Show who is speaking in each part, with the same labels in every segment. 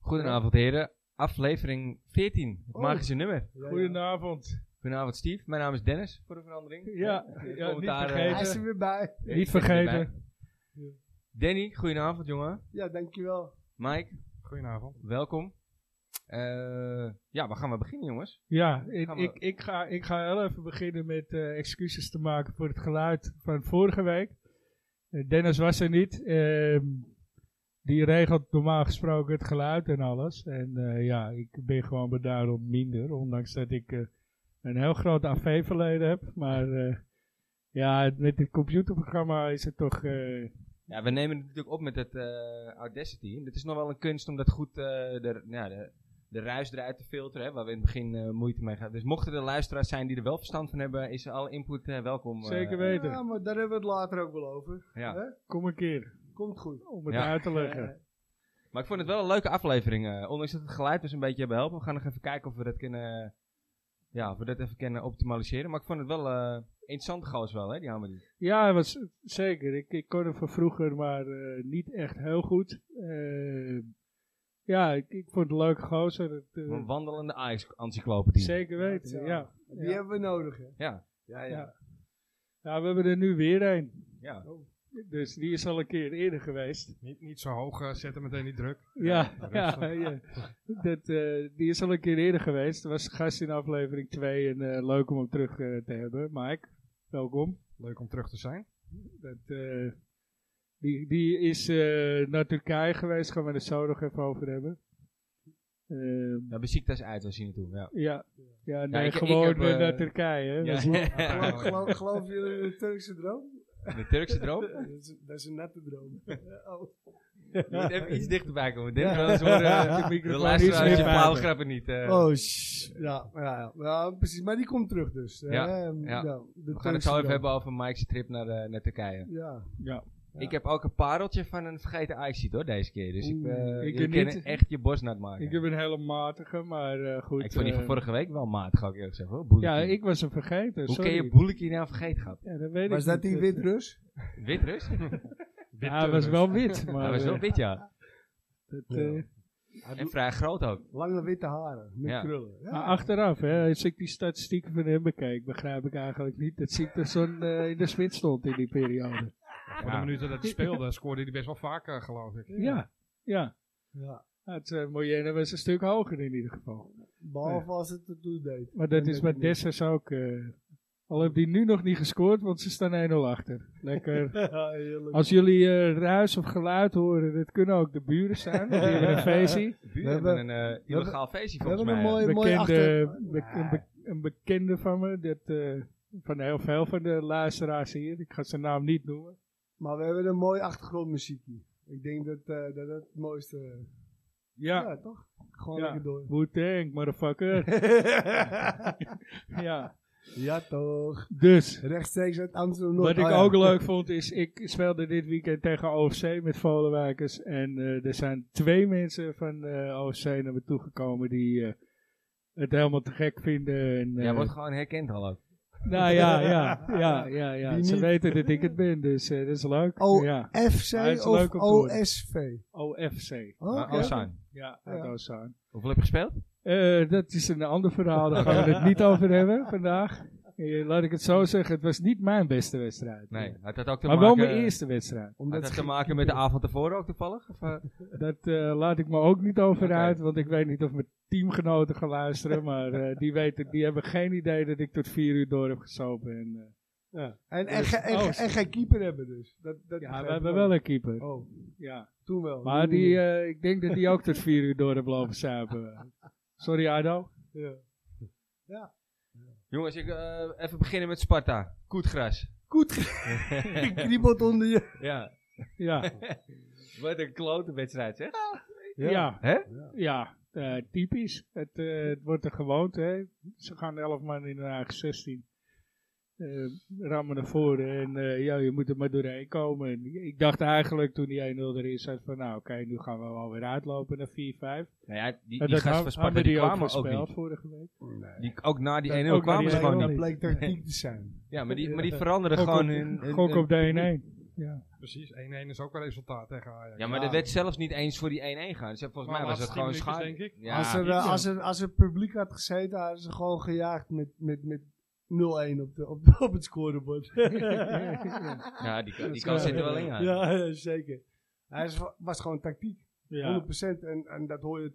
Speaker 1: Goedenavond heren, aflevering 14, het
Speaker 2: Oh.
Speaker 1: magische nummer.
Speaker 2: Ja, ja.
Speaker 3: Goedenavond.
Speaker 1: Goedenavond Steve, mijn naam is Dennis, voor de verandering.
Speaker 3: Ja,
Speaker 1: Eh,
Speaker 3: ja,
Speaker 1: commentaar,
Speaker 3: niet
Speaker 1: eh,
Speaker 3: vergeten.
Speaker 2: Hij is er weer bij.
Speaker 1: ik
Speaker 3: Niet
Speaker 1: ben erbij.
Speaker 3: vergeten.
Speaker 1: Danny, goedenavond jongen.
Speaker 2: Ja, dankjewel.
Speaker 1: Mike,
Speaker 3: Goedenavond.
Speaker 1: welkom. Eh, ja, waar gaan we beginnen jongens?
Speaker 3: Ja, ik,
Speaker 1: Gaan we-
Speaker 3: ik, ik, ga, ik ga heel even beginnen met eh, excuses te maken voor het geluid van vorige week. Eh, Dennis was er niet. ehm, die regelt normaal gesproken het geluid en alles. En eh, ja, ik ben gewoon beduidend minder. Ondanks dat ik eh, een heel groot AV-verleden heb. Maar eh, ja, het- met dit computerprogramma is het toch... eh,
Speaker 1: Ja, we nemen het natuurlijk op met het eh, Audacity. En Het is nog wel een kunst om dat goed eh, de, ja, de, de ruis eruit te filteren, hè, waar we in het begin eh, moeite mee gaan. Dus mochten er luisteraars zijn die er wel verstand van hebben, is alle input eh, welkom. eh,
Speaker 3: Zeker weten.
Speaker 2: Ja, maar daar hebben we het later ook wel over.
Speaker 1: Ja.
Speaker 2: Hè?
Speaker 3: Kom een keer,
Speaker 2: Komt goed.
Speaker 3: om het
Speaker 1: Ja.
Speaker 3: uit te leggen.
Speaker 2: Eh,
Speaker 1: Maar ik vond het wel een leuke aflevering. eh, ondanks dat het geluid dus een beetje hebben helpen. We gaan nog even kijken of we dat kunnen, eh, ja, of we dat even kunnen optimaliseren. Maar ik vond het wel eh interessant goos wel, hè, die Hamadi.
Speaker 3: Ja, het was, zeker. Ik, ik kon hem van vroeger, maar eh, niet echt heel goed. Eh, ja, ik, ik vond het leuk gozer. Het,
Speaker 4: Mm.
Speaker 3: eh,
Speaker 4: Hmm.
Speaker 1: Een wandelende Ajax-encyclopedie.
Speaker 3: zeker weten,
Speaker 2: Ja.
Speaker 3: ja.
Speaker 2: Die hebben we nodig, hè?
Speaker 1: Ja,
Speaker 2: Ja,
Speaker 3: Ja. Ja, we hebben er nu weer een.
Speaker 1: ja.
Speaker 3: Dus die is al een keer eerder geweest.
Speaker 4: Niet, niet zo hoog eh, zetten, meteen niet druk.
Speaker 3: Ja, ja,
Speaker 4: rustig.
Speaker 3: ja. Dat, eh, die is al een keer eerder geweest. Er was gast in aflevering 2 en eh, leuk om hem terug eh, te hebben. Mike, welkom.
Speaker 4: Leuk om terug te zijn.
Speaker 3: Dat, eh, die, die is eh, naar Turkije geweest, gaan we het zo nog even over hebben. Ehm,
Speaker 1: Nou, bij ziektes uit was hij naartoe. Ja.
Speaker 3: ja, ja, nee,
Speaker 1: ik- ik
Speaker 3: gewoon
Speaker 1: heb,
Speaker 3: eh,
Speaker 1: eh,
Speaker 3: naar Turkije. hè.
Speaker 1: Ja.
Speaker 3: Dat is-
Speaker 2: Geloof, geloof, geloven jullie in de Turkse droom?
Speaker 1: De Turkse
Speaker 3: Oh.
Speaker 1: droom.
Speaker 2: Dat is, dat is een natte droom. oh.
Speaker 1: Je moet even iets dichterbij komen. Dit anders horen eh,
Speaker 3: De microfoon
Speaker 1: de
Speaker 3: is
Speaker 1: luisteraars je
Speaker 3: weer buiten.
Speaker 1: flauwgrappen niet. eh.
Speaker 2: oh, shh. Ja, ja, ja. Ja, precies. Maar die komt terug dus. hè?
Speaker 1: Ja,
Speaker 2: Ehm,
Speaker 1: ja.
Speaker 2: de
Speaker 1: we gaan het
Speaker 2: Turkse
Speaker 1: zo even
Speaker 2: droom.
Speaker 1: hebben over Mike's trip naar, eh, naar Turkije.
Speaker 2: Ja.
Speaker 3: Ja.
Speaker 2: Ja.
Speaker 1: Ik heb ook een pareltje van een vergeten ajax hoor, deze keer. Dus ik,
Speaker 2: Oeh,
Speaker 1: eh
Speaker 3: ik
Speaker 1: je
Speaker 3: niet.
Speaker 1: kan echt je borst nat maken.
Speaker 3: Ik heb een hele matige, maar eh, goed.
Speaker 1: Ik vond die
Speaker 3: eh,
Speaker 1: van vorige week wel matig, ga ik eerlijk zeggen. hoor. Boeleki.
Speaker 3: Ja, ik was hem vergeten.
Speaker 1: Hoe
Speaker 3: sorry.
Speaker 1: kun je Boeleki nou vergeten gehad?
Speaker 3: Ja, dat weet
Speaker 2: Was
Speaker 3: ik
Speaker 2: dat
Speaker 3: niet. eh,
Speaker 2: die
Speaker 3: Dat-
Speaker 2: Wit-Rus?
Speaker 1: Wit Rus?
Speaker 3: Ja, hij was wel wit. Maar,
Speaker 1: dat eh, was wel
Speaker 3: eh,
Speaker 1: wit, ja.
Speaker 3: dat, eh,
Speaker 1: En vrij groot ook.
Speaker 2: Lange witte haren. Met
Speaker 1: Ja.
Speaker 2: krullen. Ja.
Speaker 3: Maar achteraf, hè, als ik die statistieken van hem bekijk, begrijp ik eigenlijk niet dat Ziekterson eh in de spits stond in die periode.
Speaker 4: Voor de minuten dat hij speelde, scoorde hij best wel vaak, eh, geloof ik.
Speaker 3: Ja, ja.
Speaker 2: Ja.
Speaker 3: Het uh, Moyenne was een stuk hoger in ieder geval.
Speaker 2: Behalve als het er toe deed.
Speaker 3: Maar dat
Speaker 2: En
Speaker 3: is
Speaker 2: dat
Speaker 3: met
Speaker 2: niet.
Speaker 3: Dessers ook. eh, al heeft hij nu nog niet gescoord, want ze staan 1-0 achter. Lekker.
Speaker 2: Ja, heerlijk.
Speaker 3: Als jullie eh, ruis of geluid horen, dat kunnen ook de buren zijn. Die hebben een feestje.
Speaker 1: De buren
Speaker 2: We
Speaker 1: hebben
Speaker 2: hebben-
Speaker 1: een eh, illegaal feestje
Speaker 2: we
Speaker 1: volgens
Speaker 2: hebben
Speaker 1: mij.
Speaker 2: een
Speaker 1: ja.
Speaker 2: mooie- mooi
Speaker 3: Bekende,
Speaker 2: achter-
Speaker 3: be- een, be- een bekende van me, dat, eh, van heel veel van de luisteraars hier. Ik ga zijn naam niet noemen.
Speaker 2: Maar we hebben een mooi achtergrondmuziekje. Ik denk dat eh, dat, dat het mooiste... ja.
Speaker 3: Ja,
Speaker 2: toch? Gewoon
Speaker 3: Ja.
Speaker 2: lekker door.
Speaker 3: Wu-Tang, motherfucker. ja,
Speaker 2: ja, toch.
Speaker 3: dus.
Speaker 2: Rechtstreeks uit Amsterdam Noord.
Speaker 3: Wat ik
Speaker 2: Ah, ja.
Speaker 3: ook leuk vond is, ik speelde dit weekend tegen OFC met Volenwijkers. En eh, er zijn twee mensen van eh OFC naar me toegekomen die eh, het helemaal te gek vinden. En,
Speaker 1: Jij
Speaker 3: eh,
Speaker 1: wordt gewoon herkend al ook.
Speaker 3: nou ja, ja, ja, ja. ja.
Speaker 2: Die
Speaker 3: Ze
Speaker 2: niet.
Speaker 3: weten dat ik het ben, dus eh, dat is leuk.
Speaker 2: Oh.
Speaker 3: Ja.
Speaker 2: FC
Speaker 3: Ja, het is
Speaker 2: of
Speaker 3: leuk om te horen.
Speaker 2: OSV?
Speaker 3: OFC.
Speaker 2: Oh,
Speaker 1: Maar
Speaker 2: oké.
Speaker 1: al zijn.
Speaker 3: Ja, uit
Speaker 2: Ja.
Speaker 3: Ozaan.
Speaker 1: Hoeveel heb je gespeeld?
Speaker 3: Eh, dat is een ander verhaal, daar gaan we het niet over hebben vandaag. Eh, laat ik het zo zeggen, het was niet mijn beste wedstrijd.
Speaker 1: Nee, had dat ook te
Speaker 3: Maar wel
Speaker 1: maken...
Speaker 3: mijn eerste wedstrijd.
Speaker 1: Had
Speaker 2: Omdat
Speaker 1: dat
Speaker 2: ze-
Speaker 1: te maken met de avond tevoren ook toevallig? Of, eh?
Speaker 3: Dat eh, laat ik me ook niet over
Speaker 1: Oké.
Speaker 3: uit, want ik weet niet of mijn teamgenoten gaan luisteren. Maar eh, die, weten, die hebben geen idee dat ik tot vier uur door heb gesopen. En, eh,
Speaker 2: en, en, ge- en,
Speaker 3: Oh.
Speaker 2: ge- en geen keeper hebben dus. Dat, dat
Speaker 3: ja,
Speaker 2: begrijp
Speaker 3: we
Speaker 2: ik
Speaker 3: hebben wel een keeper.
Speaker 2: Oh,
Speaker 3: Ja.
Speaker 2: toen wel.
Speaker 3: Maar
Speaker 2: Nu
Speaker 3: die,
Speaker 2: niet.
Speaker 3: eh, ik denk dat die ook tot vier uur door heb lopen zuipen. Sorry Ado.
Speaker 2: Ja.
Speaker 1: Jongens, ik, eh, even beginnen met Sparta. Koetgras.
Speaker 2: Goed, ge- kriebelt onder je.
Speaker 1: ja.
Speaker 3: Ja,
Speaker 1: Wat een klote wedstrijd zeg.
Speaker 3: ja. ja.
Speaker 1: Hè?
Speaker 3: eh, typisch. Het, eh, het wordt een gewoonte. Hè. Ze gaan elf man in hun eigen 16. eh, rammen naar voren en eh, ja, je moet er maar doorheen komen. En ik dacht eigenlijk toen die 1-0 erin zat van nou oké, nu gaan we wel weer uitlopen naar 4-5.
Speaker 1: Nou ja, die, die
Speaker 3: En dat
Speaker 1: gasten
Speaker 3: had-
Speaker 1: van Sparta
Speaker 3: hadden
Speaker 1: die
Speaker 3: die ook
Speaker 1: kwamen ook,
Speaker 3: voorspeld
Speaker 1: niet.
Speaker 3: vorige week.
Speaker 1: Die, ook na die 1-0
Speaker 3: Dat ook na
Speaker 1: kwamen
Speaker 3: die
Speaker 1: ze
Speaker 2: Bleek-
Speaker 1: gewoon niet.
Speaker 2: Dat bleek tactiek te zijn.
Speaker 1: Ja, maar die, maar die veranderden
Speaker 3: Gok
Speaker 1: gewoon
Speaker 3: op-
Speaker 1: hun... hun-
Speaker 3: Gok
Speaker 1: hun-
Speaker 3: op de 1-1. Ja.
Speaker 4: Precies, 1-1 is ook een resultaat tegen Ajax.
Speaker 1: Ja, maar
Speaker 2: Ja.
Speaker 1: dat werd zelfs niet eens voor die 1-1 gaan. Dus volgens
Speaker 4: Maar
Speaker 1: mij was
Speaker 4: laatste
Speaker 1: dat gewoon
Speaker 4: tien minuutjes,
Speaker 1: schade.
Speaker 4: denk ik.
Speaker 1: Ja,
Speaker 2: als, er, eh,
Speaker 1: ja.
Speaker 2: als, er, als er publiek had gezeten, hadden ze gewoon gejaagd met, met, met 0-1 op, de- op, op het scorebord. ja,
Speaker 1: Ja, die, kan- die
Speaker 3: is
Speaker 1: kan
Speaker 3: waar,
Speaker 1: zit er
Speaker 3: ja.
Speaker 1: wel in. Ja.
Speaker 2: ja, ja, zeker. Hij is- was gewoon tactiek.
Speaker 3: Ja.
Speaker 2: 100%. En, en dat hoor je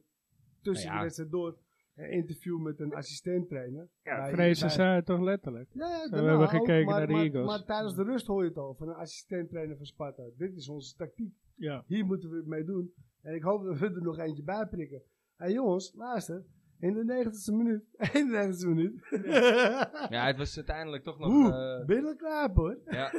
Speaker 2: tussen
Speaker 1: Nou ja.
Speaker 2: de wedstrijd door. Een interview met een assistent-trainer. Ja,
Speaker 3: Vrezen zei het toch letterlijk.
Speaker 2: Ja, Nou ja,
Speaker 3: we
Speaker 2: daarna
Speaker 3: hebben
Speaker 2: ook,
Speaker 3: gekeken
Speaker 2: maar-
Speaker 3: naar de
Speaker 2: maar-
Speaker 3: Eagles.
Speaker 2: Maar tijdens de rust hoor je het al van een assistent-trainer van Sparta. Dit is onze tactiek.
Speaker 3: Ja.
Speaker 2: Hier moeten we het mee doen. En ik hoop dat we er nog eentje bij prikken. En jongens, luister. In de 90ste minuut. 91ste minuut.
Speaker 1: ja, het was uiteindelijk toch nog...
Speaker 2: Oeh,
Speaker 1: eh,
Speaker 2: Billen klaar hoor.
Speaker 1: ja.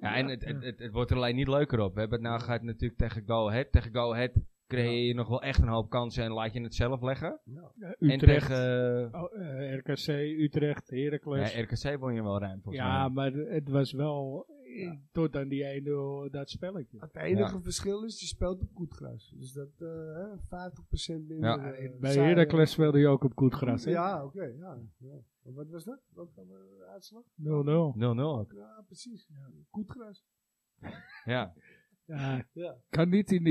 Speaker 1: ja, en het, het, het, het wordt er alleen niet leuker op. We hebben het nou gehad natuurlijk tegen Go Ahead. Tegen Go Ahead creëer je nog wel echt een hoop kansen en laat je het zelf leggen. En
Speaker 3: Utrecht,
Speaker 1: tegen eh,
Speaker 3: oh, eh, RKC, Utrecht, Heracles.
Speaker 1: ja, RKC won je wel ruim volgens mij.
Speaker 3: Ja, maar het was wel eh, tot aan die 1-0 dat spelletje.
Speaker 2: Het enige verschil is, je speelt op goed gras. Dus dat eh, hè, 50% minder.
Speaker 1: Ja.
Speaker 2: eh,
Speaker 3: Bij
Speaker 2: saai,
Speaker 3: Heracles speelde je ook op goed
Speaker 2: eh,
Speaker 3: gras, hè? 0-0.
Speaker 2: Ja, oké. ja, ja. En Wat was dat? Wat was de uitslag?
Speaker 1: 0-0 ook.
Speaker 2: Ja, precies. Ja. Goed gras.
Speaker 1: Ja.
Speaker 3: Ja,
Speaker 2: Ja.
Speaker 3: kan niet in de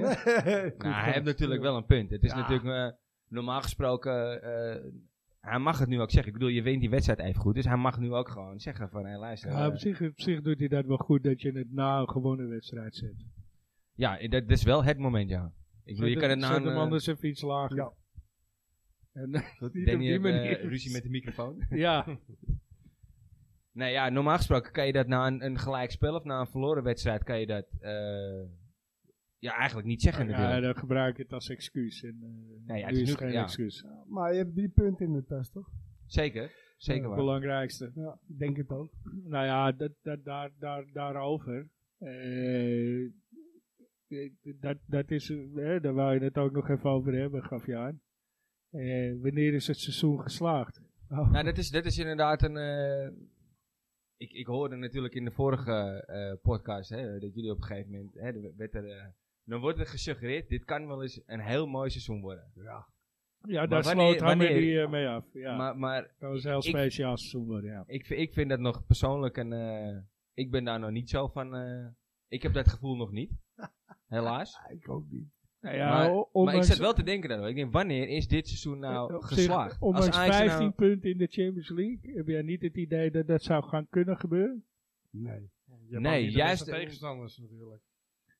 Speaker 3: hè?
Speaker 1: Nou, hij
Speaker 3: gras.
Speaker 1: heeft natuurlijk wel een punt. Het is
Speaker 2: Ja.
Speaker 1: natuurlijk eh, normaal gesproken... eh, hij mag het nu ook zeggen. Ik bedoel, je wint die wedstrijd even goed. Dus hij mag nu ook gewoon zeggen van... Hey, luister,
Speaker 3: Ja,
Speaker 1: eh,
Speaker 3: op, zich, op zich doet hij dat wel goed dat je het na een gewonnen wedstrijd zet.
Speaker 1: Ja, i- dat is wel het moment, ja. Ik bedoel, je kan het na
Speaker 3: Zet
Speaker 1: een...
Speaker 3: hem
Speaker 1: eh,
Speaker 3: anders even iets lager.
Speaker 2: Ja.
Speaker 3: En,
Speaker 1: goed,
Speaker 3: niet op
Speaker 1: Danny
Speaker 3: die
Speaker 1: heeft, eh,
Speaker 3: manier.
Speaker 1: ruzie met de microfoon.
Speaker 3: ja.
Speaker 1: nee, ja, normaal gesproken kan je dat na een, een gelijk spel of na een verloren wedstrijd kan je dat... eh, ja, eigenlijk niet zeggen
Speaker 3: ja,
Speaker 1: natuurlijk.
Speaker 3: dan gebruik je het als excuus. En, eh,
Speaker 1: Nee, Nou ja, het
Speaker 3: nu
Speaker 1: is
Speaker 3: is
Speaker 1: nu-
Speaker 3: geen
Speaker 1: ja.
Speaker 3: excuus.
Speaker 2: Maar je hebt drie punten in de tas, toch?
Speaker 1: Zeker, zeker
Speaker 3: Het
Speaker 1: waar.
Speaker 3: belangrijkste.
Speaker 2: Ja, ik denk het ook.
Speaker 3: Nou ja, dat, dat, daar, daar, daarover. eh, dat, dat is, eh, daar wou je het ook nog even over hebben, gaf je aan. Eh, wanneer is het seizoen geslaagd?
Speaker 1: Nou, dat is, dat is inderdaad een... eh, ik, ik hoorde natuurlijk in de vorige eh, podcast hè, dat jullie op een gegeven moment... Hè, er werd er, eh, dan wordt er gesuggereerd, dit kan wel eens een heel mooi seizoen worden.
Speaker 3: Ja,
Speaker 1: wanneer-
Speaker 3: daar sloot Hammer
Speaker 1: wanneer-
Speaker 3: die eh, mee af. Ja,
Speaker 1: Maar, maar
Speaker 3: dat was een heel
Speaker 1: ik-
Speaker 3: speciaal seizoen worden, ja.
Speaker 1: Ik, vi- ik vind dat nog persoonlijk een. eh, ik ben daar nog niet zo van. eh, ik heb dat gevoel nog niet. Helaas.
Speaker 2: Ja, ik ook niet.
Speaker 3: Nou ja,
Speaker 1: maar,
Speaker 3: o-
Speaker 1: maar ik
Speaker 3: ondanks-
Speaker 1: zat wel te denken daarover. Ik denk, wanneer is dit seizoen
Speaker 3: eh,
Speaker 1: nou
Speaker 3: op zich,
Speaker 1: geslaagd?
Speaker 3: Ondanks
Speaker 1: Ajax nou-
Speaker 3: 15 punten in de Champions League, heb jij niet het idee dat dat zou gaan kunnen gebeuren?
Speaker 2: Nee.
Speaker 4: Je hebt
Speaker 1: Nee,
Speaker 4: ook niet de
Speaker 1: juist-
Speaker 4: beste tegenstanders natuurlijk.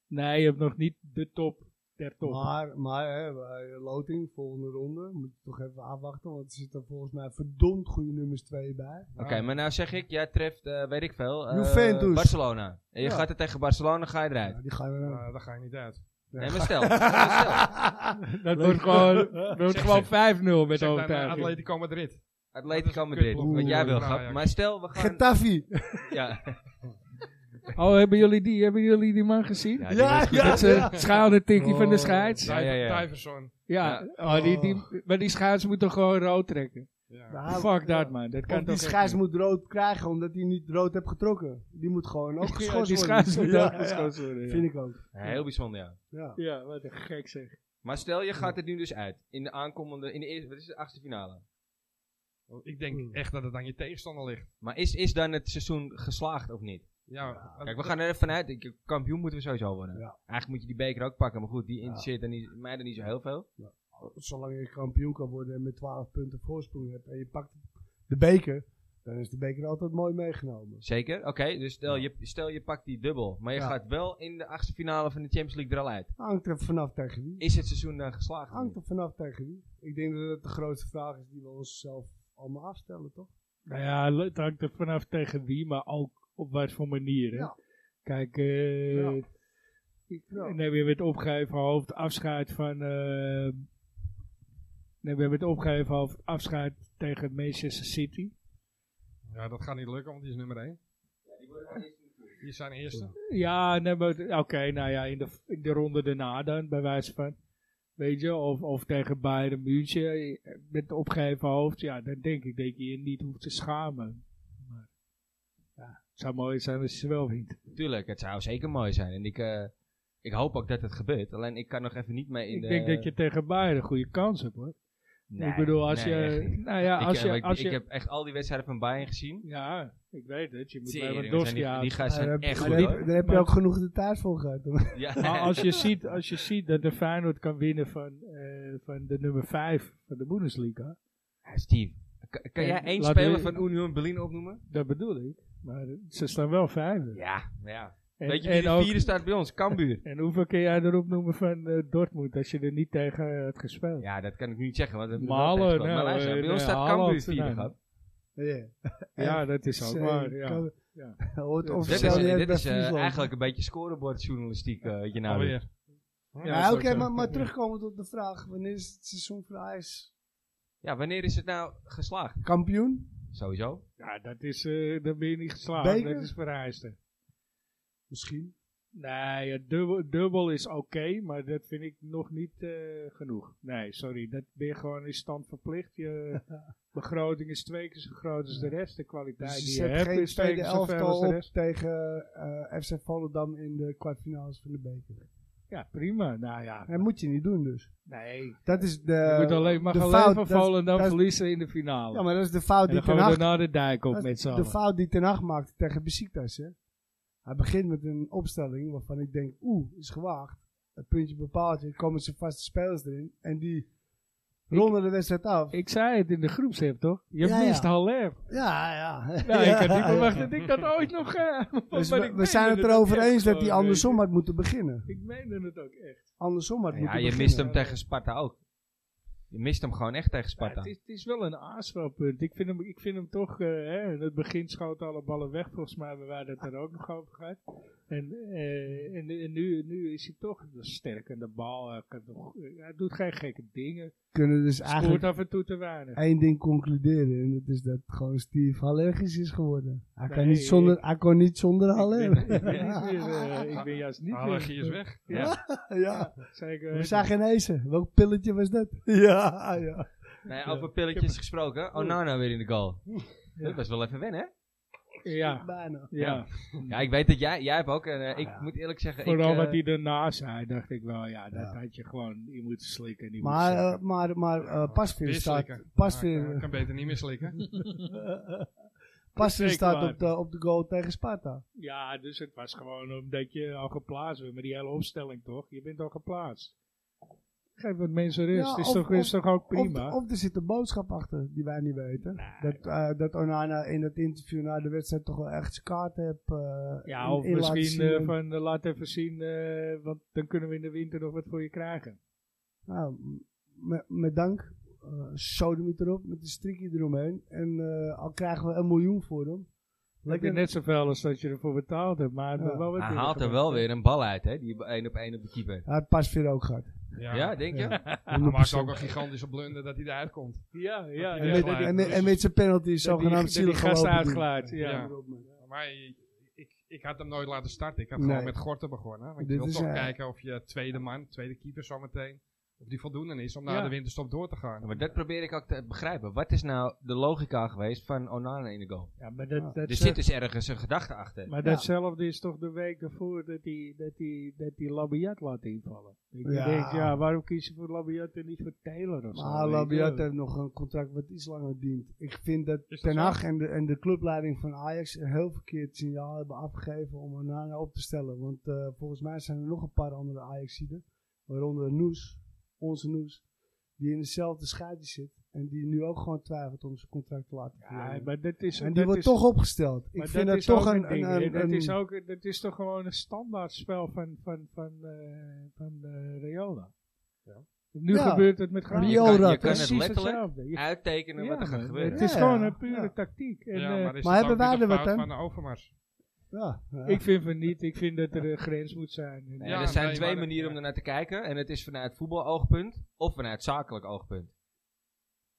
Speaker 3: Nee, je hebt nog niet de top der top.
Speaker 2: Maar, maar hè, bij loting, volgende ronde, moet je toch even afwachten, want er zitten volgens mij verdomd goede nummers 2 bij.
Speaker 1: Oké,
Speaker 3: Ah.
Speaker 1: maar nou zeg ik, jij treft, eh, weet ik veel, eh,
Speaker 2: Juventus.
Speaker 1: Barcelona. En je
Speaker 2: Ja.
Speaker 1: gaat er tegen Barcelona, ga je eruit.
Speaker 2: Ja, die gaan we dan.
Speaker 4: Eh, daar ga je niet uit.
Speaker 1: Nee, maar stel. maar stel.
Speaker 3: dat wordt gewoon, dat wordt
Speaker 4: Zeg
Speaker 3: gewoon
Speaker 4: Eh, ze.
Speaker 3: 5-0 met
Speaker 4: Zeg dan, eh,
Speaker 3: overtuiging.
Speaker 4: Atletico Madrid.
Speaker 1: Atletico
Speaker 4: een
Speaker 1: Madrid,
Speaker 4: kutploeg.
Speaker 1: wat jij wil,
Speaker 4: Oeh.
Speaker 1: Gap. Maar stel, we gaan...
Speaker 2: Getafi!
Speaker 1: Ja,
Speaker 3: Oh, hebben jullie die, hebben jullie die man gezien?
Speaker 1: ja,
Speaker 3: Dat
Speaker 1: die
Speaker 2: Ja,
Speaker 1: was goed.
Speaker 2: ja.
Speaker 3: Met zijn schoudertikkie van de
Speaker 2: Oh.
Speaker 3: scheids.
Speaker 1: Ja, ja, ja.
Speaker 4: Tyverson.
Speaker 3: Ja, Oh, die, die, maar die scheids moet toch gewoon rood trekken?
Speaker 4: Ja.
Speaker 2: Nou,
Speaker 3: Fuck
Speaker 2: ja.
Speaker 3: dat man, dat kan
Speaker 2: Of die
Speaker 3: toch
Speaker 2: scheids moet rood krijgen, omdat hij niet rood heeft getrokken. Die moet gewoon ook
Speaker 3: ook
Speaker 2: geschorst worden.
Speaker 3: Die scheids moet
Speaker 2: Ja,
Speaker 3: ook
Speaker 2: ja,
Speaker 3: geschorst worden.
Speaker 2: ja.
Speaker 3: ja.
Speaker 2: Vind ik ook.
Speaker 1: Heel bijzonder, ja.
Speaker 2: Ja.
Speaker 3: Ja, wat een gek zeg.
Speaker 1: Maar stel, je gaat er nu dus uit. In de aankomende, in de eerste, wat is het, achtste finale.
Speaker 4: Ik denk echt dat het aan je tegenstander ligt.
Speaker 1: Maar is, is dan het seizoen geslaagd of niet?
Speaker 4: Ja,
Speaker 2: Ja.
Speaker 1: Kijk, we gaan er even vanuit. Ik- Kampioen moeten we sowieso worden.
Speaker 2: Ja.
Speaker 1: Eigenlijk moet je die beker ook pakken. Maar goed, die interesseert dan niet, mij dan niet zo heel veel.
Speaker 2: Zolang je kampioen kan worden en met 12 punten voorsprong hebt en je pakt de beker, dan is de beker altijd mooi meegenomen.
Speaker 1: Zeker? Oké, dus stel, je, stel je pakt die dubbel. Maar je
Speaker 2: Ja.
Speaker 1: gaat wel in de achtste finale van de Champions League er al uit.
Speaker 2: Hangt er vanaf tegen wie.
Speaker 1: Is het seizoen dan geslaagd? of
Speaker 2: Hangt
Speaker 1: niet?
Speaker 2: er vanaf tegen wie. Ik denk dat dat de grootste vraag is die we onszelf allemaal afstellen, toch?
Speaker 3: Nou ja, het hangt er vanaf tegen wie, maar ook op wat voor manier. Hè?
Speaker 2: Ja.
Speaker 3: Kijk, eh,
Speaker 2: Ja.
Speaker 3: ik-
Speaker 2: Ja.
Speaker 3: en dan heb je met opgeheven hoofd afscheid van. eh nee, we hebben het opgeheven hoofd afscheid tegen Manchester City.
Speaker 4: Ja, dat gaat niet lukken, want die is nummer 1. Die zijn eerste.
Speaker 3: Ja, nee, maar oké, nou ja, in de, in de ronde daarna dan, bij wijze van. Weet je, of, of tegen Bayern München eh, met opgeheven hoofd. Ja, dan denk ik dat je je niet hoeft te schamen. Maar ja, het zou mooi zijn als je ze wel wint.
Speaker 1: Tuurlijk, het zou zeker mooi zijn. En ik, eh, ik hoop ook dat het gebeurt. Alleen ik kan nog even niet mee in
Speaker 3: Ik
Speaker 1: de...
Speaker 3: denk dat je tegen Bayern een goede kans hebt hoor. ik bedoel, als
Speaker 1: eh, nee, echt
Speaker 3: je...
Speaker 1: niet.
Speaker 3: Nou ja,
Speaker 1: Ik,
Speaker 3: als
Speaker 1: eh,
Speaker 3: je...
Speaker 1: ik,
Speaker 3: Als
Speaker 1: ik
Speaker 3: je
Speaker 1: heb echt al die wedstrijden van Bayern gezien.
Speaker 3: ja, ik weet het. Je moet
Speaker 1: Tering,
Speaker 3: bij
Speaker 1: we zijn
Speaker 3: Dorsky
Speaker 1: die, die
Speaker 3: aan.
Speaker 2: Maar
Speaker 1: guys zijn
Speaker 2: daar heb-
Speaker 1: echt
Speaker 2: maar
Speaker 1: goed.
Speaker 2: daar,
Speaker 1: hoor.
Speaker 2: heb- daar heb je
Speaker 3: Maar-
Speaker 2: ook genoeg de taart voor gehad. hoor.
Speaker 1: Ja.
Speaker 3: Eh, Maar als je, ziet, als je ziet dat de Feyenoord kan winnen van, eh, van de nummer 5 van de Bundesliga,
Speaker 1: eh, Steve, kan, kan jij
Speaker 3: En
Speaker 1: één
Speaker 3: laten we-
Speaker 1: speler van Union Berlin opnoemen?
Speaker 3: dat bedoel ik. Maar ze staan wel vijfde.
Speaker 1: Ja, ja.
Speaker 3: En,
Speaker 1: Weet je wie
Speaker 3: en,
Speaker 1: de
Speaker 3: ook-
Speaker 1: vierde staat bij ons? Cambuur.
Speaker 3: en hoeveel kun jij erop noemen van eh, Dortmund als je er niet tegen eh, hebt gespeeld?
Speaker 1: Ja, dat kan ik nu niet zeggen. Want we hebben er wel
Speaker 3: Malen,
Speaker 1: tegen gespeeld.
Speaker 3: nou,
Speaker 1: maar luister,
Speaker 3: eh,
Speaker 1: bij ons
Speaker 3: nee,
Speaker 1: staat
Speaker 3: Haaland, nou,
Speaker 1: Cambuur vierde
Speaker 3: nee.
Speaker 1: gehad.
Speaker 2: Ja.
Speaker 3: Ja, dat is ook
Speaker 2: Zeker.
Speaker 3: waar. Ja.
Speaker 2: eh, Kan- Hoort
Speaker 3: Dat
Speaker 1: Dit
Speaker 2: officieel
Speaker 1: is,
Speaker 2: niet eens
Speaker 1: dit
Speaker 2: bij
Speaker 1: is eh,
Speaker 2: Friesland.
Speaker 1: eigenlijk een beetje scorebordjournalistiek, eh, wat je nou doet.
Speaker 4: Alweer.
Speaker 3: Oh, Ja,
Speaker 2: Ja,
Speaker 3: zo
Speaker 2: Oké,
Speaker 3: kan-
Speaker 2: maar, maar terugkomend op de vraag. Wanneer is het seizoen voor Ajax
Speaker 1: Ja, wanneer is het nou geslaagd?
Speaker 2: kampioen?
Speaker 1: Sowieso.
Speaker 3: Ja, dat is, eh dan ben je niet geslaagd.
Speaker 2: Beker?
Speaker 3: Dat is vereiste.
Speaker 2: Misschien.
Speaker 3: Nee, ja, dubbel, dubbel is oké, maar dat vind ik nog niet eh, genoeg. Nee, sorry, dat ben je gewoon in stand verplicht. Je begroting is twee keer zo groot als de rest. De kwaliteit
Speaker 2: Dus je
Speaker 3: die je
Speaker 2: zet
Speaker 3: hebt
Speaker 2: geen
Speaker 3: is eh, twee
Speaker 2: tweede
Speaker 3: keer zo veel als
Speaker 2: elftal
Speaker 3: de
Speaker 2: op
Speaker 3: rest.
Speaker 2: tegen eh, FC Volendam in de kwartfinales van de beker.
Speaker 3: Ja, prima. Nou ja,
Speaker 2: Dat moet je niet doen dus.
Speaker 3: nee.
Speaker 2: Dat is de...
Speaker 3: je moet alleen, mag
Speaker 2: Eh, de
Speaker 3: alleen
Speaker 2: fout,
Speaker 3: van
Speaker 2: dat-
Speaker 3: Volendam
Speaker 2: dat-
Speaker 3: verliezen in de finale.
Speaker 2: Ja, maar dat is de fout die
Speaker 3: en dan gaan
Speaker 2: Ten
Speaker 3: we
Speaker 2: Hag...
Speaker 3: daarna de dijk op
Speaker 2: dat is
Speaker 3: met z'n
Speaker 2: de
Speaker 3: allen.
Speaker 2: fout die Ten Hag maakte tegen Besiktas, hè. Hij begint met een opstelling waarvan ik denk, oeh, is gewaagd. Het puntje bepaalt, er komen zijn vaste spelers erin. En die ronden de wedstrijd af.
Speaker 3: Ik zei het in de groepsapp, toch? Je
Speaker 2: Ja, ja.
Speaker 3: mist Haller.
Speaker 2: ja, ja.
Speaker 3: Nou,
Speaker 2: Ja.
Speaker 3: ik had niet verwacht dat ik dat ooit nog... eh,
Speaker 2: Dus
Speaker 3: maar ik
Speaker 2: we, we
Speaker 3: meende
Speaker 2: zijn het
Speaker 3: dat
Speaker 2: erover
Speaker 3: echt
Speaker 2: eens dat
Speaker 3: gewoon,
Speaker 2: hij andersom had moeten beginnen.
Speaker 3: weet je. Ik meende het ook echt.
Speaker 2: Andersom had
Speaker 1: Ja,
Speaker 2: moeten
Speaker 1: je
Speaker 2: beginnen.
Speaker 1: mist hem tegen Sparta ook. Je mist hem gewoon echt tegen
Speaker 3: Ja,
Speaker 1: Sparta.
Speaker 3: het, is, het is wel een aanspelpunt. Ik vind hem, ik vind hem toch, eh, hè, in het begin schoten alle ballen weg. Volgens mij hebben wij dat er ook nog over gehad. En, eh, en, en nu, nu is hij toch sterk aan de bal. Hij, kan nog- hij doet geen gekke dingen.
Speaker 2: kunnen dus
Speaker 3: Scoort
Speaker 2: eigenlijk
Speaker 3: af en toe te weinig.
Speaker 2: één ding concluderen. En dat is dat gewoon Steve allergisch is geworden. Hij, kan,
Speaker 3: Nee,
Speaker 2: niet zonder, hij kon niet zonder
Speaker 3: ik,
Speaker 2: Haller.
Speaker 3: ben, ik, ben niet meer, eh, ik ben juist niet
Speaker 4: Allergie
Speaker 3: meer.
Speaker 4: Ah, is weg.
Speaker 3: Ja,
Speaker 2: ja.
Speaker 3: zeker.
Speaker 2: We zagen geen eisen. Welk pilletje was dat? ja, ja.
Speaker 1: Nee, over pilletjes gesproken. Onana weer in de goal. Dat was wel even wennen, hè?
Speaker 3: Ja,
Speaker 2: Bijna.
Speaker 3: ja.
Speaker 1: Ja, ik weet dat jij, jij hebt ook. En, eh, ik
Speaker 2: ja.
Speaker 1: moet eerlijk zeggen.
Speaker 3: Vooral
Speaker 1: ik, eh,
Speaker 3: wat hij daarna zei, dacht ik wel, ja, dat
Speaker 2: Ja.
Speaker 3: had je gewoon, je moet slikken. die moet
Speaker 2: Maar, eh,
Speaker 3: zakken.
Speaker 2: maar, maar eh Pasveer
Speaker 4: Weer
Speaker 2: staat,
Speaker 4: slikken.
Speaker 2: Pasveer,
Speaker 4: Ah, Ik eh, kan beter niet meer slikken.
Speaker 2: Pasveer
Speaker 3: Zeker
Speaker 2: staat
Speaker 3: waar.
Speaker 2: op de, op de goal tegen Sparta.
Speaker 3: Ja, dus het was gewoon omdat je al geplaatst bent. Maar die hele opstelling toch? Je bent al geplaatst. Geef wat mensen rust.
Speaker 2: Ja,
Speaker 3: is,
Speaker 2: of-
Speaker 3: toch, is toch ook prima?
Speaker 2: Of, of er zit een boodschap achter die wij niet weten.
Speaker 3: Nee.
Speaker 2: Dat, eh, dat Onana in dat interview na de wedstrijd toch wel echt zijn kaart heeft. eh,
Speaker 3: ja,
Speaker 2: in-
Speaker 3: of
Speaker 2: in laten
Speaker 3: misschien
Speaker 2: zien.
Speaker 3: eh, van eh, laat even zien, eh, want dan kunnen we in de winter nog wat voor je krijgen.
Speaker 2: Nou, met, met dank. eh sodemiet erop, met een strikje eromheen. En eh, al krijgen we een miljoen voor hem.
Speaker 3: Lekker
Speaker 2: Lekker.
Speaker 3: net zoveel als dat je ervoor betaald hebt, maar
Speaker 2: Ja.
Speaker 3: we wel wat
Speaker 1: Hij
Speaker 3: dingen
Speaker 1: haalt er
Speaker 3: gemaakt.
Speaker 1: wel weer een bal uit, hè? Die één op één op de keeper.
Speaker 2: Hij had Pasveer ook gehad.
Speaker 1: Ja, denk je?
Speaker 4: Hij maakt ook een gigantische blunder dat hij eruit komt.
Speaker 3: Ja, ja,
Speaker 4: En
Speaker 3: ja.
Speaker 2: En met,
Speaker 3: Dat
Speaker 4: gelijk.
Speaker 2: en, met, en met zijn penalty
Speaker 3: die- dat
Speaker 2: zogenaamd
Speaker 3: die
Speaker 2: zielig
Speaker 3: gast
Speaker 2: gelopen.
Speaker 3: uitglijdt. Ja.
Speaker 4: Ja. Maar ik, ik, ik had hem nooit laten starten. Ik had gewoon
Speaker 2: Nee.
Speaker 4: met Gorten begonnen. Want
Speaker 2: Dit
Speaker 4: je wil
Speaker 2: is,
Speaker 4: toch
Speaker 2: eh,
Speaker 4: kijken of je tweede man, tweede keeper zometeen, of die voldoende is om na
Speaker 3: Ja.
Speaker 4: de winterstop door te gaan.
Speaker 1: Ja, maar dat probeer ik ook te begrijpen. Wat is nou de logica geweest van Onana in de goal?
Speaker 3: Ja, maar dat, eh, dat
Speaker 1: Er
Speaker 3: zegt-
Speaker 1: zit dus ergens een gedachte achter.
Speaker 3: Maar
Speaker 2: Ja.
Speaker 3: datzelfde is toch de week daarvoor dat die, dat die, dat die Labiat laat invallen. Ik
Speaker 2: Ja.
Speaker 3: denk, ja, waarom kies je voor Labiat en niet voor Taylor of zo?
Speaker 2: Maar
Speaker 3: weet je
Speaker 2: Labiat
Speaker 3: wel?
Speaker 2: heeft nog een contract wat iets langer dient. Ik vind dat
Speaker 4: Is dat
Speaker 2: Ten
Speaker 4: zo?
Speaker 2: Hag en de, en de clubleiding van Ajax een heel verkeerd signaal hebben afgegeven om Onana op te stellen. Want eh, volgens mij zijn er nog een paar andere Ajaxiden, waaronder Noes, onze Noes, die in dezelfde schaduw zit. En die nu ook gewoon twijfelt om zijn contract te laten
Speaker 3: Ja,
Speaker 2: verlengen.
Speaker 3: maar dat is...
Speaker 2: en die
Speaker 3: dat
Speaker 2: wordt
Speaker 3: is-
Speaker 2: toch opgesteld.
Speaker 3: maar
Speaker 2: Ik vind dat
Speaker 3: is
Speaker 2: toch
Speaker 3: ook
Speaker 2: een...
Speaker 3: ding,
Speaker 2: een-
Speaker 3: hè.
Speaker 2: een-
Speaker 3: dat,
Speaker 2: een-
Speaker 3: is ook, dat is toch gewoon een standaard spel van, van, van, eh van eh Riola.
Speaker 4: Ja.
Speaker 3: Nu
Speaker 2: Ja.
Speaker 3: gebeurt het met Graaf.
Speaker 1: Je
Speaker 2: Riola,
Speaker 1: kan- je kan,
Speaker 2: precies
Speaker 1: het letterlijk
Speaker 3: hetzelfde. Je-
Speaker 1: uittekenen wat
Speaker 3: ja,
Speaker 1: er gaat
Speaker 3: man,
Speaker 1: gebeuren.
Speaker 3: Het is
Speaker 2: Ja,
Speaker 3: gewoon
Speaker 2: ja.
Speaker 3: een pure
Speaker 2: Ja.
Speaker 3: tactiek. En,
Speaker 4: Ja,
Speaker 3: eh,
Speaker 4: is
Speaker 2: maar
Speaker 4: dat
Speaker 2: hebben
Speaker 4: ook
Speaker 2: wij
Speaker 4: niet de
Speaker 2: er wat
Speaker 4: fout
Speaker 2: aan?
Speaker 4: van Overmars.
Speaker 2: ja, ja.
Speaker 3: ik vind van niet. Ik vind dat er een grens moet zijn. En- eh,
Speaker 1: Nee,
Speaker 4: Ja,
Speaker 1: er zijn
Speaker 4: nee,
Speaker 1: twee
Speaker 4: maar-
Speaker 1: manieren om ernaar te kijken. En het is vanuit voetbaloogpunt of vanuit zakelijk oogpunt.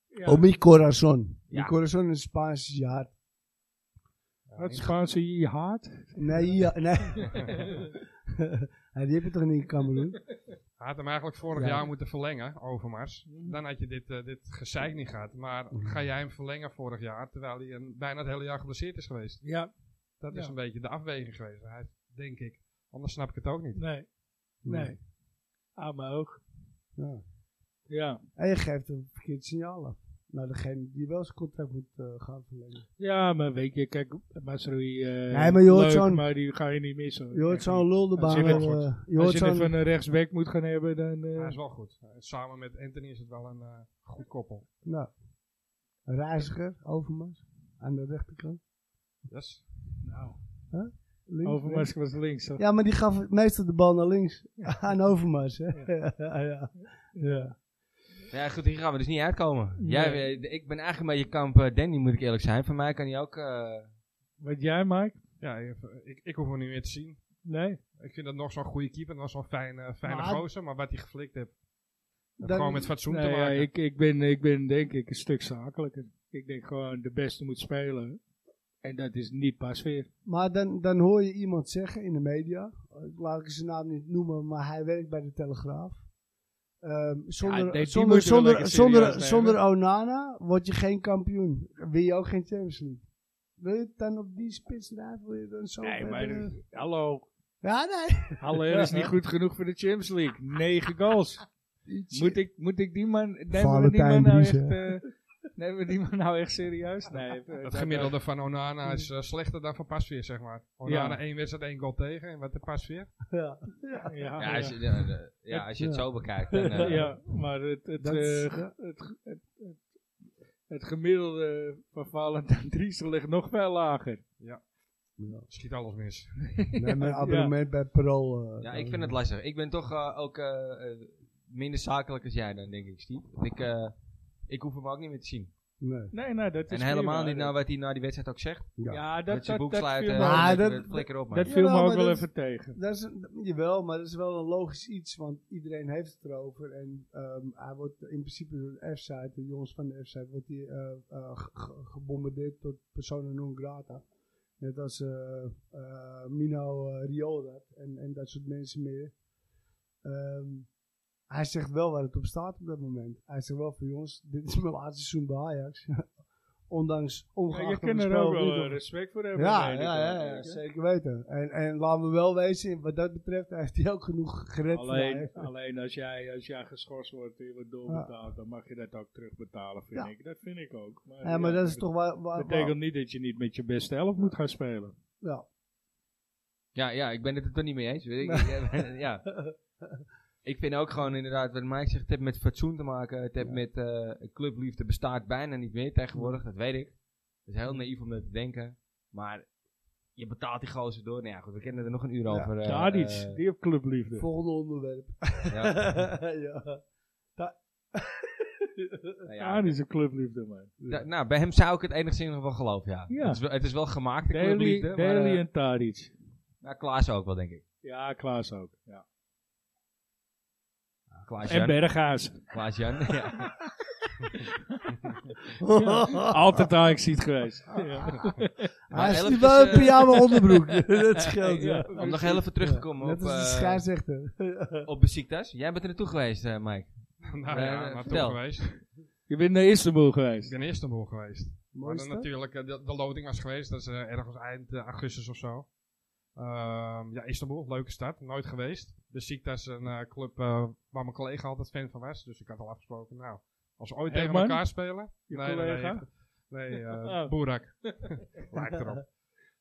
Speaker 3: ja.
Speaker 2: Oh, mi corazon.
Speaker 1: Ja.
Speaker 2: Mi corazon is Spaans is je hart.
Speaker 3: Wat Spaanse je haat?
Speaker 2: Nee, ja, nee. Ja, die heb je toch niet in Cameroen?
Speaker 4: Hij had hem eigenlijk vorig
Speaker 2: Ja.
Speaker 4: jaar moeten verlengen, Overmars. Dan had je dit, eh, dit gezeik niet gehad. Maar
Speaker 2: Mm.
Speaker 4: ga jij hem verlengen vorig jaar, terwijl hij een, bijna het hele jaar geblesseerd is geweest?
Speaker 3: Ja,
Speaker 4: Dat is
Speaker 3: Ja.
Speaker 4: een beetje de afweging geweest, Hij- denk ik. Anders snap ik het ook niet.
Speaker 3: Nee, nee. Aan mijn oog.
Speaker 2: Ja.
Speaker 3: Ja.
Speaker 2: En je geeft een verkeerd signaal af. Naar degene die wel zijn contract moet eh, gaan verlengen.
Speaker 3: ja, maar weet je, kijk, Masrui, eh
Speaker 2: Nee, maar je hoort
Speaker 3: leuk,
Speaker 2: zo'n-
Speaker 3: maar die ga je niet missen.
Speaker 2: Je hoort
Speaker 3: Echt niet.
Speaker 2: zo'n lul de
Speaker 3: Als je
Speaker 2: baan.
Speaker 3: dit-
Speaker 2: eh, Je
Speaker 3: Als
Speaker 2: hoort
Speaker 3: je het
Speaker 2: zo'n...
Speaker 3: van een rechtsback moet gaan hebben, dan... eh,
Speaker 4: Hij is wel goed. Eh, Samen met Anthony is het wel een eh, goed koppel.
Speaker 2: Nou, reiziger, Overmars. Aan de rechterkant.
Speaker 4: Yes.
Speaker 3: nou,
Speaker 2: Links, rechts.
Speaker 3: Overmars was links, toch?
Speaker 2: Ja, maar die gaf meestal de bal naar links. Aan Overmars, hè. Ja. ja.
Speaker 3: Ja.
Speaker 1: Ja, goed, hier gaan we dus niet uitkomen.
Speaker 3: Nee.
Speaker 1: Jij, eh, ik ben eigenlijk bij je kamp eh, Danny, moet ik eerlijk zijn. Van mij kan hij ook...
Speaker 3: Ah,
Speaker 1: eh,
Speaker 3: Wat jij, Mike?
Speaker 4: Ja, ik, ik, ik hoef hem niet meer te zien.
Speaker 3: Nee?
Speaker 4: Ik vind dat nog zo'n goede keeper. Nog zo'n fijne, fijne
Speaker 2: Maar-
Speaker 4: gozer. Maar wat hij geflikt heeft. heeft
Speaker 2: Dan-
Speaker 4: gewoon met fatsoen
Speaker 3: Nou
Speaker 4: te
Speaker 3: ja,
Speaker 4: maken.
Speaker 3: ik, ik, ben, ik ben denk ik een stuk zakelijker. Ik denk gewoon de beste moet spelen. En dat is niet pas weer.
Speaker 2: Maar dan, dan hoor je iemand zeggen in de media, eh, laat ik zijn naam niet noemen, maar hij werkt bij de Telegraaf. Ehm,
Speaker 3: Ja,
Speaker 2: zonder,
Speaker 3: nee, die
Speaker 2: zonder,
Speaker 3: moeten we
Speaker 2: zonder,
Speaker 3: lekker
Speaker 2: zonder,
Speaker 3: serieus nemen.
Speaker 2: zonder Onana word je geen kampioen. Win je ook geen Champions League. Wil je het dan op die spits drijven? Wil je dan zo
Speaker 3: Nee,
Speaker 2: verder?
Speaker 3: maar dat- hallo.
Speaker 2: Ja, nee.
Speaker 3: Haller is niet goed genoeg voor de Champions League. 9 goals. Moet ik, moet ik die man. Nemen we die man
Speaker 2: Valentijn
Speaker 3: nou echt.
Speaker 2: Dries,
Speaker 3: eh, nemen we die man nou echt serieus? Nee. eh,
Speaker 4: Het
Speaker 3: dat-
Speaker 4: gemiddelde van Onana is eh, slechter dan van Pasveer, zeg maar. Onana
Speaker 3: Ja.
Speaker 4: één wedstrijd, één goal tegen. En wat de Pasveer?
Speaker 2: Ja.
Speaker 3: Ja, ja,
Speaker 1: ja,
Speaker 3: ja.
Speaker 1: als je, ja, de- ja, als je het
Speaker 2: Ja.
Speaker 1: zo bekijkt, dan... eh,
Speaker 3: Ja, maar het, het,
Speaker 2: Dat
Speaker 3: eh,
Speaker 2: is-
Speaker 3: ge- het, ge- het, het, het gemiddelde van Valentijn Driesen ligt nog veel lager.
Speaker 4: Schiet alles mis.
Speaker 2: Nee, mijn abonnement bij Parool. eh,
Speaker 1: Ja,
Speaker 2: dan-
Speaker 1: ik vind het lastig. Ik ben toch eh, ook eh, eh, minder zakelijk als jij dan, denk ik, Steve. Want Ik, eh, ik hoef hem ook niet meer te zien.
Speaker 2: Nee.
Speaker 3: Nee, nou, dat is
Speaker 1: En helemaal
Speaker 3: prima.
Speaker 1: niet nou wat hij na die wedstrijd ook zegt.
Speaker 2: Ja.
Speaker 3: Ja, dat,
Speaker 1: met
Speaker 3: dat,
Speaker 1: zijn boek
Speaker 3: dat viel
Speaker 1: sluiten.
Speaker 3: me-
Speaker 2: Ah,
Speaker 1: eh,
Speaker 2: dat-
Speaker 1: met- Flikker op, man.
Speaker 3: dat viel me
Speaker 2: Jawel,
Speaker 3: ook
Speaker 2: maar
Speaker 3: wel
Speaker 2: dat-
Speaker 3: even tegen.
Speaker 2: Dat is, een- jawel, maar dat is wel een logisch iets, want iedereen heeft het erover. En ehm, hij wordt in principe door de F-site, de jongens van de F-site, wordt hij eh, eh, ge- ge- gebombardeerd tot persona non grata. Net als eh, eh, Mino eh, Raiola en, en dat soort mensen meer. Ehm, hij zegt wel waar het op staat op dat moment. Hij zegt wel van jongens, dit is mijn laatste seizoen bij Ajax. Ondanks ongeacht
Speaker 3: Ja, je
Speaker 2: of het
Speaker 3: kunt er
Speaker 2: spel
Speaker 3: ook
Speaker 2: of niet
Speaker 3: wel
Speaker 2: of-
Speaker 3: eh, respect voor hebben.
Speaker 2: ja,
Speaker 3: weet ik
Speaker 2: ja,
Speaker 3: wel,
Speaker 2: ja, ja,
Speaker 3: weet je.
Speaker 2: zeker weten. En, en laten we wel wezen, wat dat betreft heeft hij ook genoeg gered voor
Speaker 3: Alleen,
Speaker 2: mij.
Speaker 3: alleen als, jij, als jij geschorst wordt en je wordt doorbetaald, dan mag je dat ook terugbetalen, vind
Speaker 2: Ja.
Speaker 3: ik. Dat vind ik ook. Maar,
Speaker 2: Ja, maar
Speaker 3: ja,
Speaker 2: dat is toch waar...
Speaker 3: bet-
Speaker 2: waar,
Speaker 3: betekent niet dat je niet met je beste elf moet gaan spelen.
Speaker 2: ja.
Speaker 1: Ja, ja, ik ben het er toch niet mee eens. Weet ik. Ja, ja. Ik vind ook gewoon inderdaad, wat Mike zegt, het heeft met fatsoen te maken. Het heeft met eh, clubliefde bestaat bijna niet meer tegenwoordig, dat weet ik. Het is heel naïef om dat te denken. Maar je betaalt die gozer door. Nou ja, goed, we kennen er nog een uur over. eh,
Speaker 3: Daar iets.
Speaker 1: eh,
Speaker 3: die heeft clubliefde.
Speaker 2: Volgende onderwerp.
Speaker 1: ja.
Speaker 2: ja.
Speaker 1: Nou ja,
Speaker 3: Ja, die is een clubliefde, man.
Speaker 1: da- nou, bij hem zou ik het enigszins nog wel geloven, ja.
Speaker 3: Ja.
Speaker 1: Het, is wel, het is wel gemaakt, de
Speaker 3: Daly,
Speaker 1: clubliefde. maar,
Speaker 3: Daly
Speaker 1: eh,
Speaker 3: en Tadic.
Speaker 1: nou, Klaas ook wel, denk ik.
Speaker 3: Ja, Klaas ook. Ja.
Speaker 1: Klaas
Speaker 3: En
Speaker 1: Jan.
Speaker 3: Berghuis.
Speaker 1: Klaas Jan, ja.
Speaker 3: Ja, Altijd Ajax ziet geweest. Ja.
Speaker 1: Maar
Speaker 2: Hij is
Speaker 1: elf
Speaker 2: nu
Speaker 1: is,
Speaker 2: wel een
Speaker 1: eh,
Speaker 2: pyjama onderbroek. dat scheelt, ja.
Speaker 3: Ja.
Speaker 1: Om nog heel even terug te komen
Speaker 2: Net
Speaker 1: op,
Speaker 2: als de
Speaker 1: eh,
Speaker 2: scheidsrechter.
Speaker 1: op Besiktas. Jij bent er naartoe geweest, eh, Mike.
Speaker 4: nou
Speaker 1: Eh,
Speaker 4: ja, naartoe
Speaker 1: vertel.
Speaker 4: geweest.
Speaker 3: Je bent naar Istanbul
Speaker 4: Ik
Speaker 3: geweest.
Speaker 4: ben eerst omhoog geweest. Maar dan
Speaker 2: Mooiste?
Speaker 4: natuurlijk, eh, de, de loting was geweest. Dat is eh, ergens eind eh, augustus of zo. Ehm, ja, Istanbul, leuke stad. Nooit geweest. De Sikta is een eh, club eh, waar mijn collega altijd fan van was. Dus ik had al afgesproken, nou, als we ooit tegen
Speaker 3: Herman?
Speaker 4: elkaar spelen.
Speaker 3: Je
Speaker 4: nee, nee,
Speaker 3: collega.
Speaker 4: nee, nee eh,
Speaker 3: Oh.
Speaker 4: Boerak. Lijkt erop.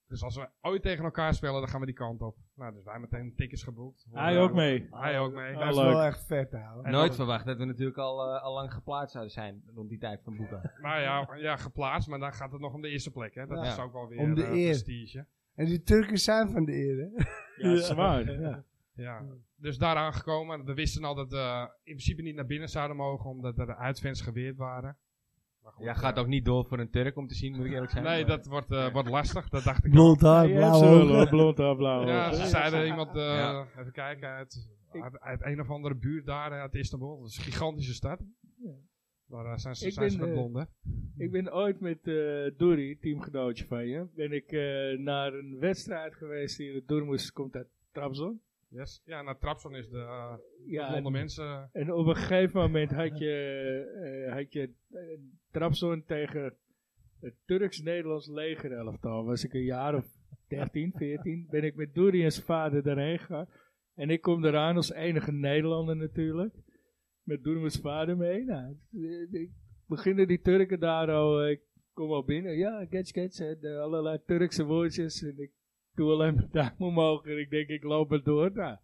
Speaker 4: Dus als we ooit tegen elkaar spelen, dan gaan we die kant op. Nou, dus wij meteen tickets geboekt.
Speaker 3: Hij ook mee. Ah.
Speaker 4: Hij ook mee.
Speaker 2: Dat is
Speaker 3: leuk.
Speaker 2: wel echt vet, houden.
Speaker 4: En
Speaker 1: Nooit
Speaker 4: dan-
Speaker 1: verwacht dat we natuurlijk al, eh, al lang geplaatst zouden zijn rond die tijd van Boeka.
Speaker 4: Nou ja, ja, geplaatst, maar dan gaat het nog om de eerste plek. Hè. Dat
Speaker 1: Ja.
Speaker 4: is ook wel weer
Speaker 2: Om de
Speaker 4: eh,
Speaker 2: eer.
Speaker 4: prestige.
Speaker 2: En die Turken zijn van de eer, hè?
Speaker 3: Ja, zwaar.
Speaker 2: Ja.
Speaker 4: Ja. Dus daar aangekomen. We wisten al dat we in principe niet naar binnen zouden mogen, omdat er de uitfans geweerd waren. Maar goed,
Speaker 1: Jij
Speaker 4: eh,
Speaker 1: gaat ook niet door voor een Turk om te zien, moet ik eerlijk zijn.
Speaker 4: Nee,
Speaker 1: maar-
Speaker 4: dat wordt, eh, wordt lastig, dat dacht ik.
Speaker 2: Blond haar,
Speaker 3: Je hebt
Speaker 2: blauw
Speaker 3: ze
Speaker 2: ogen.
Speaker 3: wel, hoor. Blond haar, blauw
Speaker 4: Ja,
Speaker 3: ogen.
Speaker 4: ze zeiden iemand, eh,
Speaker 1: Ja.
Speaker 4: even kijken, uit, uit, uit een of andere buurt daar eh, uit Istanbul. Dat is een gigantische stad.
Speaker 3: Ja.
Speaker 4: Daar eh, zijn ze,
Speaker 3: Ik
Speaker 4: zijn ze
Speaker 3: ben,
Speaker 4: met
Speaker 3: eh,
Speaker 4: blonden.
Speaker 3: Ik ben ooit met eh Dory, teamgenootje van je, ben ik eh, naar een wedstrijd geweest hier. Doormoes komt uit Trabzon.
Speaker 4: Yes. Ja, naar Trabzon is de eh,
Speaker 3: Ja,
Speaker 4: blonde mensen.
Speaker 3: En op een gegeven moment had je, eh, had je eh, Trabzon tegen het Turks-Nederlands legerelftal. Was ik een jaar of 13, 14. Ben ik met Doeri en zijn vader daarheen gegaan. En ik kom eraan als enige Nederlander natuurlijk. Met Doenemus vader mee. Nou, eh, ik- beginnen die Turken daar al. eh, Ik kom al binnen. Ja, gets, gets. En eh, allerlei Turkse woordjes. En ik doe alleen mijn duim omhoog. En ik denk, ik loop het door. Nou,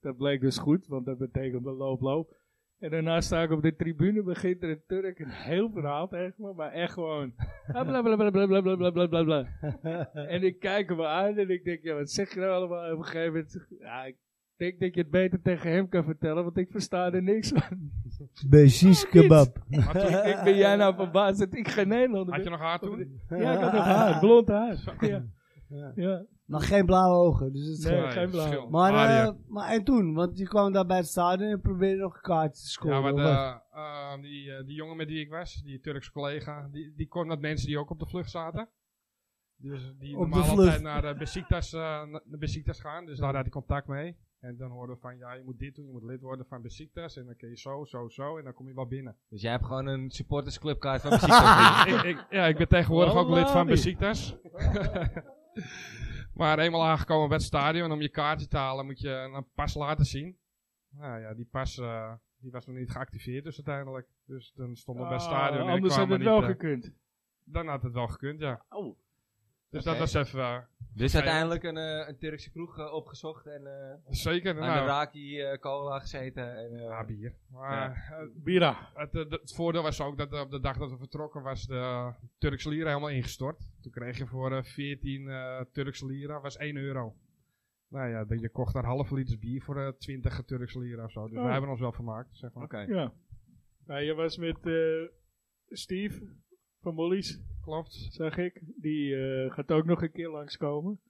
Speaker 3: dat bleek dus goed. Want dat betekent een loop, loop. En daarna sta ik op de tribune. Begint er een Turk een heel verhaal tegen me. Maar echt gewoon. ah, Bla bla bla bla bla bla bla bla bla bla. En ik kijk hem aan en ik denk, ja, wat zeg je nou allemaal? En op een gegeven moment, ja, ik denk dat je het beter tegen hem kan vertellen, want ik versta er niks van.
Speaker 2: Precies kebab.
Speaker 4: Maar toen-
Speaker 3: ik denk, ben jij nou verbaasd dat ik geen Nederlander
Speaker 4: Had je
Speaker 3: ben?
Speaker 4: nog haar toen?
Speaker 3: Ja, ik had nog haar, blond haar. Ja,
Speaker 2: Ja.
Speaker 3: ja.
Speaker 2: Maar geen blauwe ogen, dus het
Speaker 3: Nee,
Speaker 2: scheelt.
Speaker 3: geen blauw.
Speaker 4: verschil.
Speaker 2: Maar, eh,
Speaker 4: Aria.
Speaker 2: maar en toen? Want je kwam daar bij het stadion en probeerde nog een kaartje te scoren.
Speaker 4: Ja, maar
Speaker 2: of
Speaker 4: de,
Speaker 2: wat?
Speaker 4: eh, die, eh, die jongen met die ik was, die Turkse collega, die, die kwam met mensen die ook op de vlucht zaten. Dus die
Speaker 2: Op de
Speaker 4: normaal
Speaker 2: vlucht.
Speaker 4: altijd naar de Besiktas, eh, na- naar Besiktas gaan, dus daar had hij contact mee. En dan hoorden we van, ja, je moet dit doen, je moet lid worden van Besiktas. En dan kun je zo, zo, zo, en dan kom je wel binnen.
Speaker 1: Dus jij hebt gewoon een supportersclubkaart van muziek.
Speaker 4: ik, ik- ja, ik ben tegenwoordig ook lid van
Speaker 3: Wallabi.
Speaker 4: Besiktas. maar eenmaal aangekomen bij het stadion, om je kaartje te halen, moet je een pas laten zien. Nou ja, die pas eh, die was nog niet geactiveerd dus uiteindelijk. Dus dan stonden we bij het stadion en
Speaker 3: Ah,
Speaker 4: ik
Speaker 3: anders
Speaker 4: kwam
Speaker 3: had
Speaker 4: er
Speaker 3: het
Speaker 4: niet,
Speaker 3: wel
Speaker 4: eh,
Speaker 3: gekund.
Speaker 4: Dan had het wel gekund, ja.
Speaker 3: Oh.
Speaker 4: Dus
Speaker 1: Oké.
Speaker 4: dat was even... eh,
Speaker 1: Dus uiteindelijk een, eh, een Turkse kroeg eh, opgezocht en eh,
Speaker 4: zeker,
Speaker 1: aan de
Speaker 4: nou,
Speaker 1: raki eh, cola gezeten. En, eh,
Speaker 4: ja, bier. Maar eh,
Speaker 3: Bira.
Speaker 4: het, eh, het voordeel was ook dat eh, op de dag dat we vertrokken was de Turkse lira helemaal ingestort. Toen kreeg je voor eh, 14 eh Turkse lira, was 1 euro. Nou ja, dat je kocht een halve liter bier voor eh, 20 Turkse lira of zo. Dus
Speaker 3: Oh.
Speaker 4: wij hebben ons wel vermaakt, zeg maar.
Speaker 1: Oké.
Speaker 3: Ja. Nou, je was met eh, Steve van Mollies,
Speaker 4: Klopt.
Speaker 3: zag ik. Die eh, gaat ook nog een keer langskomen.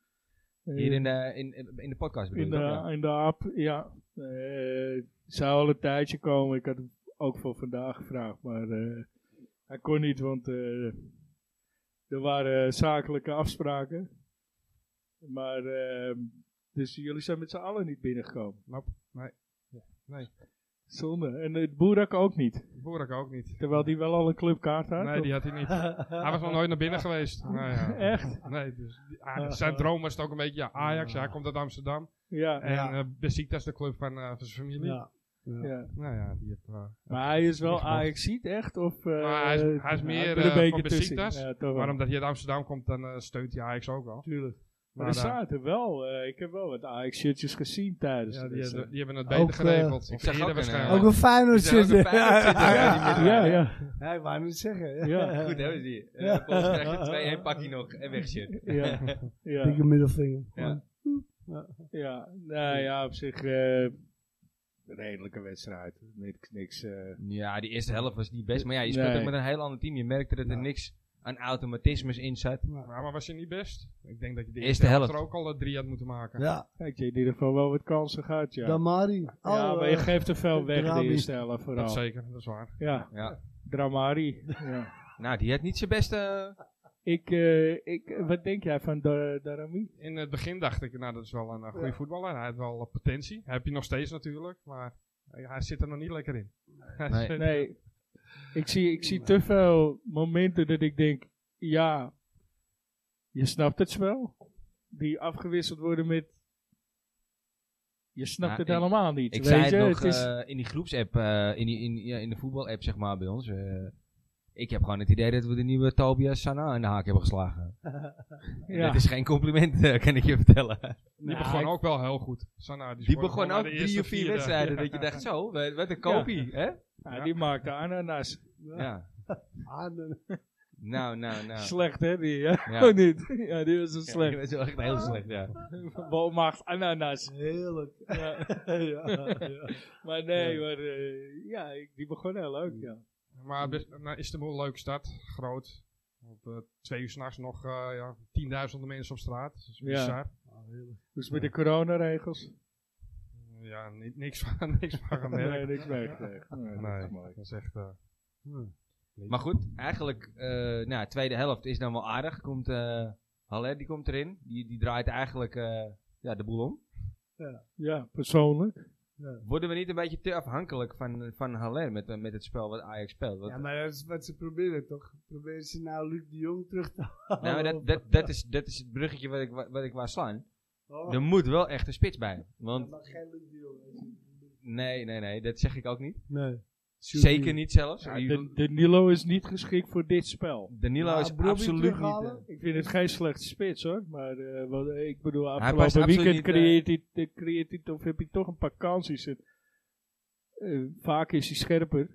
Speaker 3: Eh,
Speaker 1: Hier in de, in, in de podcast bedoel
Speaker 3: In
Speaker 1: je
Speaker 3: de,
Speaker 1: toch, ja?
Speaker 3: in de app, ja. Eh, zou al een tijdje komen. Ik had hem ook voor vandaag gevraagd, maar eh, hij kon niet, want eh, er waren zakelijke afspraken. Maar, ehm, dus jullie zijn met z'n allen niet binnengekomen.
Speaker 4: Nope, nee. Nee.
Speaker 3: Zonde. En het Boerak ook niet.
Speaker 4: Boerak ook niet.
Speaker 3: Terwijl die wel al een clubkaart had.
Speaker 4: Nee, die had hij niet.
Speaker 1: eh,
Speaker 4: Hij was nog nooit naar binnen geweest. Nou ja.
Speaker 3: Echt?
Speaker 4: Nee, dus die- ah, zijn droom was het ook een beetje ja, Ajax. Ja, hij komt uit Amsterdam.
Speaker 3: Ja.
Speaker 4: En
Speaker 2: Ja.
Speaker 4: eh Besiktas, de club van, eh, van zijn familie.
Speaker 2: Ja.
Speaker 3: ja.
Speaker 4: Nou ja, die heeft... eh,
Speaker 3: Maar hij is wel
Speaker 4: Echt wel.
Speaker 3: Ajax-ziet, echt? Of, eh,
Speaker 4: Maar hij is- hij is meer,
Speaker 3: er een
Speaker 4: eh, van
Speaker 3: beetje tussen.
Speaker 4: Besiktas.
Speaker 3: Ja, toch wel.
Speaker 4: Maar omdat hij uit Amsterdam komt, dan eh, steunt hij Ajax ook wel.
Speaker 3: Tuurlijk. Maar,
Speaker 4: Maar,
Speaker 3: er
Speaker 4: eh,
Speaker 3: zaten wel, eh, ik heb wel wat Ajax-shirtjes gezien tijdens
Speaker 4: Ja,
Speaker 3: de
Speaker 4: die, hebben-
Speaker 3: wedstrijd.
Speaker 4: die hebben het
Speaker 2: Ook,
Speaker 4: beter
Speaker 2: Dus eh,
Speaker 4: geregeld.
Speaker 1: ik
Speaker 4: Of
Speaker 1: zag ook
Speaker 4: eerder
Speaker 1: een, eh,
Speaker 4: waarschijnlijk.
Speaker 2: Ook een
Speaker 1: Er
Speaker 2: Feyenoord
Speaker 1: zijn ook een
Speaker 2: zitten.
Speaker 1: Feyenoord zitten, ja, die
Speaker 3: Ja,
Speaker 1: midden-
Speaker 3: ja,
Speaker 1: ja.
Speaker 3: ja.
Speaker 2: Hij wou het zeggen.
Speaker 3: Ja.
Speaker 1: Goed, hè, die. Eh Volgens krijg je twee, één pakje nog en weg shit.
Speaker 3: ja, ja,
Speaker 2: Dikke middelvinger.
Speaker 1: Ja.
Speaker 3: ja. Nou ja, op zich eh, een redelijke wedstrijd. Niks, niks eh,
Speaker 1: Ja, die eerste helft was niet best. Maar ja, je speelt
Speaker 3: Nee.
Speaker 1: ook met een heel ander team. Je merkte dat er
Speaker 2: Ja.
Speaker 1: niks aan automatismes in zat.
Speaker 4: Ja, maar was je niet best? Ik denk dat je
Speaker 1: Eerste
Speaker 4: de eerste helft er
Speaker 1: helft.
Speaker 4: ook al eh, drie had moeten maken.
Speaker 2: Ja,
Speaker 3: kijk, je in ieder geval wel wat kansen gehad, ja.
Speaker 2: Damari.
Speaker 3: ja,
Speaker 2: Oh,
Speaker 3: maar je
Speaker 2: eh,
Speaker 3: geeft er veel weg in de
Speaker 2: Drami.
Speaker 3: eerste helft
Speaker 4: Dat
Speaker 3: vooral.
Speaker 4: zeker, dat is waar.
Speaker 3: Ja,
Speaker 1: Ja.
Speaker 3: Dramari. ja.
Speaker 1: Nou, die had niet zijn beste...
Speaker 3: Ik, eh, ik, wat denk jij van Dar- Darami?
Speaker 4: In het begin dacht ik, nou dat is wel een eh, goede
Speaker 2: Ja.
Speaker 4: voetballer. Hij heeft wel eh, potentie. Heb je nog steeds natuurlijk, maar eh, hij zit er nog niet lekker in. Hij
Speaker 1: Nee.
Speaker 4: zit-
Speaker 3: Nee, ik zie, ik zie te veel momenten dat ik denk, ja, je snapt het wel. Die afgewisseld worden met, je snapt
Speaker 1: Ja,
Speaker 3: het
Speaker 1: Nou, ik-
Speaker 3: helemaal niet.
Speaker 1: Ik
Speaker 3: weet
Speaker 1: zei het
Speaker 3: je?
Speaker 1: nog
Speaker 3: het is,
Speaker 1: eh, in die groepsapp, eh, in, die, in, ja, in de voetbalapp zeg maar bij ons. eh, ik heb gewoon het idee dat we de nieuwe Tobias Sana aan de haak hebben geslagen.
Speaker 3: ja.
Speaker 1: Dat is geen compliment, eh, kan ik je vertellen.
Speaker 4: Die begon ook wel heel goed. Sanna, die
Speaker 1: Die
Speaker 4: scoorde
Speaker 1: begon
Speaker 4: gewoon
Speaker 1: ook
Speaker 4: bij de
Speaker 1: drie
Speaker 4: eerste eh.
Speaker 1: of vier
Speaker 4: vierde.
Speaker 1: wedstrijden. Dat je dacht, zo, wat wat een kopie, hè?
Speaker 3: Ja, die maakte ananas.
Speaker 1: Ja.
Speaker 2: aan de-
Speaker 1: Nou, nou, nou.
Speaker 3: Slecht hè, die. Ja.
Speaker 1: Ja.
Speaker 3: Oh, niet. Ja, die was zo
Speaker 1: Ja,
Speaker 3: slecht.
Speaker 1: dat is wel echt heel slecht, ja.
Speaker 3: Walmacht ananas.
Speaker 2: Heerlijk.
Speaker 3: Ja.
Speaker 2: ja, ja.
Speaker 3: Maar nee, maar eh, ja, ik- die begon heel leuk. Ja.
Speaker 4: Maar best- nou, Istanbul, leuke stad. Groot. Op eh, twee uur s'nachts nog eh, ja, tienduizenden mensen op straat. Dat is
Speaker 3: Ja.
Speaker 4: bizar.
Speaker 2: Ah, heerlijk.
Speaker 3: Dus met de coronaregels.
Speaker 4: Ja, ni- niks van, niks van gemerkt.
Speaker 3: Nee, niks meegekregen. Nee, dat is
Speaker 4: Nee,
Speaker 3: mooi.
Speaker 4: dat is echt... eh,
Speaker 2: Hm.
Speaker 1: Maar goed, eigenlijk, eh nou, tweede helft is dan wel aardig. Komt, eh Haller, die komt erin. Die, die draait eigenlijk eh, ja, de boel om.
Speaker 3: Ja, persoonlijk.
Speaker 1: Worden we niet een beetje te afhankelijk van, van Haller met, met het spel wat Ajax speelt? Want-
Speaker 2: Ja, maar dat is wat ze proberen toch? Proberen ze nou Luc de Jong terug te halen?
Speaker 1: nou, dat, dat, dat, is, dat is het bruggetje wat ik, wa- wat ik wou slaan.
Speaker 2: Oh,
Speaker 1: Er moet wel echt een spits bij.
Speaker 2: dat
Speaker 1: Want
Speaker 2: mag geen Luc de Jong.
Speaker 1: nee, nee, nee, dat zeg ik ook niet.
Speaker 2: Nee.
Speaker 1: Zeker niet zelfs.
Speaker 3: Ja,
Speaker 1: Die-
Speaker 3: de, de Nilo is niet geschikt voor dit spel.
Speaker 1: Danilo
Speaker 2: Ja,
Speaker 1: is
Speaker 2: Brobbey
Speaker 1: absoluut niet...
Speaker 2: terughalen.
Speaker 1: eh,
Speaker 3: Ik vind het geen slechte spits hoor. Maar eh, wat, ik bedoel,
Speaker 1: past
Speaker 3: afgelopen
Speaker 1: absoluut
Speaker 3: weekend
Speaker 1: niet, eh,
Speaker 3: creëert hij, eh, creëert hij toch, heb je toch een paar kansen. Is het- eh, vaak is hij scherper.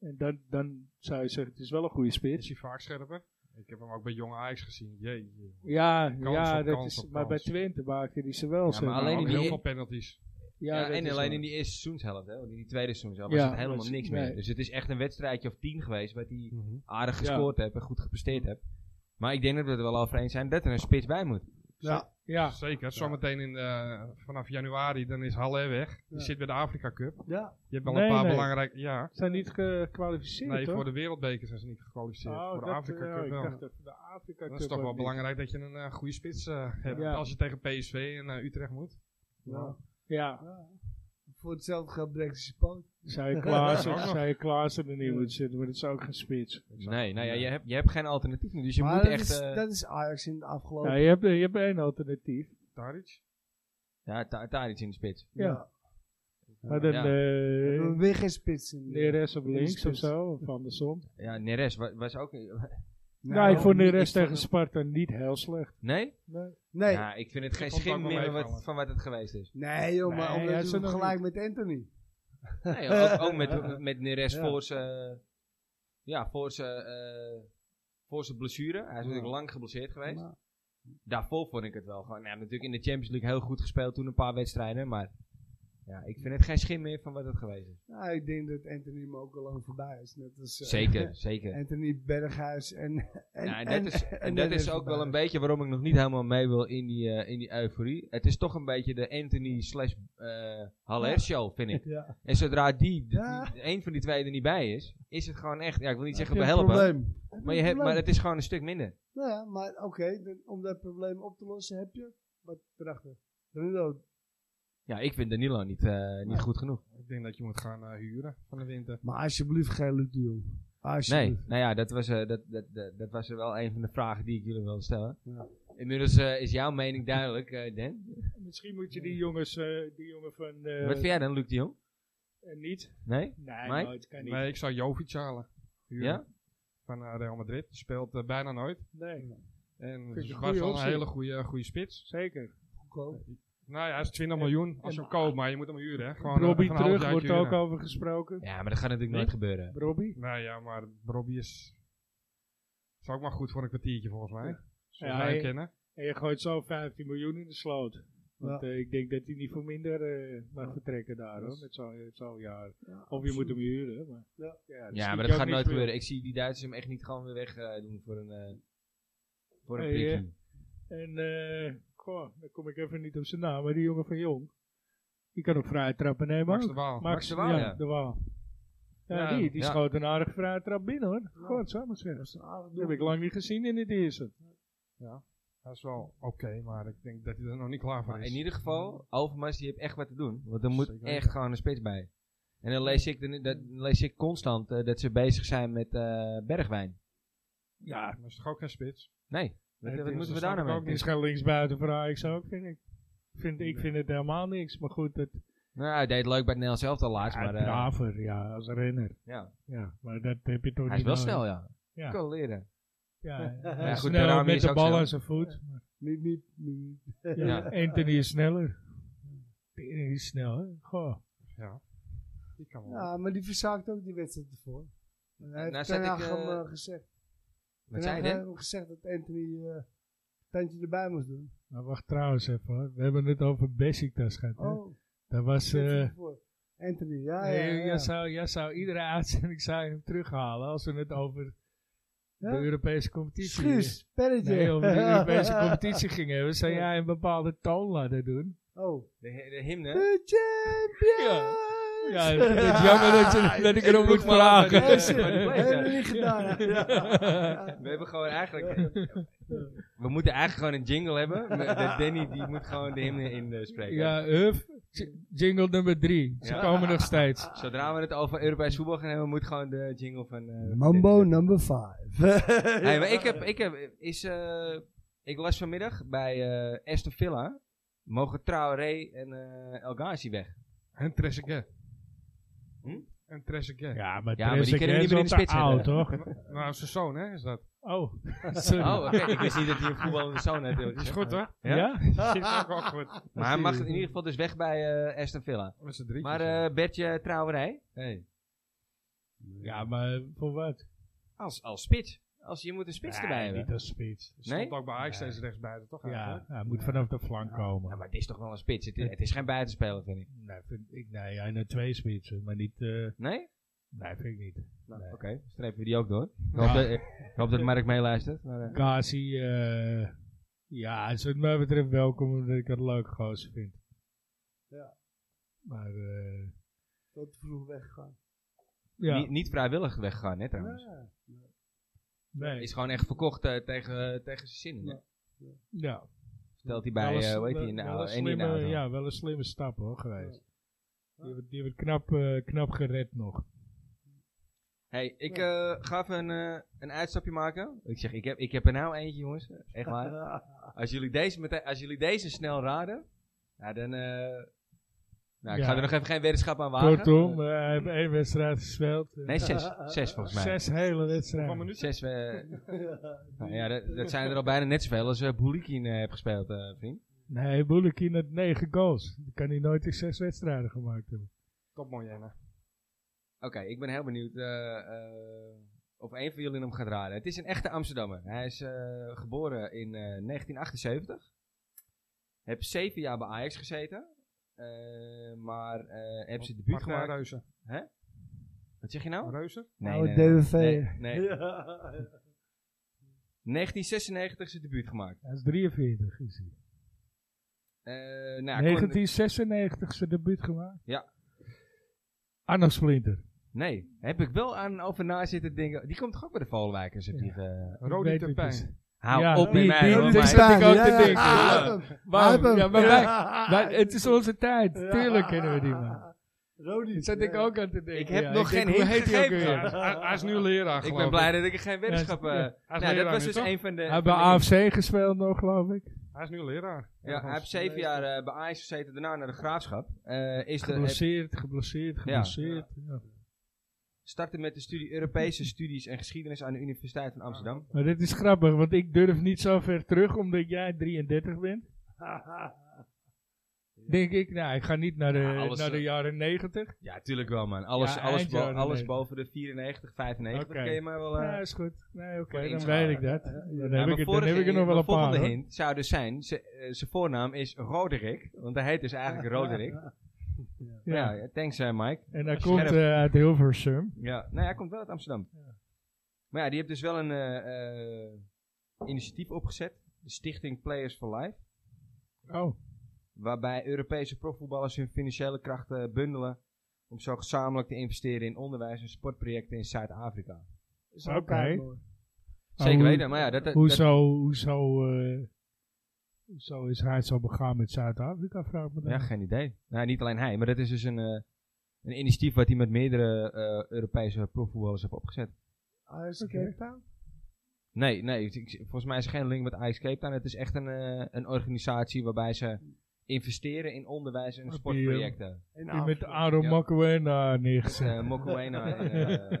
Speaker 3: En dan, dan zou je zeggen, het is wel een goede
Speaker 4: Is
Speaker 3: spits.
Speaker 4: hij vaak scherper? Ik heb hem ook bij jonge Ajax gezien. Jee.
Speaker 3: Ja,
Speaker 4: Kans
Speaker 3: ja
Speaker 4: op
Speaker 3: dat
Speaker 4: kans
Speaker 3: is,
Speaker 4: op
Speaker 3: maar bij
Speaker 4: kans.
Speaker 3: Twente maakte hij ze wel.
Speaker 1: Ja,
Speaker 3: zeg
Speaker 1: maar
Speaker 3: maar.
Speaker 1: alleen
Speaker 4: Alleen
Speaker 1: in die-
Speaker 4: heel veel penalties.
Speaker 1: Ja,
Speaker 3: dat
Speaker 1: en
Speaker 3: is
Speaker 1: alleen
Speaker 3: waar.
Speaker 1: in die eerste seizoenshelft, hè. want in die tweede seizoenshelft
Speaker 3: Ja,
Speaker 1: was het helemaal
Speaker 3: was-
Speaker 1: niks
Speaker 3: nee.
Speaker 1: meer. Dus het is echt een wedstrijdje of tien geweest wat hij
Speaker 3: Mhm.
Speaker 1: aardig
Speaker 3: Ja.
Speaker 1: gescoord heeft en goed gepresteerd heeft. Maar ik denk dat we het er wel over eens zijn dat er een spits bij moet.
Speaker 2: Ja,
Speaker 3: Ja,
Speaker 4: Zeker. Zometeen in, eh, vanaf januari, dan is Halle weg. Die
Speaker 2: Ja.
Speaker 4: zit bij de Afrika Cup.
Speaker 2: ja.
Speaker 4: Je hebt wel
Speaker 3: Nee,
Speaker 4: een paar
Speaker 3: nee.
Speaker 4: belangrijke... Ja.
Speaker 3: zijn niet gekwalificeerd
Speaker 4: Nee,
Speaker 3: toch?
Speaker 4: voor de wereldbeker zijn ze niet gekwalificeerd.
Speaker 3: Oh,
Speaker 4: voor de
Speaker 3: dat,
Speaker 4: Afrika
Speaker 3: ja,
Speaker 4: Cup
Speaker 3: ik
Speaker 4: wel.
Speaker 3: dacht dat voor de Afrika
Speaker 4: Dat is
Speaker 3: Cup
Speaker 4: toch
Speaker 3: ook
Speaker 4: wel
Speaker 3: niet.
Speaker 4: belangrijk dat je een eh, goede spits eh, hebt.
Speaker 3: Ja.
Speaker 4: Als je tegen PSV en eh, Utrecht moet.
Speaker 2: ja.
Speaker 3: Ja,
Speaker 2: Voor hetzelfde geld breekt hij zijn poot.
Speaker 3: zou je Klaassen,
Speaker 4: Ook nog.
Speaker 3: zou je Klaassen er niet moeten zitten, maar dat is ook geen spits.
Speaker 1: Nee, nou ja, je hebt, je hebt geen alternatief meer. Dus je
Speaker 2: maar
Speaker 1: moet
Speaker 2: dat,
Speaker 1: echt...
Speaker 2: is,
Speaker 1: eh,
Speaker 2: dat is Ajax in de
Speaker 1: Oh.
Speaker 2: afgelopen...
Speaker 3: Ja, je, hebt, je hebt één alternatief.
Speaker 4: Tadic.
Speaker 1: Ja, ta- daar iets in de spits.
Speaker 3: Ja. Maar
Speaker 1: Ja.
Speaker 3: dan
Speaker 2: We
Speaker 3: eh
Speaker 2: hebben weer geen spits in.
Speaker 3: Neres op
Speaker 2: In de
Speaker 3: links of
Speaker 2: spits.
Speaker 3: zo, of andersom.
Speaker 1: Ja, Neres wa- was, ook...
Speaker 3: Nee, ik vond
Speaker 2: niet-
Speaker 3: Neres
Speaker 2: ik vond
Speaker 3: tegen Sparta niet heel slecht.
Speaker 1: Nee?
Speaker 2: hem- Nee,
Speaker 1: Ja, ik vind het geen
Speaker 4: vond het ook
Speaker 1: schim
Speaker 4: wel
Speaker 1: meer
Speaker 4: meevallen.
Speaker 1: wat, van wat het geweest is.
Speaker 2: nee joh, maar
Speaker 3: Nee,
Speaker 2: omdat
Speaker 3: hij
Speaker 2: hij
Speaker 3: is er nog
Speaker 2: gelijk met Anthony.
Speaker 1: Nee, joh, ook, ook met,
Speaker 2: Ja.
Speaker 1: met Neres
Speaker 2: Ja.
Speaker 1: voor zijn... eh, Ja, voor zijn... eh, voor zijn blessure. Hij is natuurlijk lang geblesseerd geweest.
Speaker 2: Maar-
Speaker 1: Daarvoor vond ik het wel gewoon... Nou, natuurlijk in de Champions League heel goed gespeeld toen een paar wedstrijden. Maar ja, ik vind het geen schim meer van wat het geweest is.
Speaker 2: Nou, ik denk dat Anthony me ook al lang voorbij is. Net als, eh,
Speaker 1: Zeker, zeker.
Speaker 2: Anthony Berghuis en... en,
Speaker 1: Ja, en dat is, en dat
Speaker 2: Neres
Speaker 1: is ook
Speaker 2: voorbij.
Speaker 1: wel een beetje waarom ik nog niet helemaal mee wil in die, eh, in die euforie. Het is toch een beetje de Anthony slash eh Haller show, vind ik.
Speaker 2: Ja.
Speaker 1: En zodra die,
Speaker 2: Ja.
Speaker 1: een van die twee er niet bij is, is het gewoon echt, ja ik wil niet zeggen
Speaker 2: Heb je een
Speaker 1: behelpen,
Speaker 2: probleem? Heb je
Speaker 1: maar, je
Speaker 2: een
Speaker 1: hebt, maar
Speaker 2: probleem?
Speaker 1: het is gewoon een stuk minder.
Speaker 2: Nou ja, maar oké, dan- om dat probleem op te lossen heb je... Wat erachter? Danilo.
Speaker 1: Ja, ik vind Danilo niet, eh, niet goed genoeg.
Speaker 4: Ik denk dat je moet gaan eh, huren van de winter.
Speaker 2: Maar alsjeblieft geen Luc de Jong.
Speaker 1: Nee,
Speaker 2: Alsjeblieft.
Speaker 1: nou ja, dat was, eh, dat, dat, dat, dat was er wel een van de vragen die ik jullie wilde stellen.
Speaker 2: Ja.
Speaker 1: Inmiddels eh, is jouw mening duidelijk, eh, Dan.
Speaker 3: Misschien moet je die jongens, eh, die jongen van... eh,
Speaker 1: Wat vind jij dan, Luc de Jong?
Speaker 3: eh, niet?
Speaker 1: Nee?
Speaker 3: Nee,
Speaker 1: Mike?
Speaker 3: nooit, kan niet.
Speaker 4: Nee, ik zou Jovic halen. Huren.
Speaker 1: Ja?
Speaker 4: Van eh, Real Madrid. Die speelt eh, bijna nooit.
Speaker 3: Nee,
Speaker 4: En
Speaker 3: ik
Speaker 4: het
Speaker 3: een
Speaker 4: was
Speaker 3: goede
Speaker 4: wel een
Speaker 3: optie.
Speaker 4: hele goede, eh, goede spits.
Speaker 3: zeker.
Speaker 2: Goedkoop.
Speaker 4: Nou ja, hij is 20 miljoen als je
Speaker 3: en-
Speaker 4: hem koopt, maar je moet hem huren. Hè. Gewoon, eh,
Speaker 3: Robbie
Speaker 4: even een
Speaker 3: terug,
Speaker 4: halfjaartje
Speaker 3: wordt ook
Speaker 4: huren.
Speaker 3: over gesproken.
Speaker 1: Ja, maar dat gaat natuurlijk nooit gebeuren.
Speaker 3: Robbie?
Speaker 4: Nou ja, maar Robbie is... Is ook maar goed voor een kwartiertje volgens mij. Zoals
Speaker 3: Ja,
Speaker 4: wij
Speaker 3: hij-
Speaker 4: hem kennen.
Speaker 3: En je gooit zo 15 miljoen in de sloot. Want
Speaker 2: Ja.
Speaker 3: eh, ik denk dat hij niet voor minder eh, mag vertrekken daar hoor, met zo'n met zo'n jaar.
Speaker 2: Ja,
Speaker 3: Of je moet hem huren. Maar,
Speaker 2: Ja.
Speaker 3: dat
Speaker 1: Ja,
Speaker 3: schiet
Speaker 1: maar
Speaker 3: je
Speaker 1: dat
Speaker 3: ook
Speaker 1: gaat
Speaker 3: niet
Speaker 1: nooit
Speaker 3: veel.
Speaker 1: gebeuren. Ik zie die Duitsers hem echt niet gewoon weer weg eh, doen voor een, eh voor een
Speaker 3: Nee,
Speaker 1: prikkie.
Speaker 3: eh, En eh, goh, dan kom ik even niet op zijn naam, maar die jongen van Jong. Die kan ook vrije trappen nemen.
Speaker 4: Max
Speaker 3: ook.
Speaker 4: de Waal.
Speaker 1: Max de Waal, ja.
Speaker 3: de Waal. Ja,
Speaker 4: Ja,
Speaker 3: die, die
Speaker 1: ja.
Speaker 3: schoot een aardige vrije trap binnen hoor.
Speaker 2: Ja.
Speaker 3: Goh, het zou maar zeggen.
Speaker 2: Dat is een aardig
Speaker 3: Dat heb ik lang niet gezien in het eerste.
Speaker 4: Hij is wel oké, maar ik denk dat hij er nog niet klaar voor
Speaker 1: Maar
Speaker 4: is.
Speaker 1: in ieder geval, Overmars die heeft echt wat te doen. Want er moet
Speaker 4: Zeker weten.
Speaker 1: echt gewoon een spits bij. En dan lees ik, de- dat, dan lees ik constant eh, dat ze bezig zijn met eh, Bergwijn.
Speaker 3: Ja,
Speaker 4: Maar is toch ook geen spits?
Speaker 1: Nee, wat,
Speaker 3: Nee,
Speaker 1: wat
Speaker 3: dat
Speaker 1: moeten we
Speaker 4: snap
Speaker 1: daar
Speaker 4: ik
Speaker 1: nou
Speaker 4: ook
Speaker 1: mee?
Speaker 3: die is geen linksbuiten voor Ajax ook, vind ik. Vind, ik vind het helemaal niks, maar goed, het
Speaker 1: Nou, hij deed leuk bij het Nederlands zelf al laatst.
Speaker 3: ja,
Speaker 1: maar, eh,
Speaker 3: braver, ja, als renner.
Speaker 1: ja.
Speaker 3: Ja, maar dat heb je toch
Speaker 1: Hij is
Speaker 3: niet
Speaker 1: wel
Speaker 3: nodig.
Speaker 1: snel, ja.
Speaker 3: nou- Ja.
Speaker 1: Ik kan leren.
Speaker 3: Ja, hij
Speaker 1: Ja,
Speaker 3: is
Speaker 1: goed,
Speaker 3: sneller
Speaker 1: Berami
Speaker 3: met
Speaker 1: is
Speaker 3: de
Speaker 1: ook
Speaker 3: bal
Speaker 1: snel.
Speaker 3: aan zijn voet.
Speaker 2: Niet, niet, niet.
Speaker 3: Ja.
Speaker 1: Ja.
Speaker 3: Anthony is sneller. Anthony is snel, hè? Goh.
Speaker 4: Ja. Die kan wel.
Speaker 2: Ja, maar die verzaakt ook die wedstrijd ervoor. En hij heeft
Speaker 1: Nou,
Speaker 2: nou,
Speaker 1: zat
Speaker 2: Ten Hag
Speaker 1: ik,
Speaker 2: hem
Speaker 1: eh,
Speaker 2: eh, gezegd.
Speaker 1: Wat
Speaker 2: Ten
Speaker 1: zei
Speaker 2: Hag
Speaker 1: je, Dan?
Speaker 2: heeft hem gezegd dat Anthony eh tandje erbij moest doen.
Speaker 3: Maar Nou, wacht trouwens even hoor. We hebben het over Besiktas gehad. hè.
Speaker 2: Oh,
Speaker 3: Dat was...
Speaker 2: zit hij
Speaker 3: eh
Speaker 2: ervoor. Anthony, ja, ja,
Speaker 3: nee,
Speaker 2: ja.
Speaker 3: Jij, zou, jij zou iedere uitzending zou je hem terughalen als we het over
Speaker 2: Ja?
Speaker 3: de Europese competitie...
Speaker 2: Schuus, perretje.
Speaker 3: Nee, over de Europese competitie gingen hebben, zou jij een bepaalde toon laten doen.
Speaker 2: Oh.
Speaker 1: De, he- de hymne?
Speaker 2: De champions!
Speaker 3: Ja. Ja, ik vind het jammer dat,
Speaker 1: Ah,
Speaker 3: je, dat ik erop moet vragen.
Speaker 1: Ja,
Speaker 2: Eh, shit,
Speaker 1: maar die bleef,
Speaker 2: hebben we
Speaker 1: ja.
Speaker 2: niet gedaan. hè? Ja.
Speaker 1: We hebben gewoon eigenlijk... We moeten eigenlijk gewoon een jingle hebben. maar dat Danny die moet gewoon de hymne eh, inspreken.
Speaker 3: Ja, Huf, j- jingle nummer drie. Ze
Speaker 1: Ja.
Speaker 3: komen nog steeds.
Speaker 1: Zodra we het over Europees voetbal gaan hebben, moet gewoon de jingle van... eh,
Speaker 2: Mambo number 5.
Speaker 1: Hey, maar ik heb, ik heb, is, eh, ik las vanmiddag bij eh Aston Villa, mogen Traoré en eh El Ghazi weg.
Speaker 4: En Trezeguet.
Speaker 1: Hm?
Speaker 4: en Trezeguet.
Speaker 3: Ja, maar,
Speaker 1: Ja, maar
Speaker 3: Trezeguet
Speaker 1: die kunnen we niet meer in
Speaker 3: is
Speaker 1: de
Speaker 3: al te
Speaker 1: spits
Speaker 3: oud,
Speaker 1: hebben.
Speaker 3: toch?
Speaker 4: Nou, zijn zoon, hè, is dat.
Speaker 3: Oh, sorry.
Speaker 1: Oh, oké. Ik wist niet dat hij een voetballende zoon had.
Speaker 4: Die is goed, hoor.
Speaker 1: Ja?
Speaker 3: ja?
Speaker 4: Die is ook wel goed.
Speaker 1: Maar hij mag in ieder geval dus weg bij eh, Aston Villa.
Speaker 4: Met z'n drie.
Speaker 1: Maar eh, Bertje Trouwerij?
Speaker 3: Ja, maar voor wat?
Speaker 1: Als, als spits. Als je moet een spits erbij
Speaker 3: Nee,
Speaker 1: hebben.
Speaker 3: niet als spits.
Speaker 4: Stond
Speaker 1: nee?
Speaker 4: ook bij Ajax
Speaker 3: Nee.
Speaker 4: steeds rechtsbuiten, toch?
Speaker 3: Ja,
Speaker 4: eigenlijk?
Speaker 3: hij moet vanaf de flank
Speaker 1: Ja,
Speaker 3: komen.
Speaker 1: maar het is toch wel een spits. Het, het is geen buitenspeler, vind ik.
Speaker 3: Nee, vind ik, nee, hij had twee spitsen, maar niet... eh,
Speaker 1: Nee?
Speaker 3: nee, vind ik niet.
Speaker 1: Nou,
Speaker 3: Nee.
Speaker 1: Oké, strepen we die ook door. Ik hoop, dat, ik hoop dat Mark meeluistert. Maar, eh,
Speaker 3: Kasi, eh, ja, hij is wat mij betreft welkom, omdat ik het een leuke gozer vind.
Speaker 2: Ja.
Speaker 3: Maar, eh,
Speaker 2: Tot vroeg weggegaan.
Speaker 3: ja,
Speaker 1: niet, niet vrijwillig weggegaan, hè, trouwens.
Speaker 2: Ja,
Speaker 3: nee.
Speaker 1: Is gewoon echt verkocht eh, tegen, tegen zijn zin.
Speaker 2: Ja.
Speaker 1: hè.
Speaker 3: Ja.
Speaker 1: Stelt hij
Speaker 3: Wel
Speaker 1: bij,
Speaker 3: een
Speaker 1: eh,
Speaker 3: s-
Speaker 1: hoe heet hij, in de
Speaker 3: wel- wel
Speaker 1: oude
Speaker 3: een
Speaker 1: Andy in de
Speaker 3: slimme-
Speaker 1: auto.
Speaker 3: Ja, wel een slimme stap hoor, geweest. Die hebben die hebben het knap, eh, knap gered nog.
Speaker 1: Hey, ik eh, ga even een, eh, een uitstapje maken. Ik zeg, ik heb, ik heb er nou eentje, jongens. Echt waar. Als jullie deze, meteen, als jullie deze snel raden, nou, dan... eh, nou, ik
Speaker 3: Ja.
Speaker 1: ga er nog even geen wetenschap aan wagen.
Speaker 3: Kortom, eh, hij heeft één wedstrijd gespeeld. eh,
Speaker 1: Nee, zes. Zes volgens mij.
Speaker 3: Zes hele
Speaker 4: Hoeveel
Speaker 3: wedstrijden.
Speaker 4: minuten?
Speaker 1: Zes, eh, nou, ja, dat, dat
Speaker 2: zijn
Speaker 1: zijn er al bijna net zoveel als eh Boulikin eh, heeft gespeeld, eh, vriend.
Speaker 3: Nee, Boulikin had negen goals. Die kan hij nooit in zes wedstrijden gemaakt hebben.
Speaker 4: Top, mooi, nou. Jena.
Speaker 1: Oké, ik ben heel benieuwd eh, eh, of een van jullie hem gaat raden. Het is een echte Amsterdammer. Hij is eh, geboren in eh, 1978. Heb zeven jaar bij Ajax gezeten. Eh, maar eh heb ze
Speaker 3: nou
Speaker 1: debuut
Speaker 4: Mag maar
Speaker 1: gemaakt.
Speaker 4: Reuzen.
Speaker 1: Wat zeg je nou?
Speaker 4: Reuzen?
Speaker 2: Nou, DWV.
Speaker 1: nee, nee.
Speaker 2: Ja.
Speaker 1: 1996 zijn debuut gemaakt.
Speaker 3: Hij is 43, is hij.
Speaker 1: Eh nou, ja, kon-
Speaker 3: 1996 zijn e debuut gemaakt.
Speaker 1: Ja.
Speaker 3: Arno Splinter.
Speaker 1: nee, heb ik wel aan over na zitten denken. Die komt toch ook bij de Volwijkers? heb die ge-
Speaker 4: Rodi
Speaker 3: Weet ik dus.
Speaker 4: Terpijn.
Speaker 1: Hou
Speaker 3: Ja,
Speaker 1: op met
Speaker 3: die-
Speaker 1: mij.
Speaker 3: die-
Speaker 1: hoor,
Speaker 3: die-
Speaker 1: maar-
Speaker 3: die- zat ik ook te denken,
Speaker 2: hij
Speaker 3: ja.
Speaker 2: heeft hem.
Speaker 3: Waarom?
Speaker 2: Hij heeft
Speaker 3: Ja,
Speaker 2: hem.
Speaker 3: maar wij-
Speaker 2: Ja.
Speaker 3: wij- het is onze tijd.
Speaker 2: Ja.
Speaker 3: Tuurlijk kennen we die man.
Speaker 2: Rodi.
Speaker 3: Dat zat ik ook aan te denken.
Speaker 1: Ik heb
Speaker 3: ja.
Speaker 1: nog
Speaker 3: denk,
Speaker 1: geen
Speaker 3: hoe
Speaker 1: hint
Speaker 3: heet hij ook
Speaker 1: gegeven.
Speaker 3: weer?
Speaker 4: Ja, hij, hij is nu leraar,
Speaker 1: Ik
Speaker 4: geloof
Speaker 1: ben blij dat ik er geen weddenschap...
Speaker 3: Hij is-
Speaker 1: eh,
Speaker 4: Hij is
Speaker 1: nou, dat
Speaker 4: leraar
Speaker 1: was
Speaker 4: nu,
Speaker 1: dus
Speaker 4: toch?
Speaker 1: een van de...
Speaker 3: Hij heeft bij
Speaker 1: van de-
Speaker 3: AFC gespeeld nog, geloof ik.
Speaker 4: Hij is nu leraar.
Speaker 1: Ja, hij heeft zeven jaar eh, bij Ajax gezeten, daarna naar de Graafschap. Eh, is de, heeft-
Speaker 3: Geblesseerd, geblesseerd, geblesseerd. ja.
Speaker 1: startte met de studie Europese studies en geschiedenis aan de Universiteit van Amsterdam.
Speaker 3: Maar dit is grappig, want ik durf niet zo ver terug, omdat jij 33 bent. Denk ik, nou, ik ga niet naar de,
Speaker 1: Ja, alles,
Speaker 3: naar de
Speaker 1: eh,
Speaker 3: jaren 90.
Speaker 1: Ja, tuurlijk wel man. Alles,
Speaker 3: Ja,
Speaker 1: alles,
Speaker 3: eind
Speaker 1: bo-
Speaker 3: jaren
Speaker 1: alles
Speaker 3: 90.
Speaker 1: boven de 94, 95
Speaker 3: Oké.
Speaker 1: ken je maar wel... eh.
Speaker 3: Ja, is goed. Nee, oké,
Speaker 1: Voor
Speaker 3: dan
Speaker 1: inschalen.
Speaker 3: weet ik dat. Dan
Speaker 1: Ja,
Speaker 3: heb
Speaker 1: mijn
Speaker 3: ik, het- dan
Speaker 1: vorige-
Speaker 3: heb ik er nog wel
Speaker 1: mijn
Speaker 3: een paar.
Speaker 1: volgende
Speaker 3: hoor.
Speaker 1: hint zou dus zijn, zijn voornaam is Roderick, want hij heet dus eigenlijk Roderick.
Speaker 3: Ja.
Speaker 1: Ja, ja, thanks eh, Mike.
Speaker 3: En hij
Speaker 1: Scherp.
Speaker 3: komt eh, uit Hilversum.
Speaker 1: Ja, nou ja, hij komt wel uit Amsterdam. Maar ja, die heeft dus wel een eh, eh, initiatief opgezet, de Stichting Players for Life.
Speaker 3: Oh,
Speaker 1: waarbij Europese profvoetballers hun financiële krachten bundelen om zo gezamenlijk te investeren in onderwijs en sportprojecten in Zuid-Afrika.
Speaker 3: oké.
Speaker 1: Zeker
Speaker 3: hoe-
Speaker 1: weten, maar ja, dat, dat-
Speaker 3: Hoezo, hoezo, eh, hoezo is hij zo begaan met Zuid-Afrika, vraag ik me dan.
Speaker 1: ja, geen idee. Nou, niet alleen hij, maar dat is dus een, eh, een initiatief wat hij met meerdere eh, Europese profvoetballers heeft opgezet.
Speaker 2: Hij is
Speaker 3: Oké.
Speaker 2: Cape Town.
Speaker 1: Nee, nee, ik- ik- volgens mij is er geen link met Ice Cape Town. Het is echt een, eh, een organisatie waarbij ze investeren in onderwijs en
Speaker 3: Op die, eh,
Speaker 1: sportprojecten.
Speaker 2: In
Speaker 3: Die met
Speaker 2: Amsterdam.
Speaker 3: Aaron
Speaker 1: nou, Ja.
Speaker 3: Makuena
Speaker 1: Dus,
Speaker 3: neergezet.
Speaker 1: eh, Mokoena en, eh,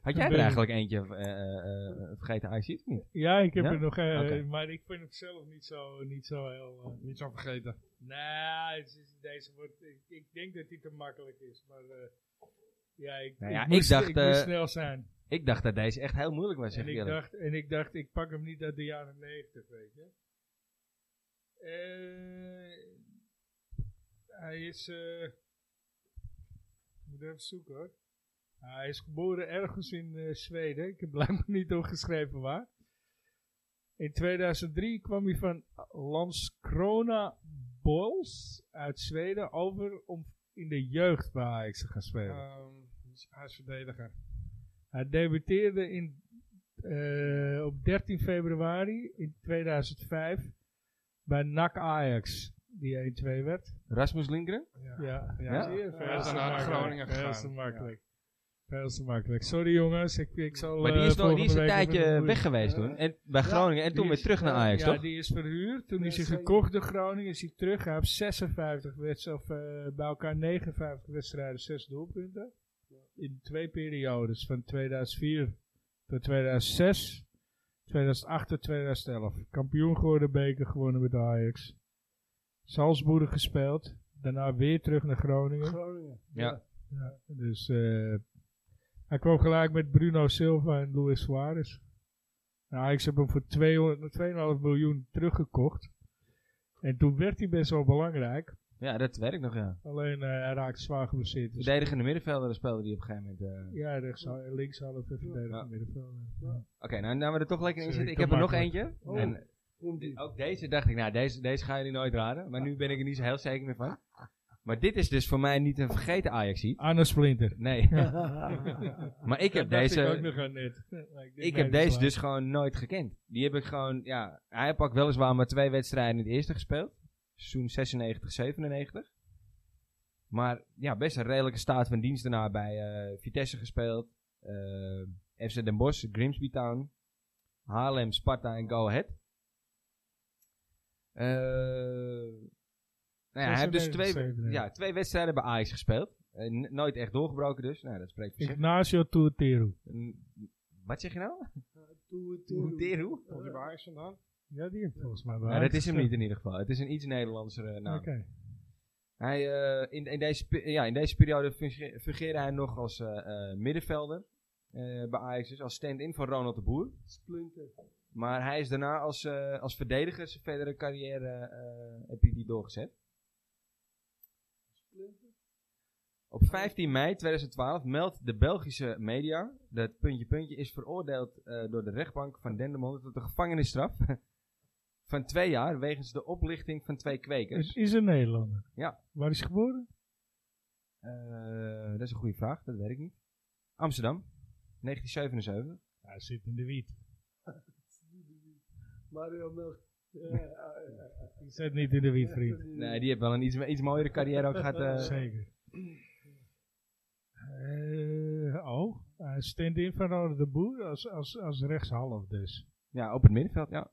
Speaker 1: had jij er eigenlijk eentje eh, eh, eh, vergeten? Ice of niet?
Speaker 3: Ja, ik heb
Speaker 1: Ja?
Speaker 3: er nog, eh,
Speaker 1: Oké.
Speaker 3: maar ik vind het zelf niet zo, niet zo heel... eh,
Speaker 4: Niet zo vergeten.
Speaker 3: Nou, het is- deze wordt, ik, ik denk dat die te makkelijk is, maar eh, ja, ik,
Speaker 1: Nou ja,
Speaker 3: ik
Speaker 1: ik
Speaker 3: moest,
Speaker 1: dacht,
Speaker 3: ik moest
Speaker 1: eh,
Speaker 3: snel zijn.
Speaker 1: Ik dacht dat deze echt heel moeilijk was, zeg
Speaker 3: En
Speaker 1: ik
Speaker 3: ik,
Speaker 1: eerlijk.
Speaker 3: dacht, en ik dacht, ik pak hem niet uit de jaren 90, weet je. Eh, hij is, eh, ik moet even zoeken hoor. Hij is geboren ergens in eh, Zweden, ik heb blijkbaar niet opgeschreven waar. In 2003 kwam hij van Landskrona Boys uit Zweden over om in de jeugd bij Ajax te gaan spelen.
Speaker 4: Ehm, hij is verdediger.
Speaker 3: Hij debuteerde in, eh, op 13 februari in 2005 bij NAC Ajax, die 1-2 werd.
Speaker 1: Rasmus Lindgren?
Speaker 3: Oh, Ja,
Speaker 1: Ja?
Speaker 3: zie je,
Speaker 4: Hij is dan naar Groningen
Speaker 3: Veel
Speaker 4: gegaan.
Speaker 3: te makkelijk. Veel te makkelijk. Sorry jongens, ik, ik zal
Speaker 1: maar die is,
Speaker 3: eh,
Speaker 1: nog, die is
Speaker 3: volgende
Speaker 1: een
Speaker 3: week even
Speaker 1: tijdje
Speaker 3: een-
Speaker 1: weg geweest toen. En, bij Groningen en
Speaker 3: Die
Speaker 1: toen weer
Speaker 3: is- eh,
Speaker 1: terug naar Ajax,
Speaker 3: ja,
Speaker 1: toch?
Speaker 3: die is verhuurd. Toen
Speaker 2: Ja,
Speaker 3: is hij
Speaker 2: zeker.
Speaker 3: gekocht door Groningen, is hij terug. Hij heeft 56 wedstrijden, of eh, bij elkaar 59 wedstrijden, 6 doelpunten. in twee periodes, van 2004 tot 2006, 2008 tot 2011. Kampioen geworden, beker gewonnen met Ajax. Salzburg gespeeld, daarna weer terug naar Groningen.
Speaker 2: Groningen.
Speaker 1: Ja.
Speaker 3: Ja, dus eh, hij kwam gelijk met Bruno Silva en Luis Suarez. Nou, Ajax heb hem voor 200 2,5 miljoen teruggekocht. En toen werd hij best wel belangrijk.
Speaker 1: Ja, dat werkt nog, ja.
Speaker 3: Alleen eh, hij raakte zwaar geblesseerd. Dus
Speaker 1: Verdedigende middenvelder speelde die op een gegeven moment. eh.
Speaker 3: ja, rechts, links hadden we verdedigend
Speaker 1: Ja.
Speaker 3: middenveld. eh.
Speaker 1: Oké, nou, nou we er toch lekker in
Speaker 3: Sorry,
Speaker 1: zitten. Ik
Speaker 3: te
Speaker 1: heb er nog
Speaker 3: makkelijk.
Speaker 1: eentje.
Speaker 2: Oh.
Speaker 1: En
Speaker 2: Komt
Speaker 1: Dit-
Speaker 2: die.
Speaker 1: Ook deze dacht ik, nou, deze, deze gaan jullie nooit raden. Maar nu ben ik er niet zo heel zeker meer van. Maar dit is dus voor mij niet een vergeten ajax
Speaker 3: Arne Splinter.
Speaker 1: Nee, maar ik heb
Speaker 3: Dat dacht Ik ook
Speaker 1: deze,
Speaker 3: nog aan net. Maar denk, nee,
Speaker 1: ik heb
Speaker 3: dat is
Speaker 1: deze
Speaker 3: waar.
Speaker 1: dus gewoon nooit gekend. Die heb ik gewoon, ja, hij heeft ook weliswaar maar twee wedstrijden in het eerste gespeeld. Seizoen 96, 97. Maar ja, best een redelijke staat van dienst daarna bij eh, Vitesse gespeeld. eh, FC Den Bosch, Grimsby Town, Haarlem, Sparta en Go Ahead. Eh, nou ja, hij heeft dus
Speaker 3: 96,
Speaker 1: twee,
Speaker 3: 97.
Speaker 1: ja, twee wedstrijden bij Ajax gespeeld. Eh, n- nooit echt doorgebroken dus. Nou, dat spreekt voor zich.
Speaker 3: Ignacio Tourteru.
Speaker 1: N- Wat zeg je nou?
Speaker 2: Toe, toe.
Speaker 1: Teru?
Speaker 4: Komt die bij Ajax vandaan?
Speaker 3: Ja, die heeft volgens mij wel.
Speaker 1: Nou, dat is hem niet in ieder geval. Het is een iets Nederlandser eh, naam.
Speaker 3: Oké.
Speaker 1: Hij, eh, in, in, deze, pe- ja, in deze periode funge- fungeerde hij nog als eh, eh, middenvelder eh, bij Ajax, dus als stand-in van Ronald de Boer.
Speaker 2: Splinter.
Speaker 1: Maar hij is daarna als, eh, als verdediger zijn verdere carrière eh, heb je die doorgezet. Op 15 mei 2012 meldt de Belgische media dat puntje puntje is veroordeeld eh, door de rechtbank van Dendermonde tot een gevangenisstraf van twee jaar wegens de oplichting van twee kwekers.
Speaker 3: Het is een Nederlander.
Speaker 1: Ja.
Speaker 3: Waar is hij geboren?
Speaker 1: Eh, dat is een goede vraag, dat weet ik niet. Amsterdam, 1977.
Speaker 3: Hij zit in de wiet.
Speaker 2: Mario Melk. Eh, eh, eh,
Speaker 3: Die zit niet in de wiet, vriend.
Speaker 1: Nee, die heeft wel een iets, iets mooiere carrière ook gehad. eh.
Speaker 3: Zeker. Eh, oh, hij stand-in van Ronald de Boer als, als, als rechtshalf dus.
Speaker 1: ja, op het middenveld, ja.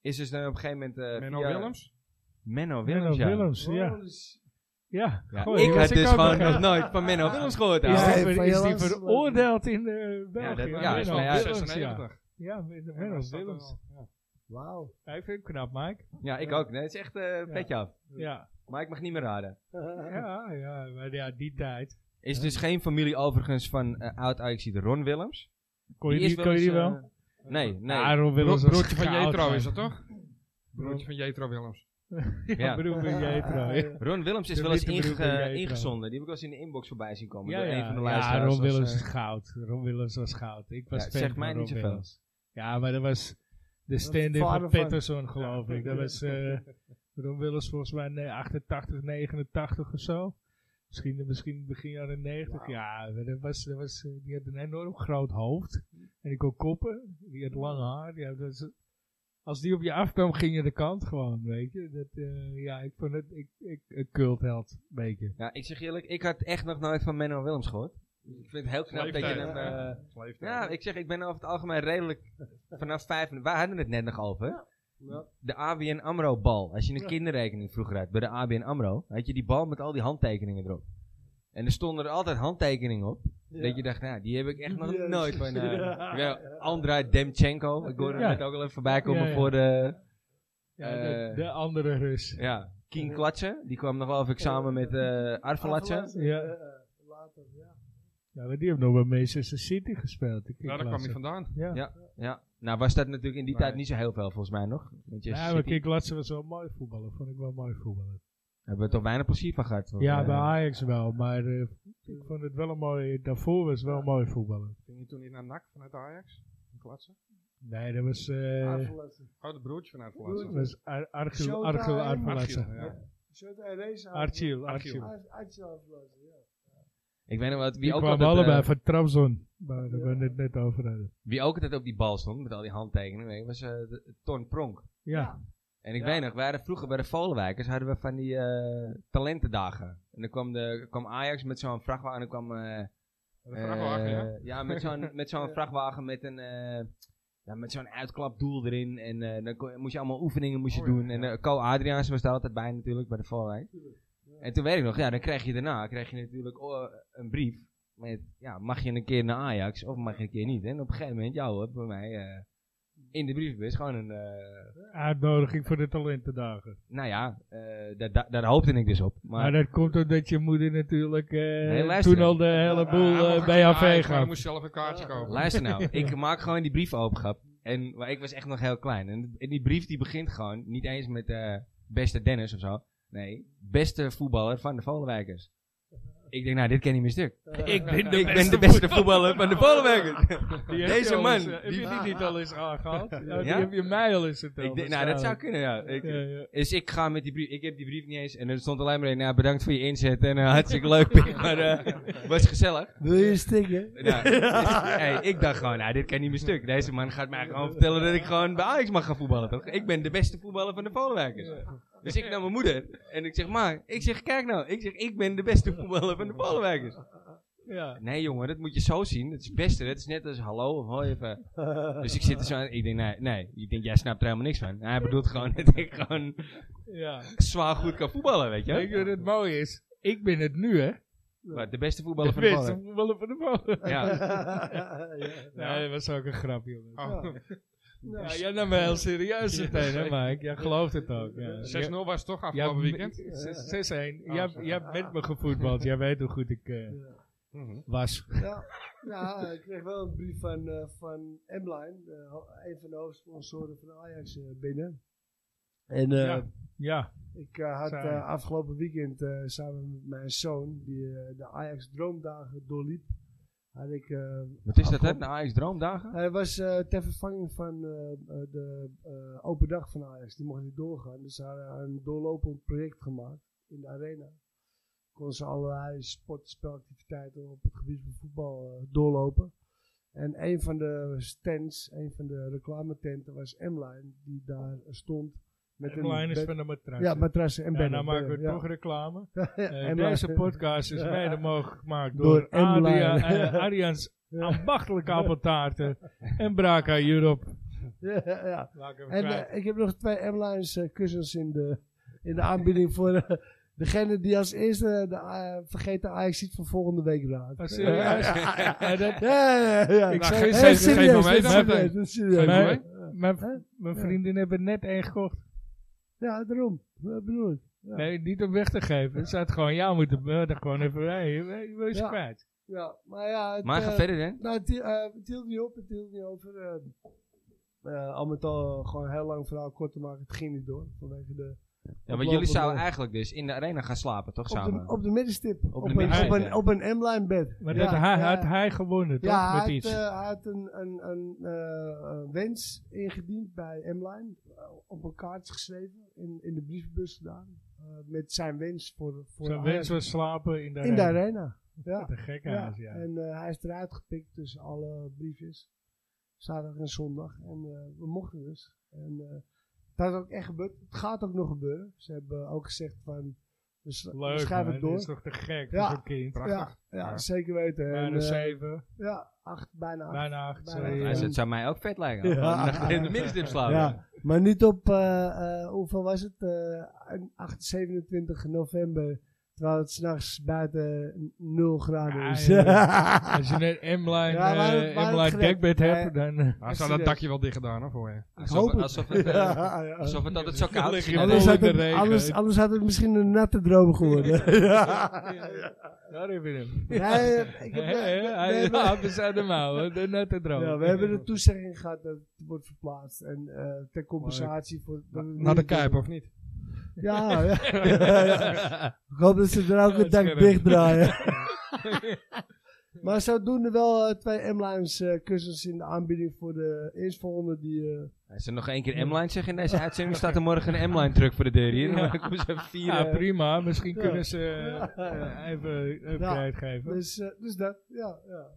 Speaker 1: Is dus dan op een gegeven moment... eh,
Speaker 4: Menno
Speaker 1: via-
Speaker 4: Willems?
Speaker 1: Menno Willems,
Speaker 3: Menno
Speaker 1: ja.
Speaker 3: Willems, ja.
Speaker 2: oh, shit.
Speaker 3: ja.
Speaker 1: Ja,
Speaker 3: goh, die
Speaker 1: ik had
Speaker 3: was
Speaker 1: dus
Speaker 3: ook eh,
Speaker 1: gewoon
Speaker 3: nog-
Speaker 1: nog nooit van Menno Willems gehoord.
Speaker 3: Is
Speaker 1: ouwe.
Speaker 2: Ja,
Speaker 3: die
Speaker 2: van
Speaker 3: ver- is die
Speaker 2: Jolans-
Speaker 3: veroordeeld in eh,
Speaker 1: dat-
Speaker 3: België? Menno
Speaker 1: ja, is mij uit.
Speaker 3: Willems, ja.
Speaker 4: 96.
Speaker 3: Ja, Menno Willems.
Speaker 4: Ja, dat
Speaker 3: Willems.
Speaker 4: staat er wel.
Speaker 2: Wauw.
Speaker 3: Hij vindt hem knap, Mike.
Speaker 1: Ja, ik
Speaker 3: Ja.
Speaker 1: ook. Nee, het is echt eh petje af.
Speaker 3: Ja,
Speaker 1: Maar ik mag niet meer raden.
Speaker 3: ja, ja, maar ja, die tijd.
Speaker 1: Is dus geen familie overigens van eh oud ajaxide Ron Willems.
Speaker 3: Kon je
Speaker 1: is
Speaker 3: die, kon je die
Speaker 1: eens,
Speaker 3: wel?
Speaker 1: eh, nee, nee.
Speaker 3: Ah, Ron Willems
Speaker 4: Bro-
Speaker 3: was
Speaker 4: broertje van
Speaker 3: goud,
Speaker 4: Jetro
Speaker 3: man.
Speaker 4: is dat toch? Broertje van Jetro Willems.
Speaker 1: Ja.
Speaker 3: Ja, broer van Jetro. ja.
Speaker 1: Ron Willems is
Speaker 3: De
Speaker 1: wel eens
Speaker 3: witte
Speaker 1: inge-
Speaker 3: broek ben jij
Speaker 1: ingezonden. Die heb ik wel eens in de inbox voorbij zien komen.
Speaker 3: Ja,
Speaker 1: door
Speaker 3: ja,
Speaker 1: een van de
Speaker 3: ja
Speaker 1: luisteraars. als,
Speaker 3: Ron Willems
Speaker 1: eh,
Speaker 3: is goud. Ron Willems was goud. Ik was
Speaker 1: Ja, het
Speaker 3: fan
Speaker 1: zegt
Speaker 3: van
Speaker 1: mij niet
Speaker 3: Ron
Speaker 1: zoveel.
Speaker 3: Willems. Ja, maar dat was de stand-in
Speaker 2: vader
Speaker 3: van
Speaker 2: van-
Speaker 3: Patterson, geloof ik. Dat was eh Ron Willems volgens mij nee, 88, 89 of zo. Misschien, misschien begin jaren 90. Ja, maar dat was, dat was, eh, die had een enorm groot hoofd. En die kon koppen. Die had lang haar. Die had, dat was- als die op je afkwam, ging je de kant gewoon, weet je. Dat, eh, ja, ik vond het ik, ik, een cultheld, een beetje.
Speaker 1: ja, ik zeg eerlijk, ik had echt nog nooit van Menno Willems gehoord. Ik vind het heel knap dat je
Speaker 4: Leeftijd,
Speaker 1: hem...
Speaker 4: hè?
Speaker 1: eh,
Speaker 4: Leeftijd.
Speaker 1: ja, ik zeg, ik ben over het algemeen redelijk vanaf vijf... We hadden het net nog over.
Speaker 2: Ja.
Speaker 1: De ABN AMRO-bal. Als je een kinderrekening vroeger had bij de ABN AMRO, had je die bal met al die handtekeningen erop. En er stonden er altijd handtekeningen op. Dat je dacht, nou, die heb ik echt nog
Speaker 2: Yes.
Speaker 1: nooit van... eh
Speaker 2: Ja.
Speaker 1: ja, Andrei Demchenko. Ik hoorde
Speaker 3: Ja.
Speaker 1: net ook al even voorbij komen
Speaker 3: Ja, ja.
Speaker 1: voor de...
Speaker 3: Ja, de,
Speaker 1: Eh,
Speaker 3: de andere Rus.
Speaker 1: Ja, Kien Klatsen. Die kwam nog wel even samen met eh Arvelatsen.
Speaker 3: Ja.
Speaker 2: Eh, eh, Later, ja.
Speaker 3: Ja, maar die hebben nog bij Manchester City gespeeld. Ik
Speaker 4: Nou, daar kwam hij vandaan.
Speaker 3: Ja,
Speaker 1: Ja, Ja, nou was dat natuurlijk in die
Speaker 4: Nee.
Speaker 1: tijd niet zo heel veel volgens mij nog. Want je
Speaker 3: ja
Speaker 1: City-
Speaker 3: maar Kik Latsen was wel mooi voetballer. Vond ik wel mooi voetballer.
Speaker 1: hebben we toch weinig plezier van gehad. volgens
Speaker 3: Ja,
Speaker 1: mij.
Speaker 3: bij Ajax wel. Maar eh, ik vond het wel een mooi... Daarvoor was het wel mooi voetballer.
Speaker 4: Ging je toen niet naar NAC vanuit Ajax? Een Klatsen?
Speaker 3: Nee, dat was...
Speaker 2: Ah,
Speaker 3: eh
Speaker 2: Afgelassen.
Speaker 4: Oh, de broertje vanuit
Speaker 3: dat
Speaker 4: Klatsen.
Speaker 3: was Ar- Argel
Speaker 2: Shota
Speaker 3: Argel
Speaker 2: en
Speaker 4: Archiel,
Speaker 3: Arvelatsen.
Speaker 4: ja.
Speaker 2: Shot en race
Speaker 3: Archiel,
Speaker 4: Archiel.
Speaker 3: Archiel.
Speaker 2: afgelassen, ja.
Speaker 1: Ik weet nog wat,
Speaker 3: Die
Speaker 1: wie ook,
Speaker 3: kwamen
Speaker 1: altijd,
Speaker 3: allebei
Speaker 1: eh,
Speaker 3: van Trabzon. Waar
Speaker 2: Ja.
Speaker 3: we het net over hadden.
Speaker 1: wie ook altijd op die bal stond met al die handtekeningen, weet je, was eh, de- Ton Pronk.
Speaker 3: Ja.
Speaker 1: En ik
Speaker 4: Ja.
Speaker 1: weet nog, wij hadden vroeger bij de Volenwijkers hadden we van die eh, talentendagen. En dan kwam, de, kwam Ajax met zo'n vrachtwagen en dan kwam... eh,
Speaker 4: De vrachtwagen, ja.
Speaker 1: Eh, ja, met zo'n met zo'n
Speaker 2: Ja.
Speaker 1: vrachtwagen met een eh, ja, met zo'n uitklapdoel erin. En eh, dan kon- moest je allemaal oefeningen moest je
Speaker 4: Oh ja,
Speaker 1: doen. En
Speaker 4: ja.
Speaker 1: eh, Co Adriaans was daar altijd bij natuurlijk, bij de Valwijk.
Speaker 2: Ja.
Speaker 1: En toen weet ik nog, ja, dan krijg je daarna krijg je natuurlijk oh, een brief met, ja, mag je een keer naar Ajax of mag je een keer niet. En op een gegeven moment, jou hebt bij mij eh, in de brievenbus gewoon een, eh,
Speaker 3: Uitnodiging voor de talentendagen.
Speaker 1: nou ja, eh, daar- daar- daar hoopte ik dus op.
Speaker 3: Maar,
Speaker 1: Maar
Speaker 3: dat komt omdat je moeder natuurlijk eh,
Speaker 1: luister.
Speaker 3: toen al de hele boel
Speaker 4: Ja, hij
Speaker 3: eh,
Speaker 4: ah, mocht
Speaker 3: bij
Speaker 4: naar
Speaker 3: AV
Speaker 4: Ajax, maar Hij
Speaker 3: gaat.
Speaker 4: moest zelf een kaartje kopen.
Speaker 1: Luister nou, ik maak gewoon die brief open, grap. En, maar ik was echt nog heel klein. En, en die brief die begint gewoon niet eens met eh, beste Dennis of zo. Nee, beste voetballer van de Volenwijkers. Ik denk, nou, dit ken niet meer stuk. Ik ben de, ik ben de beste voetballer van de Volenwijkers. Deze man,
Speaker 3: heb
Speaker 1: die-
Speaker 3: je die niet al eens aangehaald? ja? Die
Speaker 1: Ja?
Speaker 3: heb je mij al eens verteld.
Speaker 1: Ik denk, nou, dat zou
Speaker 3: waarschijnlijk.
Speaker 1: kunnen, ja. Ik,
Speaker 3: Ja, ja.
Speaker 1: Dus ik ga met die brief. Ik heb die brief niet eens. En er stond alleen maar in, nou, bedankt voor je inzet. En eh, hartstikke leuk, pik. Maar eh, was gezellig.
Speaker 2: Wil je stikken?
Speaker 1: Nou, hey, ik dacht gewoon, nou, dit kan niet meer stuk. Deze man gaat mij gewoon vertellen dat ik gewoon bij Ajax mag gaan voetballen. Toch? Ik ben de beste voetballer van de Polenwijkers. Dus ik naar mijn moeder en ik zeg, maar, ik zeg, kijk nou, ik zeg, ik ben de beste voetballer van de Polenwijkers.
Speaker 3: Ja.
Speaker 1: Nee jongen, dat moet je zo zien. Dat is het beste. Dat is net als hallo of hoi even. Dus ik zit er zo aan. Ik denk, nee, nee. Ik denk, jij snapt er helemaal niks van. Hij bedoelt gewoon dat ik gewoon
Speaker 3: ja.
Speaker 1: zwaar goed kan voetballen, weet
Speaker 3: Weet je
Speaker 1: je.
Speaker 3: wat het mooie is? Ik ben het nu, hè?
Speaker 1: Maar de beste voetballer
Speaker 3: De
Speaker 1: van de
Speaker 3: beste
Speaker 1: Polen.
Speaker 3: voetballer van de molen.
Speaker 1: Ja,
Speaker 3: Nee, dat was ook een grap, jongen.
Speaker 4: Oh,
Speaker 3: Ja, jij nam me heel serieus meteen, hè, Mike? Jij gelooft het ook. Ja.
Speaker 4: 6-0 was het toch
Speaker 3: Ja,
Speaker 4: afgelopen weekend?
Speaker 3: m- eh, zes- 6-1.
Speaker 4: Oh,
Speaker 3: Jij
Speaker 4: zo.
Speaker 3: jij bent me gevoetbald. Jij weet hoe goed ik eh,
Speaker 4: Mhm.
Speaker 3: was.
Speaker 2: Ja, ja, Nou, ik kreeg wel een brief van, eh van M-Line, eh, ho- een van de hoofdsponsoren van Ajax eh, binnen. En eh,
Speaker 3: Ja. Ja.
Speaker 2: ik eh, had
Speaker 3: Saai.
Speaker 2: eh, afgelopen weekend eh, samen met mijn zoon, die eh, de Ajax Droomdagen doorliep, had ik... eh,
Speaker 1: wat is dat, hè?
Speaker 2: afgelopen-
Speaker 1: De Ajax Droomdagen?
Speaker 2: Hij was eh, ter vervanging van eh, eh, de eh, open dag van Ajax. Die mocht niet doorgaan. Dus ze hadden een doorlopend project gemaakt in de arena. Konden ze allerlei sport- spelactiviteiten op het gebied van voetbal eh, doorlopen. En een van de stands, een van de reclametenten was M-Line. Die daar stond met
Speaker 3: De lijn is
Speaker 2: bed-
Speaker 3: van de matras.
Speaker 2: Ja, matrassen en
Speaker 3: Ja,
Speaker 2: bedden.
Speaker 3: nou maken we
Speaker 2: bedden,
Speaker 3: toch reclame.
Speaker 2: ja. Ja,
Speaker 3: Eh,
Speaker 2: M-Line.
Speaker 3: deze podcast is mede mogelijk gemaakt door,
Speaker 2: Door
Speaker 3: door
Speaker 2: M-Line.
Speaker 3: Arians ambachtelijke appeltaarten en Braka Europe.
Speaker 2: Ja, ja.
Speaker 3: Laat ik hem
Speaker 2: En
Speaker 3: kwijt.
Speaker 2: eh, ik heb nog twee Airlines eh, kussens in de, in de aanbieding voor eh, degene die als eerste de eh, vergeten Ajax ziet van volgende week raakt.
Speaker 3: Maar Ah, serieus? Ja, dat-
Speaker 2: Ja, ja, ja.
Speaker 3: Ik
Speaker 4: Nou,
Speaker 3: zou
Speaker 4: ge-
Speaker 2: Hey,
Speaker 3: je
Speaker 4: geef-
Speaker 3: zeggen,
Speaker 4: geef
Speaker 2: serieus,
Speaker 4: hem
Speaker 2: dat
Speaker 4: mee
Speaker 2: is
Speaker 4: dan.
Speaker 2: serieus, dat is serieus.
Speaker 3: Geef hem
Speaker 2: Ja,
Speaker 3: mijn, mijn vriendin hebben net één gekocht.
Speaker 2: Ja, daarom. Dat bedoel ik. Ja.
Speaker 3: Nee, niet om weg te geven. Ze had gewoon jou moeten bellen. Gewoon even, hey, wil je ze
Speaker 2: Ja.
Speaker 3: kwijt?
Speaker 2: Ja, maar ja, het,
Speaker 1: Maar
Speaker 2: eh,
Speaker 1: ga verder, hè?
Speaker 2: Nou, het, eh, het hield niet op, het hield niet over. eh eh, al met al eh, gewoon een heel lang verhaal kort te maken. Het ging niet door vanwege de
Speaker 1: Ja, want
Speaker 2: Oplopende-
Speaker 1: jullie zouden eigenlijk dus in de arena gaan slapen, toch
Speaker 2: op de,
Speaker 1: samen?
Speaker 2: op de middenstip. Op,
Speaker 1: de
Speaker 2: een,
Speaker 1: middenstip,
Speaker 2: op, een,
Speaker 1: ja.
Speaker 2: op een M-line bed.
Speaker 3: Maar
Speaker 2: Ja,
Speaker 3: dat hij,
Speaker 2: ja.
Speaker 3: had hij gewonnen, toch?
Speaker 2: Ja, hij
Speaker 3: Met
Speaker 2: had,
Speaker 3: iets.
Speaker 2: eh, hij had een, een, een eh, eh, wens ingediend bij M-Line. eh, op een kaart geschreven, in, in de brievenbus gedaan. eh, met zijn wens voor, voor
Speaker 3: Zijn
Speaker 2: Ajax.
Speaker 3: wens was slapen in de
Speaker 2: in de
Speaker 3: arena.
Speaker 2: arena. Ja.
Speaker 3: Wat een gekke
Speaker 2: ja.
Speaker 3: huis, ja.
Speaker 2: En eh, hij is eruit gepikt tussen alle briefjes. Zaterdag en zondag. En eh, we mochten dus. En eh, dat is ook echt gebeurd. Het gaat ook nog gebeuren. Ze hebben ook gezegd van, we, s- we
Speaker 3: Leuk,
Speaker 2: schrijven
Speaker 3: man.
Speaker 2: het
Speaker 3: Dit is
Speaker 2: door.
Speaker 3: toch te gek
Speaker 2: Ja.
Speaker 3: voor zo'n kind.
Speaker 4: Prachtig.
Speaker 2: Ja, ja,
Speaker 4: Ja.
Speaker 2: zeker weten. En,
Speaker 3: Bijna
Speaker 2: eh,
Speaker 3: zeven,
Speaker 2: ja, acht, bijna acht.
Speaker 3: bijna acht.
Speaker 2: bijna
Speaker 3: sorry.
Speaker 1: Ja, dus het zou mij ook vet lijken.
Speaker 2: Ja.
Speaker 1: Gewoon nacht in de middenstip slapen.
Speaker 2: Ja, maar niet op, eh, eh, hoeveel was het? Eh, een 8, 27 november, terwijl het s'nachts buiten 0 graden
Speaker 3: Ja,
Speaker 2: is.
Speaker 3: Ah, ja,
Speaker 2: Ja,
Speaker 3: Dus, eh, Als je net M-line,
Speaker 2: Ja, maar het-
Speaker 3: eh,
Speaker 2: maar het
Speaker 3: M-line
Speaker 2: gered.
Speaker 3: dekbed hebt,
Speaker 2: Ja.
Speaker 3: dan... eh,
Speaker 4: Hij zou dat dakje wel dicht gedaan hoor, voor je.
Speaker 1: Alsof,
Speaker 2: hoop het.
Speaker 1: alsof het, eh,
Speaker 2: ja.
Speaker 1: alsof het altijd zo koud is.
Speaker 3: Lig je
Speaker 2: Anders,
Speaker 3: vol
Speaker 2: had
Speaker 3: in de
Speaker 2: het,
Speaker 3: regen.
Speaker 2: anders, anders had het misschien een natte droom geworden. Ja.
Speaker 3: Daar heb je hem.
Speaker 2: Nee, ik heb,
Speaker 3: Hè, hè,
Speaker 2: we- we
Speaker 3: Hij
Speaker 2: hebben-
Speaker 3: haalt dus uit de mouwen, de nette droom.
Speaker 2: ja, we hebben de toezegging gehad dat het wordt verplaatst. En eh, ter compensatie voor... dat we
Speaker 4: Naar de
Speaker 2: niet-
Speaker 4: Kuip, of niet?
Speaker 2: Ja, ja. Ik hoop dat ze er ook een dak
Speaker 3: scherp.
Speaker 2: dichtdraaien. maar zodoende wel eh, twee M-Lines eh, kussens in de aanbieding voor de eerstvolgende die... eh,
Speaker 1: Als er nog één keer M-line zeggen in deze uitzending, staat er morgen een M-line truck voor de deur hier. Dan
Speaker 3: Ja.
Speaker 1: komen ze even vier.
Speaker 3: Ja,
Speaker 1: eh,
Speaker 3: prima. Misschien
Speaker 2: Ja.
Speaker 3: kunnen ze eh,
Speaker 2: Ja, ja.
Speaker 3: even een upgrade geven. Dus,
Speaker 2: dus, eh, dus dat, ja. ja.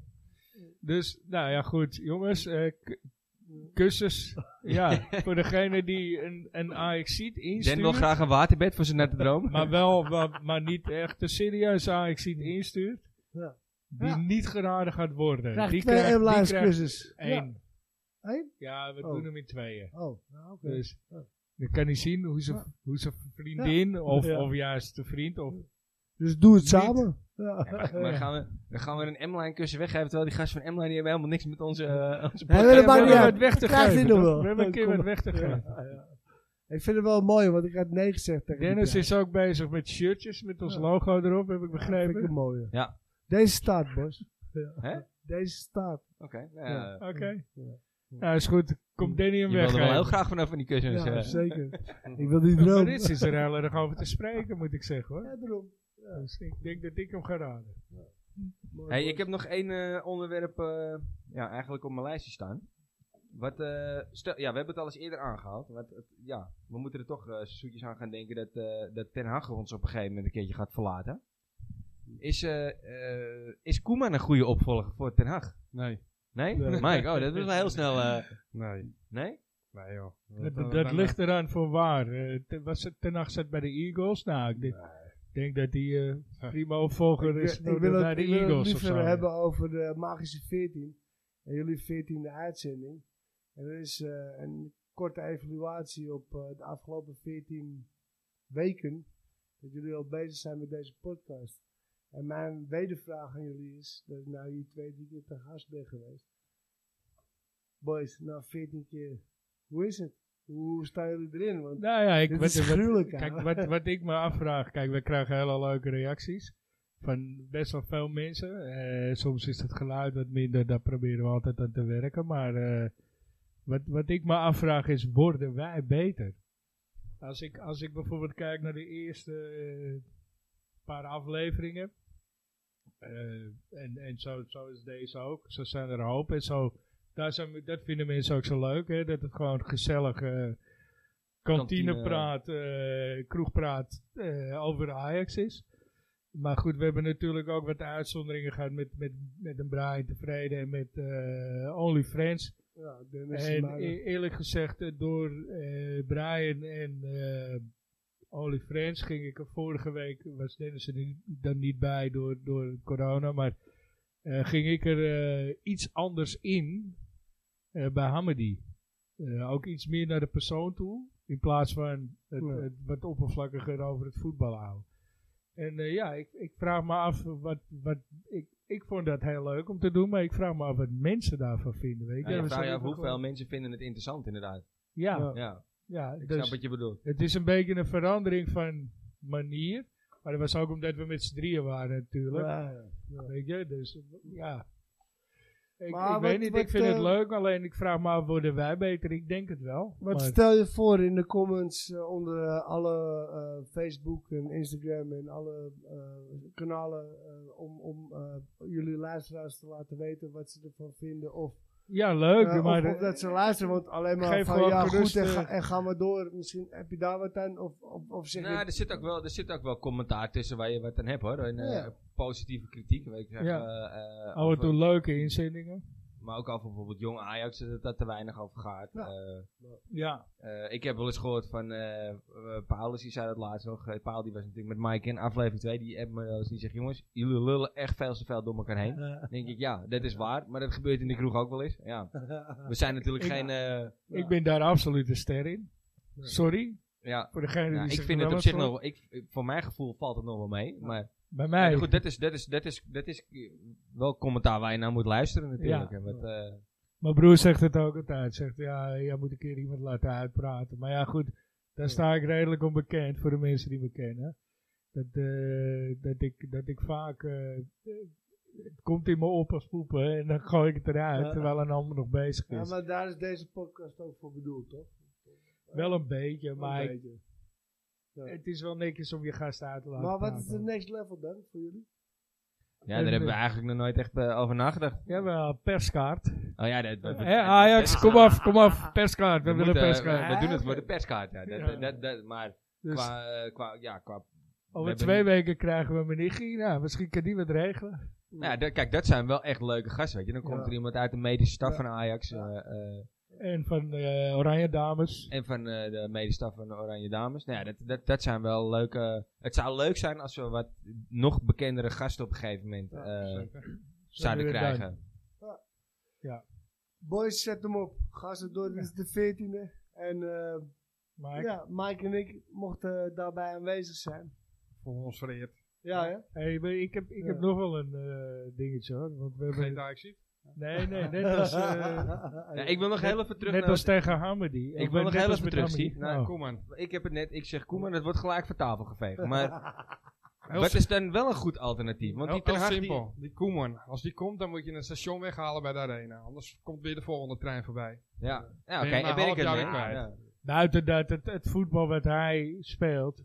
Speaker 3: nou ja, goed. Jongens, eh, k- kussens. Ja, voor degene die een, een AX ziet
Speaker 1: Dan wil
Speaker 3: instuurt.
Speaker 1: graag een waterbed voor zijn nette droom.
Speaker 3: Maar wel, wa- maar niet echt een serieuze AX ziet instuurt.
Speaker 2: Ja.
Speaker 3: Die
Speaker 2: Ja.
Speaker 3: niet geraden gaat worden.
Speaker 2: Krijg
Speaker 3: die
Speaker 2: twee
Speaker 3: krijgt- die
Speaker 2: M-Lines
Speaker 3: krijgt
Speaker 2: kussens. Ja.
Speaker 3: één.
Speaker 2: Eén?
Speaker 3: Ja, we
Speaker 2: Oh.
Speaker 3: doen hem in tweeën.
Speaker 2: Oh, nou, oké.
Speaker 3: Dus
Speaker 2: Ja.
Speaker 3: dan kan hij zien hoe zijn
Speaker 2: Ja.
Speaker 3: hoe zijn vriendin of,
Speaker 2: Ja.
Speaker 1: Eh,
Speaker 3: of juist de vriend of
Speaker 2: Dus doe het
Speaker 3: Niet.
Speaker 2: samen.
Speaker 1: Ja, maar, maar gaan we, dan gaan we een M-line kussen weggeven, terwijl die gasten van M-line die hebben helemaal niks met onze, eh, onze
Speaker 2: Hey, dat
Speaker 3: we
Speaker 2: maakt niet
Speaker 3: hebben
Speaker 2: uit.
Speaker 3: het weg te
Speaker 2: Ik krijg
Speaker 3: geven.
Speaker 2: dit nog
Speaker 3: toch?
Speaker 2: wel.
Speaker 3: We hebben een keer
Speaker 2: Kom
Speaker 3: wat
Speaker 2: maar.
Speaker 3: weg te geven.
Speaker 2: Ja, ja. Ik vind het wel mooi, want ik had nee gezegd tegen die
Speaker 3: Dennis
Speaker 2: prijs.
Speaker 3: is ook bezig met shirtjes met ons
Speaker 2: Ja.
Speaker 3: logo erop, heb ik
Speaker 2: Vind ik
Speaker 3: begrepen.
Speaker 2: een mooie.
Speaker 1: Ja.
Speaker 2: Deze staat, Bos.
Speaker 1: Hè? Oké,
Speaker 2: Deze staat.
Speaker 1: nou ja.
Speaker 3: Oké.
Speaker 2: Ja.
Speaker 3: Nou, is goed. Komt Danny hem
Speaker 1: Je wilde wel heel
Speaker 3: weg.
Speaker 1: graag vanaf van die
Speaker 3: Dus,
Speaker 1: kussens.
Speaker 2: ja,
Speaker 1: eh.
Speaker 2: zeker. ik wil die droom.
Speaker 3: Maar dit is er heel erg over te spreken, moet ik zeggen hoor.
Speaker 2: Nou. Ja, daarom. Ja.
Speaker 3: Dus ik denk dat ik hem ga raden.
Speaker 2: Mooi,
Speaker 1: Hey,
Speaker 2: Bos.
Speaker 1: ik heb nog één eh, onderwerp eh, ja, eigenlijk op mijn lijstje staan. Wat, eh, stel, ja, we hebben het al eens eerder aangehaald. Wat, het- ja, we moeten er toch eh zoetjes aan gaan denken dat, eh, dat Ten Hag ons op een gegeven moment een keertje gaat verlaten. Is, eh eh, is Koeman een goede opvolger voor Ten Hag?
Speaker 4: Nee,
Speaker 1: Nee?
Speaker 2: Nee.
Speaker 1: Mike, oh, dat was wel heel snel. eh,
Speaker 4: nee,
Speaker 1: nee?
Speaker 4: nee joh.
Speaker 3: Dat, dat,
Speaker 4: eh, dan,
Speaker 3: ligt eraan voor waar. Eh, te- was het, ten nacht zat bij de Eagles. Nou, ik denk, denk dat die eh prima opvolger
Speaker 2: Ik
Speaker 3: is
Speaker 2: wil-
Speaker 3: voor
Speaker 2: ik wil
Speaker 3: de-
Speaker 2: het,
Speaker 3: naar de
Speaker 2: ik wil het
Speaker 3: Eagles of
Speaker 2: liever
Speaker 3: zo.
Speaker 2: hebben over de magische 14. En jullie 14e uitzending. En er is eh, een korte evaluatie op eh, de afgelopen 14 weken. Dat jullie al bezig zijn met deze podcast. En mijn wedervraag aan jullie is, dat ik nou hier twee, drie keer te gast ben geweest. Boys, nou 14 keer, hoe is het? Hoe staan jullie erin? Want
Speaker 3: Nou ja, ik,
Speaker 2: Dit
Speaker 3: wat,
Speaker 2: is gruwelijk, hè?
Speaker 3: wat, kijk, wat, wat ik me afvraag. Kijk, we krijgen hele leuke reacties. Van best wel veel mensen. Eh, soms is het geluid wat minder. Daar proberen we altijd aan te werken. Maar eh, wat, wat ik me afvraag is, worden wij beter? Als ik, als ik bijvoorbeeld kijk naar de eerste eh, paar afleveringen. eh, en en zo, zo is deze ook. Zo zijn er een hoop. En zo, daar zijn, we- dat vinden mensen ook zo leuk. Hè? Dat het gewoon gezellig... eh kantinepraat, eh, kroegpraat eh, over Ajax is. Maar goed, we hebben natuurlijk ook wat uitzonderingen gehad met, met, met een Brian tevreden en met eh Only Friends.
Speaker 2: ja, Dennis
Speaker 3: En
Speaker 2: maar-
Speaker 3: e- eerlijk gezegd, eh, door eh, Brian en eh Only Friends ging ik er vorige week, was Dennis er niet- dan niet bij door, door corona, maar eh, ging ik er eh, iets anders in eh, bij Hamadi. Eh, ook iets meer naar de persoon toe, in plaats van het,
Speaker 2: Ja.
Speaker 3: het wat oppervlakkiger over het voetbal houden. En eh, ja, ik, ik vraag me af wat, wat ik, ik vond dat heel leuk om te doen, maar ik vraag me af wat mensen daarvan vinden. Weet
Speaker 1: Ja,
Speaker 3: je? Dat
Speaker 1: ik
Speaker 3: we
Speaker 1: vraag Nou, je af
Speaker 3: zo even
Speaker 1: hoeveel
Speaker 3: gewoon-
Speaker 1: mensen vinden het interessant inderdaad.
Speaker 3: Ja,
Speaker 1: Ja,
Speaker 3: ja,
Speaker 1: ik snap
Speaker 3: dus
Speaker 1: wat je bedoelt.
Speaker 3: het is een beetje een verandering van manier. Maar dat was ook omdat we met z'n drieën waren natuurlijk.
Speaker 2: Ja, ja.
Speaker 3: Weet je, dus ja. Ik,
Speaker 2: Maar
Speaker 3: ik
Speaker 2: wat-
Speaker 3: weet niet,
Speaker 2: wat,
Speaker 3: ik vind het
Speaker 2: eh,
Speaker 3: leuk, alleen ik vraag me af, worden wij beter? Ik denk het wel.
Speaker 2: Wat
Speaker 3: maar-
Speaker 2: stel je voor in de comments eh, onder eh, alle eh, Facebook en Instagram en alle eh, kanalen eh, om, om eh, jullie luisteraars te laten weten wat ze ervan vinden. Of,
Speaker 3: ja, leuk,
Speaker 2: eh, of-
Speaker 3: maar...
Speaker 2: of dat ze luisteren, want alleen maar
Speaker 3: Geef
Speaker 2: van
Speaker 3: gewoon
Speaker 2: ja
Speaker 3: gerust,
Speaker 2: goed en, ga,
Speaker 3: eh,
Speaker 2: en ga maar door. Misschien heb je daar wat aan of, of, of zeg
Speaker 1: Nou,
Speaker 2: je...
Speaker 1: er zit, ook wel, er zit ook wel commentaar tussen waar je wat aan hebt hoor. En, eh,
Speaker 2: Ja.
Speaker 1: Positieve kritiek. Weet ik, zeg,
Speaker 3: Ja.
Speaker 1: eh, eh,
Speaker 3: Af en
Speaker 1: over-
Speaker 3: toe leuke inzendingen.
Speaker 1: Maar ook over bijvoorbeeld jong Ajax, dat dat te weinig over gaat.
Speaker 2: Ja.
Speaker 1: Eh,
Speaker 3: Ja,
Speaker 1: eh, ik heb wel eens gehoord van eh eh, Paulus, die zei dat laatst nog. Eh, Paul die was natuurlijk met Mike in aflevering 2. Die app me wel eens, die zegt, jongens, jullie lullen echt veel te veel door elkaar heen.
Speaker 2: Ja.
Speaker 1: Dan denk ik, ja, dat is waar. Maar dat gebeurt in de kroeg ook wel eens. Ja. We zijn natuurlijk
Speaker 3: Ik-
Speaker 1: geen... eh,
Speaker 3: ik ben daar absoluut een ster in. Sorry,
Speaker 1: ja,
Speaker 3: voor degene
Speaker 1: nou,
Speaker 3: die
Speaker 1: ik
Speaker 3: zich
Speaker 1: vind het
Speaker 3: er
Speaker 1: op
Speaker 3: wel
Speaker 1: zich
Speaker 3: aan
Speaker 1: nog... wel- Ik, ik- voor mijn gevoel valt het nog wel mee. Maar
Speaker 3: stoort. Bij
Speaker 1: Ja,
Speaker 3: mij.
Speaker 1: maar goed, dat is, dat, is, dat, is, dat is eh, wel commentaar waar je naar moet luisteren natuurlijk.
Speaker 3: Ja.
Speaker 1: En wat, eh,
Speaker 3: Mijn broer zegt het ook altijd. Zegt, ja, jij moet een keer iemand laten uitpraten. Maar ja, goed, daar sta ik redelijk onbekend voor de mensen die me kennen. Dat, eh, dat, ik, dat ik vaak... eh, het komt in me op als poepen en dan gooi ik het eruit,
Speaker 2: Ja.
Speaker 3: terwijl een ander nog bezig
Speaker 2: Ja,
Speaker 3: is.
Speaker 2: maar daar is deze podcast ook voor bedoeld, toch?
Speaker 3: wel een beetje, maar
Speaker 2: Een
Speaker 3: ik-
Speaker 2: beetje. beetje.
Speaker 3: het is wel netjes om je gast uit te laten
Speaker 2: Maar wat is de
Speaker 3: praten.
Speaker 2: next level dan voor jullie?
Speaker 1: ja,
Speaker 3: En,
Speaker 1: daar hebben we
Speaker 3: eh,
Speaker 1: eigenlijk nog nooit echt eh, over nagedacht.
Speaker 3: Jawel, perskaart.
Speaker 1: Oh ja, dat, dat-
Speaker 3: Hé, Ajax, kom af, kom af, perskaart. We,
Speaker 1: We,
Speaker 3: willen
Speaker 1: moeten, eh,
Speaker 3: perskaart.
Speaker 1: we, we doen het voor de perskaart. Ja. Dat,
Speaker 3: Ja.
Speaker 1: Dat, dat, maar
Speaker 3: Dus
Speaker 1: qua, eh, qua, ja, qua
Speaker 3: over
Speaker 1: hebben
Speaker 3: twee
Speaker 1: niet-
Speaker 3: weken krijgen we Menichi. Nou, misschien kan die wat regelen.
Speaker 1: Nou ja, dat- kijk, dat zijn wel echt leuke gasten, weet je. Dan komt
Speaker 2: Ja.
Speaker 1: er iemand uit de medische staf
Speaker 2: Ja.
Speaker 1: van Ajax. eh, eh,
Speaker 3: En van eh, Oranje Dames.
Speaker 1: en van eh, de medische staf van de Oranje Dames. Nou ja, dat, dat, dat zijn wel leuke... Het zou leuk zijn als we wat nog bekendere gasten op een gegeven moment
Speaker 2: Ja,
Speaker 1: eh,
Speaker 4: zeker.
Speaker 1: zouden
Speaker 3: Zullen we
Speaker 1: krijgen.
Speaker 2: Boys, zet hem op. Ga ze door, dit is de 14e. En eh,
Speaker 3: Maar ik-
Speaker 2: Ja, Mike en ik mochten daarbij aanwezig zijn.
Speaker 4: Voor ons vereerd.
Speaker 2: Ja, hè?
Speaker 3: Hey, maar ik heb, ik heb
Speaker 2: Ja.
Speaker 3: nog wel een eh, dingetje hoor. Want we hebben,
Speaker 4: Geen Ajaxie?
Speaker 3: nee, nee, net
Speaker 2: Dus,
Speaker 3: als, eh,
Speaker 1: Ja, ik wil nog heel even terug
Speaker 3: net
Speaker 1: naar...
Speaker 3: als tegen Hamadi.
Speaker 1: Ik wil nog heel even terug,
Speaker 3: zien.
Speaker 1: Steve. Nou,
Speaker 4: Koeman.
Speaker 1: Ik heb het net, ik zeg Koeman, het wordt gelijk van tafel geveegd. Maar
Speaker 4: Heel
Speaker 1: dat is dan wel een goed alternatief. Want die
Speaker 4: Heel,
Speaker 1: Ten
Speaker 4: heel
Speaker 1: Hag, die-
Speaker 4: simpel. Die, Koeman. Als die komt, dan moet je een station weghalen bij de arena. Anders komt weer de volgende trein voorbij.
Speaker 1: Ja, ja
Speaker 4: Ben
Speaker 1: oké,
Speaker 4: je maar
Speaker 1: ik ben ik
Speaker 4: half jaar
Speaker 1: het
Speaker 4: weer kwijt.
Speaker 1: mee. Ja.
Speaker 3: Buiten dat, het, het voetbal wat hij speelt,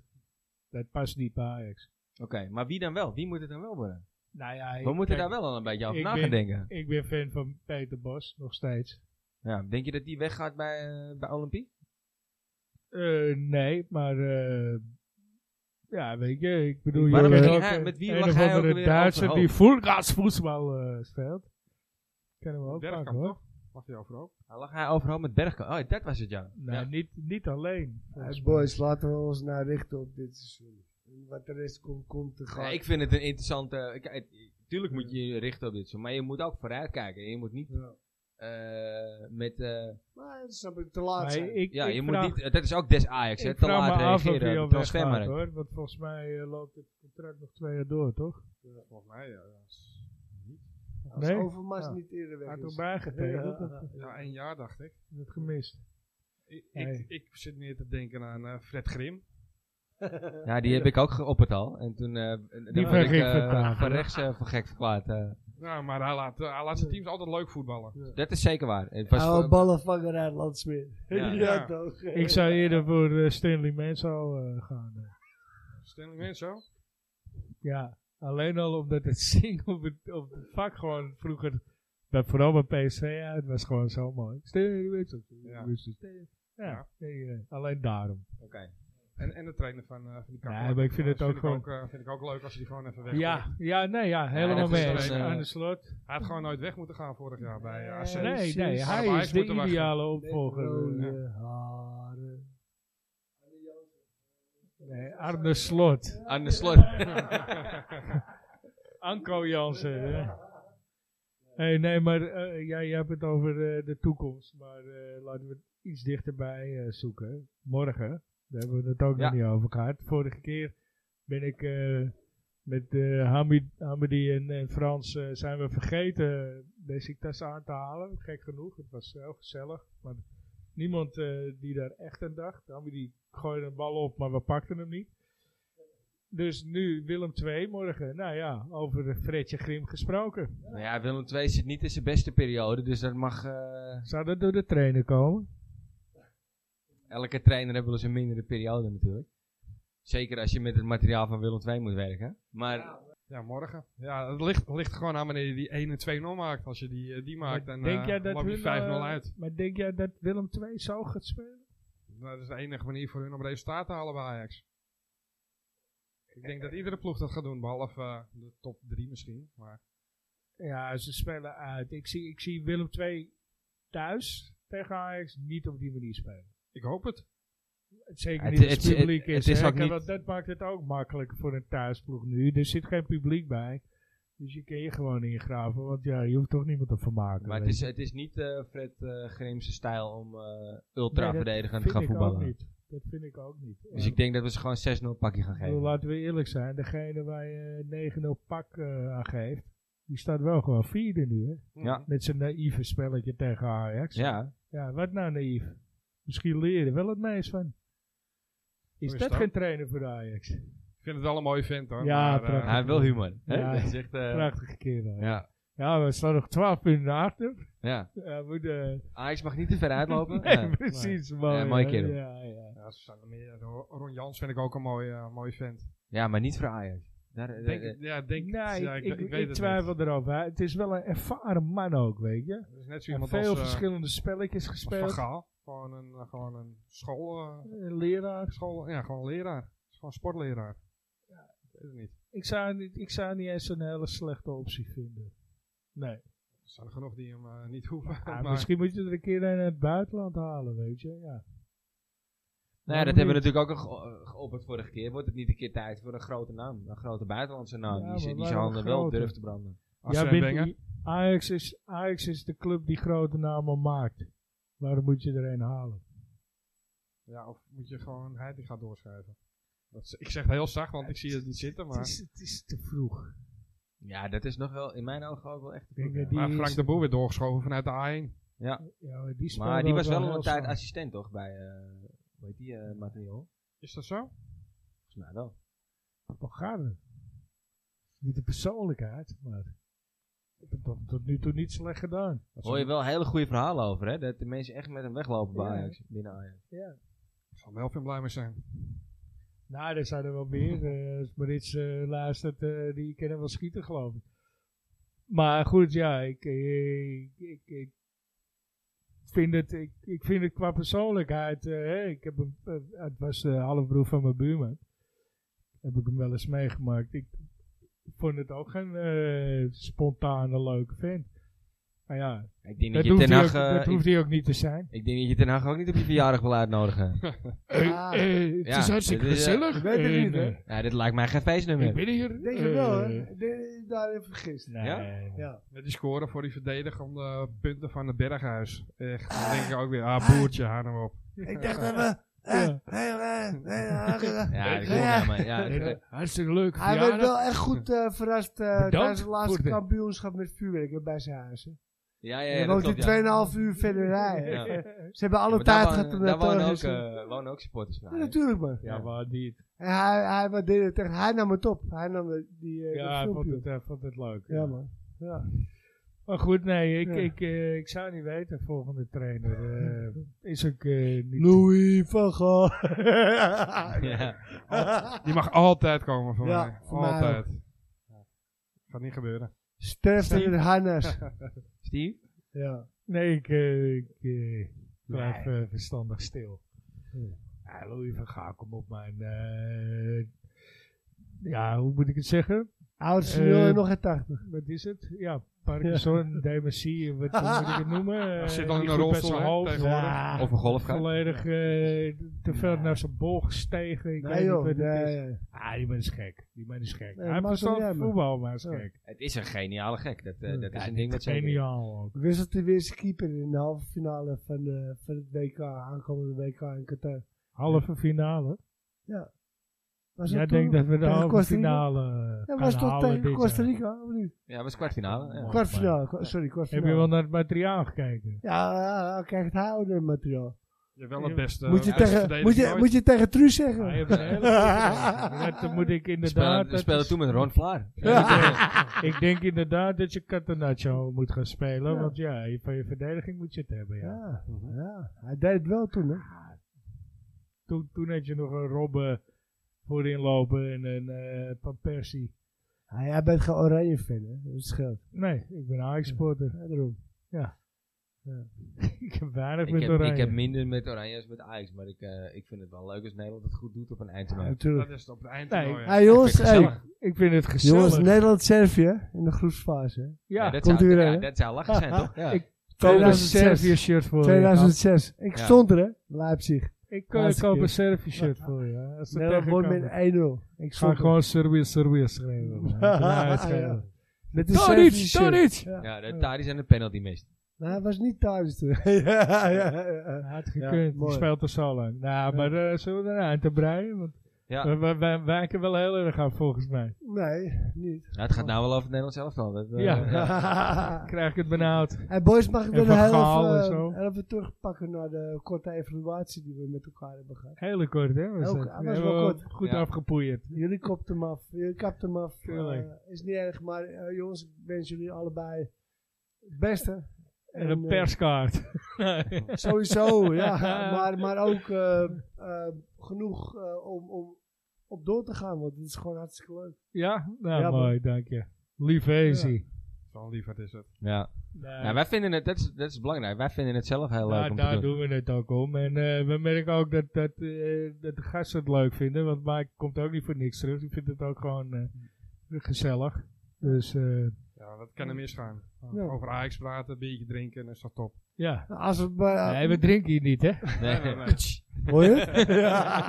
Speaker 3: dat past niet bij Ajax.
Speaker 1: Oké, maar wie dan wel? Wie moet het dan wel worden?
Speaker 3: Nou ja,
Speaker 1: We
Speaker 3: ik-
Speaker 1: moeten
Speaker 3: kijk,
Speaker 1: daar wel een beetje over
Speaker 3: ik
Speaker 1: na
Speaker 3: ben-
Speaker 1: gaan denken.
Speaker 3: Ik ben fan van Peter Bos, nog steeds.
Speaker 1: Ja, denk je dat die weggaat bij, eh, bij Olympie?
Speaker 3: Eh, nee, maar... eh, ja, weet je, ik bedoel...
Speaker 1: Waarom
Speaker 3: je
Speaker 1: ging
Speaker 3: hebt
Speaker 1: hij-
Speaker 3: ook eh,
Speaker 1: met wie
Speaker 3: een
Speaker 1: lag
Speaker 3: of
Speaker 1: hij
Speaker 3: andere
Speaker 1: ook weer
Speaker 3: Duitser die
Speaker 1: overhoop?
Speaker 3: voelgasvoetbal eh speelt. Kennen we ook vaak,
Speaker 4: Bergkamp,
Speaker 3: hoor.
Speaker 4: toch? Mag je overal.
Speaker 1: Hij lag hij overal met Bergkamp. Oh, dat was het, ja.
Speaker 3: Nou,
Speaker 1: ja.
Speaker 3: niet, niet alleen.
Speaker 2: Hey, eh, boys, laten we ons nou richten op dit seizoen. En wat de rest komt, komt te gaan.
Speaker 1: Ja, ik vind het een interessante... eh, kijk, Tuurlijk moet je je richten op dit soort, maar je moet ook vooruitkijken. Je moet niet
Speaker 2: Ja.
Speaker 1: eh, met... eh,
Speaker 2: Maar dat snap ik te laat
Speaker 3: Maar
Speaker 2: zijn.
Speaker 3: ik,
Speaker 1: ja,
Speaker 3: ik
Speaker 1: je
Speaker 3: vraag-
Speaker 1: moet niet... eh, Dat is ook des Ajax, hè.
Speaker 3: ik
Speaker 1: Te
Speaker 3: vraag
Speaker 1: laat
Speaker 3: me af of
Speaker 1: reageren
Speaker 3: hij
Speaker 1: op
Speaker 3: al
Speaker 1: de
Speaker 3: weggaat,
Speaker 1: transfermarkt.
Speaker 3: hoor. Want volgens mij eh, loopt het contract nog twee jaar door, toch?
Speaker 4: Volgens mij, ja. dat is niet.
Speaker 2: Als
Speaker 3: nee.
Speaker 2: Overmars
Speaker 3: Ja.
Speaker 2: niet eerder weg
Speaker 3: Had
Speaker 2: is.
Speaker 3: erbij getekend, dat
Speaker 2: Ja.
Speaker 4: Ja, één jaar dacht ik.
Speaker 3: dat gemist.
Speaker 4: Ik,
Speaker 3: Nee.
Speaker 4: ik, ik zit meer te denken aan eh, Fred Grim.
Speaker 1: Ja, die heb ik ook geopperd al. En toen eh die
Speaker 3: werd
Speaker 1: werd ik
Speaker 3: gek
Speaker 1: eh,
Speaker 3: verklaard,
Speaker 1: van
Speaker 3: hè?
Speaker 1: rechts eh, voor gek verklaard. eh.
Speaker 4: Ja, maar hij laat, eh, hij laat zijn teams altijd leuk voetballen.
Speaker 1: Dat is zeker waar. Het was
Speaker 2: Oude
Speaker 1: voor-
Speaker 2: ballenvanger uit Landsmeer.
Speaker 1: Ja.
Speaker 2: Ja,
Speaker 4: Ja.
Speaker 2: toch.
Speaker 3: Ik zou eerder voor eh, Stanley Menzo eh, gaan. eh.
Speaker 4: Stanley Menzo?
Speaker 3: Ja, alleen al omdat het zingen op het, op het vak gewoon vroeger, bij, vooral bij PSV, ja, het was gewoon zo mooi. Stanley Menzo.
Speaker 4: Ja.
Speaker 3: Ja, ja. nee, eh, alleen daarom.
Speaker 1: Oké.
Speaker 4: En, en de trainer van, eh, van die
Speaker 3: Nee,
Speaker 4: kampioen.
Speaker 3: maar ik vind het ook
Speaker 4: vind
Speaker 3: gewoon-
Speaker 4: Ik ook, eh, vind ik ook leuk als hij die gewoon even weg gooit.
Speaker 3: Ja, ja, nee, ja, helemaal
Speaker 1: dat
Speaker 3: mee
Speaker 1: is
Speaker 3: eens.
Speaker 1: alleen, eh,
Speaker 3: Aan de slot.
Speaker 4: Hij had gewoon nooit weg moeten gaan vorig jaar bij eh, AZ.
Speaker 3: Nee,
Speaker 2: precies.
Speaker 3: nee,
Speaker 4: Hadden we
Speaker 3: hij
Speaker 4: Ajax
Speaker 3: is de
Speaker 4: moeten wachten.
Speaker 3: ideale opvolger. eh.
Speaker 2: Rode haren.
Speaker 3: Nee, Arne Slot.
Speaker 1: Aan de slot. Nou
Speaker 3: Anko Jansen. hè. Hey, nee, maar eh, jij, jij hebt het over eh, de toekomst. Maar eh, laten we het iets dichterbij eh, zoeken. Morgen, daar hebben we het ook
Speaker 1: Ja.
Speaker 3: nog niet over gehad. Vorige keer ben ik eh, met eh, Hamid, Hamidi en, en Frans eh, zijn we vergeten deze tas aan te halen. Gek genoeg, het was heel gezellig. Maar niemand eh, die daar echt aan dacht. Hamidi gooide een bal op, maar we pakten hem niet. Dus nu Willem II morgen. Nou ja, over Fredje Grim gesproken.
Speaker 1: Nou ja, Willem II zit niet in zijn beste periode, dus dat mag... eh,
Speaker 3: Zou dat door de trainer komen?
Speaker 1: elke trainer heeft wel eens een mindere periode natuurlijk. Zeker als je met het materiaal van Willem II moet werken. Maar
Speaker 4: Ja, morgen. Ja, het ligt, ligt gewoon aan wanneer je die 1 en 2-0 maakt. Als je die, eh, die maakt, dan
Speaker 3: denk
Speaker 4: eh,
Speaker 3: jij dat
Speaker 4: loop je
Speaker 3: hun,
Speaker 4: 5-0
Speaker 3: eh,
Speaker 4: uit.
Speaker 3: Maar denk jij dat Willem II zo gaat spelen?
Speaker 4: Nou, Dat is de enige manier voor hun om resultaat te halen bij Ajax. Ik denk dat iedere ploeg dat gaat doen, behalve eh, de top 3 misschien. Maar
Speaker 3: Ja, ze spelen uit. Ik zie, ik zie Willem II thuis tegen Ajax niet op die manier spelen.
Speaker 4: ik hoop het.
Speaker 3: Zeker
Speaker 1: Het-
Speaker 3: niet als
Speaker 1: het-
Speaker 3: het, publiek
Speaker 1: het-
Speaker 3: is.
Speaker 1: het is
Speaker 3: hè.
Speaker 1: ook
Speaker 3: Kijk,
Speaker 1: niet-
Speaker 3: want dat maakt het ook makkelijker voor een thuisploeg nu. Er zit geen publiek bij. Dus je kan je gewoon ingraven. Want ja, je hoeft toch niemand te vermaken.
Speaker 1: Maar het
Speaker 3: weet
Speaker 1: is,
Speaker 3: je.
Speaker 1: het is niet eh, Fred eh Grimse stijl om eh
Speaker 3: Nee,
Speaker 1: ultra
Speaker 3: dat
Speaker 1: verdedigend te
Speaker 3: vind
Speaker 1: gaan
Speaker 3: ik Ook
Speaker 1: voetballen.
Speaker 3: niet. Dat vind ik ook niet.
Speaker 1: Dus
Speaker 3: Ja.
Speaker 1: ik denk dat we ze gewoon 6-0 pakje gaan
Speaker 3: Ik bedoel,
Speaker 1: geven.
Speaker 3: laten we eerlijk zijn, degene waar je 9-0 pak eh, aan geeft, die staat wel gewoon vierde nu, hè?
Speaker 1: Ja.
Speaker 3: Met zijn naïeve spelletje tegen Ajax.
Speaker 1: Ja,
Speaker 3: Ja, wat nou naïef? Misschien leer je er wel het meest van. Is
Speaker 4: Hoe is
Speaker 3: dat
Speaker 4: dat?
Speaker 3: geen trainer voor de Ajax?
Speaker 4: Ik vind het wel een mooie vent hoor.
Speaker 3: Ja,
Speaker 4: maar, eh,
Speaker 3: prachtig.
Speaker 1: hij heeft wel humor. hè?
Speaker 3: Ja.
Speaker 1: Dat is echt, eh,
Speaker 3: Prachtige kerel. Ja.
Speaker 1: ja.
Speaker 3: we staan nog 12 punten achter.
Speaker 1: ja.
Speaker 3: Ja, we moeten-
Speaker 1: Ajax mag niet te ver uitlopen.
Speaker 3: nee,
Speaker 1: Ja.
Speaker 3: precies. Mooi,
Speaker 1: Ja, mooie
Speaker 3: hè?
Speaker 1: kerel.
Speaker 3: Ja, ja.
Speaker 4: eh, ja, ze zijn er meer. Ron Jans vind ik ook een mooie, eh, mooie vent.
Speaker 1: Ja, maar niet voor Ajax. Daar, eh,
Speaker 4: Denk,
Speaker 1: eh,
Speaker 4: ik- ja, denk,
Speaker 3: nee,
Speaker 4: ja,
Speaker 3: ik, ik,
Speaker 4: weet
Speaker 3: ik
Speaker 4: het
Speaker 3: twijfel
Speaker 4: niet.
Speaker 3: erover. Het is wel een ervaren man ook, weet je.
Speaker 4: Het is net zo
Speaker 3: Hij heeft
Speaker 4: iemand
Speaker 3: veel
Speaker 4: als, eh,
Speaker 3: verschillende spelletjes
Speaker 4: als Van
Speaker 3: gespeeld.
Speaker 4: Gaal. Gewoon een, eh, gewoon een school, eh,
Speaker 3: Een leraar.
Speaker 4: school... Ja, gewoon een leraar. Het is Gewoon een sportleraar. Ik weet het niet.
Speaker 3: Ik zou, niet, ik zou niet eens een hele slechte optie vinden. Nee.
Speaker 4: Er zijn er genoeg die hem eh, niet hoeven.
Speaker 3: Ah,
Speaker 4: maar-
Speaker 3: misschien moet je er een keer een uit het buitenland halen, weet je. Ja.
Speaker 1: Nou ja, dat hebben we natuurlijk ook al ge- eh, geopperd vorige keer. Wordt het niet een keer tijd voor een grote naam? Een grote buitenlandse naam
Speaker 3: Ja,
Speaker 1: die, ze-
Speaker 3: maar
Speaker 1: die zijn
Speaker 3: waarom
Speaker 1: handen wel
Speaker 3: grote?
Speaker 1: durft te branden.
Speaker 4: Arsène
Speaker 3: Jij
Speaker 4: Wenger.
Speaker 3: bent, Ajax, is, Ajax is de club die grote namen maakt. Waarom moet je er een halen?
Speaker 4: Ja, of moet je gewoon Heiting gaan doorschrijven? Dat is- ik zeg het heel zacht, want ik zie het niet zitten.
Speaker 3: Het
Speaker 4: Maar,
Speaker 3: is, het is te vroeg.
Speaker 1: Ja, dat is nog wel in mijn ogen ook wel echt.
Speaker 3: Ik denk dat die
Speaker 4: maar Frank
Speaker 3: is-
Speaker 4: de Boer weer doorgeschoven vanuit de A1.
Speaker 3: ja, maar die
Speaker 1: Maar die was wel een tijd
Speaker 3: tijd
Speaker 1: assistent toch bij, eh hoe heet die, eh Materiaal?
Speaker 4: Is dat zo?
Speaker 1: Volgens mij wel.
Speaker 3: Bogarde. Niet de persoonlijkheid, maar... Ik heb dat tot nu toe niet slecht gedaan.
Speaker 4: Dat is
Speaker 1: Hoor je wel hele goede verhalen over, hè? Dat de mensen echt met hem weglopen bij
Speaker 3: Ja.
Speaker 1: Ajax, binnen Ajax.
Speaker 4: Ik zal wel veel blij mee zijn.
Speaker 3: Nou, er zijn er wel meer. eh, Als Marits eh, luistert, eh, die kennen wel schieten, geloof ik. Maar goed, ja, ik, eh, ik, ik, ik vind, het, ik, ik vind het qua persoonlijkheid... eh, hè, ik heb een, eh, het was de halfbroer van mijn buurman. Heb ik hem wel eens meegemaakt. Ik vond het ook geen eh, spontane, leuke vent. Maar ja,
Speaker 1: Ik denk
Speaker 3: dat,
Speaker 1: dat je
Speaker 3: hoeft
Speaker 1: Ten
Speaker 3: hij,
Speaker 1: Hag,
Speaker 3: ook,
Speaker 1: eh,
Speaker 3: dat hoeft
Speaker 1: ik,
Speaker 3: hij ook niet te zijn.
Speaker 1: ik denk dat je Ten Hag ook niet op je verjaardag wil uitnodigen.
Speaker 2: Ja,
Speaker 3: het
Speaker 1: Ah, Ja,
Speaker 3: is hartstikke
Speaker 1: dat is, eh,
Speaker 3: gezellig.
Speaker 2: ik weet het
Speaker 3: en,
Speaker 2: niet, hè.
Speaker 3: eh,
Speaker 1: ja, dit lijkt mij geen feestnummer.
Speaker 3: Ik ben hier.
Speaker 2: Ik denk
Speaker 3: eh,
Speaker 2: het wel, hè? Ik denk dat je Daarin vergist.
Speaker 3: Nee.
Speaker 1: Ja?
Speaker 2: Ja.
Speaker 4: Met die scoren voor die verdedigende punten van het Berghuis. Echt, dan denk ik ook weer, ah boertje, haal hem op.
Speaker 2: Ik dacht even. eh, eh, eh, eh, eh, eh.
Speaker 1: Ja, dat
Speaker 2: Ja.
Speaker 1: klopt, ja, maar ja, eh,
Speaker 3: Nee,
Speaker 1: het-
Speaker 3: nee, hartstikke leuk.
Speaker 2: Hij werd wel echt goed eh, verrast eh,
Speaker 3: Bedankt
Speaker 2: tijdens het laatste
Speaker 3: voor de-
Speaker 2: kampioenschap met vuurwerk hè, bij zijn huis. hè.
Speaker 1: ja, ja,
Speaker 2: Je
Speaker 1: ja, dat
Speaker 2: woont
Speaker 1: klopt,
Speaker 2: in
Speaker 1: ja.
Speaker 2: 2,5 uur verder rijden.
Speaker 1: Ja.
Speaker 3: Eh,
Speaker 2: Ze hebben alle
Speaker 1: Maar daar
Speaker 2: tijd
Speaker 1: wonen-
Speaker 2: gehad om
Speaker 1: Daar
Speaker 2: naar
Speaker 1: wonen ook,
Speaker 2: Torres te-
Speaker 1: eh, wonen ook supporters van
Speaker 2: Ja,
Speaker 1: Ajax.
Speaker 2: natuurlijk man.
Speaker 3: Ja, maar niet.
Speaker 2: En hij, hij, wat deed het echt? hij nam het op. Hij nam de- die, eh,
Speaker 3: Ja, hij
Speaker 2: dat
Speaker 3: vond
Speaker 2: filmpje
Speaker 3: het,
Speaker 2: op.
Speaker 3: hij vond het leuk.
Speaker 2: Ja man. Ja.
Speaker 3: Maar goed, nee, ik,
Speaker 2: Ja.
Speaker 3: ik, eh, ik zou niet weten. Volgende trainer eh, is ook eh, niet...
Speaker 2: Louis van Gaal. ja.
Speaker 1: Ja.
Speaker 4: Die mag altijd komen van
Speaker 2: Ja,
Speaker 4: mij.
Speaker 2: voor mij
Speaker 4: altijd. Gaat niet gebeuren.
Speaker 2: Sterft in het harnas.
Speaker 1: Steve?
Speaker 2: Ja.
Speaker 3: Nee, ik, eh, ik eh, blijf eh, verstandig stil. Ja, Louis van Gaal, kom op, mijn... eh, ja, hoe moet ik het zeggen?
Speaker 2: Oud
Speaker 3: Eh,
Speaker 2: sneeuw en nog een 80.
Speaker 3: Wat is het? Ja, Parkinson, dementie, wat hoe moet ik het noemen?
Speaker 4: Hij
Speaker 3: Eh,
Speaker 4: zit al in
Speaker 3: niet
Speaker 4: een
Speaker 3: goed met
Speaker 4: rolstoel
Speaker 3: zijn
Speaker 4: hè,
Speaker 3: hoofd.
Speaker 4: tegenwoordig.
Speaker 1: Of een golfgang?
Speaker 3: volledig eh, te ver naar zijn bol gestegen. Ik
Speaker 2: Nee
Speaker 3: weet
Speaker 2: joh.
Speaker 3: niet wat het
Speaker 2: Nee,
Speaker 3: is.
Speaker 2: nee.
Speaker 3: Ah, die man is gek. Die man is
Speaker 2: Nee,
Speaker 3: gek. Hij heeft
Speaker 2: maakt
Speaker 3: verstand
Speaker 2: hem
Speaker 3: van
Speaker 2: niet uit,
Speaker 3: voetbal, maar hij is
Speaker 2: Ja.
Speaker 3: gek.
Speaker 1: Het is een geniale gek. Dat, eh, dat is
Speaker 3: Ja,
Speaker 1: een ding wat zeker is.
Speaker 3: Geniaal ook.
Speaker 2: Wisselt hij weer zijn keeper in de halve finale van, de, van het WK. Aankomende WK in Qatar.
Speaker 3: Halve finale.
Speaker 2: Was
Speaker 3: Jij
Speaker 2: dat toen?
Speaker 3: denkt dat we de
Speaker 2: Tegen
Speaker 3: halve
Speaker 2: Costa Rica?
Speaker 3: finale
Speaker 2: Ja,
Speaker 3: gaan
Speaker 2: was toch
Speaker 3: halen
Speaker 2: tegen
Speaker 3: dit
Speaker 2: Costa
Speaker 3: jaar.
Speaker 2: Rica? of niet?
Speaker 1: Ja, dat is kwartfinale. Ja.
Speaker 3: Mooi.
Speaker 2: Kwartfinale. kwa- Sorry,
Speaker 3: Heb
Speaker 2: kwartfinale.
Speaker 3: je wel naar het materiaal gekeken?
Speaker 2: Ja, ja, ja, kijk, het oude materiaal.
Speaker 4: Je hebt wel het beste.
Speaker 2: moet, je
Speaker 4: eh, beste
Speaker 2: tegen, moet, je,
Speaker 4: verdediger
Speaker 2: moet je tegen Truus zeggen?
Speaker 3: Hij heeft een hele goede- Dat moet ik
Speaker 1: We spelen,
Speaker 3: inderdaad...
Speaker 1: we spelen toen met Ron Vlaar.
Speaker 3: Ik denk inderdaad dat je Catenaccio moet gaan spelen.
Speaker 2: Ja.
Speaker 3: Want ja, je- van je verdediging moet je het hebben. Ja.
Speaker 2: ja, ja, hij deed het wel toen, hè?
Speaker 3: Toen, toen had je nog een Robben voorin lopen en een eh Van Persie.
Speaker 2: Hij, jij bent geen oranje fan, hè? Dat scheelt.
Speaker 3: Nee, ik ben Ajax-supporter.
Speaker 2: Ja, daarom.
Speaker 3: ik heb weinig
Speaker 1: Ik
Speaker 3: met
Speaker 1: heb,
Speaker 3: oranje.
Speaker 1: ik heb minder met Oranje als met Ajax, maar ik, eh, ik vind het wel leuk als Nederland het goed doet op een
Speaker 2: Ja,
Speaker 1: eindtoernooi.
Speaker 4: ooit.
Speaker 2: natuurlijk.
Speaker 4: Dat is het op het eind.
Speaker 3: Nee,
Speaker 4: toernooi, hè.
Speaker 2: Hey, jongens,
Speaker 1: Ik vind het
Speaker 2: hey,
Speaker 1: gezellig.
Speaker 3: Ik vind het gezellig.
Speaker 2: jongens Nederland-Servië in de groepsfase. hè.
Speaker 3: ja, eh,
Speaker 1: Ja, dat,
Speaker 2: komt
Speaker 1: zou,
Speaker 2: u weer,
Speaker 1: ja,
Speaker 2: hè?
Speaker 1: dat zou lachen zijn, toch? Ja.
Speaker 3: Ik- koop een
Speaker 2: 2006.
Speaker 3: Servië-shirt voor eh, je.
Speaker 2: 2006. Ik
Speaker 1: Ja.
Speaker 2: stond er, hè? Leipzig.
Speaker 3: Ik eh,
Speaker 2: Laatste
Speaker 3: koop
Speaker 2: keer.
Speaker 3: een Servië-shirt voor je. Als het
Speaker 2: Nederland won
Speaker 3: tegenkomt.
Speaker 2: met 1-0. Ik
Speaker 3: Ik ga
Speaker 2: stond
Speaker 3: gewoon Servië, Servië schrijven. man.
Speaker 2: Ja.
Speaker 3: Ja, het schrijven.
Speaker 2: Met een
Speaker 3: Tadic,
Speaker 2: Servië-shirt.
Speaker 3: Tadic!
Speaker 2: Ja.
Speaker 1: ja, de Tadis en de penalty mist.
Speaker 2: Maar hij was niet thuis toen. ja, ja, ja, ja.
Speaker 3: Had
Speaker 2: Ja,
Speaker 3: gekund, die
Speaker 2: mooi.
Speaker 3: speelt er zo lang. Nou, maar eh, zullen we er aan te breien? Want
Speaker 1: Ja.
Speaker 3: we, we, we wijken wel heel erg af volgens mij.
Speaker 2: Nee, niet.
Speaker 1: Nou, het gaat nou wel over het Nederlands elftal. Dat, eh,
Speaker 3: Ja.
Speaker 1: ja.
Speaker 3: Krijg ik het benauwd.
Speaker 2: Hey boys, mag ik
Speaker 3: En
Speaker 2: dan
Speaker 3: Van
Speaker 2: heel
Speaker 3: Gaal en
Speaker 2: even,
Speaker 3: zo.
Speaker 2: heel even terugpakken naar de korte evaluatie die we met elkaar hebben gehad?
Speaker 3: Hele kort, hè? Was
Speaker 2: Heel-
Speaker 3: dat.
Speaker 2: hij was
Speaker 3: We
Speaker 2: wel
Speaker 3: hebben
Speaker 2: kort.
Speaker 3: Goed
Speaker 1: Ja.
Speaker 3: afgepoeierd.
Speaker 2: Jullie kopten hem af, jullie kapten hem af.
Speaker 3: Tuurlijk.
Speaker 2: eh, is niet erg, maar eh, jongens, ik wens jullie allebei het beste.
Speaker 3: En een
Speaker 2: eh,
Speaker 3: perskaart.
Speaker 2: sowieso, ja. Maar, maar ook eh, eh, genoeg eh, om, om op door te gaan, want het is gewoon hartstikke leuk.
Speaker 3: ja? Nou,
Speaker 2: Ja,
Speaker 3: mooi, dank je. Lief easy.
Speaker 4: Zo'n liefheid is het.
Speaker 1: Ja. Nou, wij vinden het, dat is, dat is belangrijk, wij vinden het zelf heel leuk
Speaker 3: Nou,
Speaker 1: om
Speaker 3: daar
Speaker 1: te doen.
Speaker 3: doen we het ook om. En eh, we merken ook dat, dat, eh, dat de gasten het leuk vinden. Want Mike komt ook niet voor niks terug. Ik vind het ook gewoon eh, gezellig. Dus eh,
Speaker 4: Ja, dat kan er misgaan.
Speaker 2: Ja.
Speaker 4: Over Ajax praten, biertje drinken, dat is toch top.
Speaker 3: ja.
Speaker 2: Nou, Als het maar... Ah,
Speaker 3: Nee, we drinken hier niet, hè?
Speaker 1: Nee,
Speaker 4: Nee, nee,
Speaker 2: Hoor je het? ja.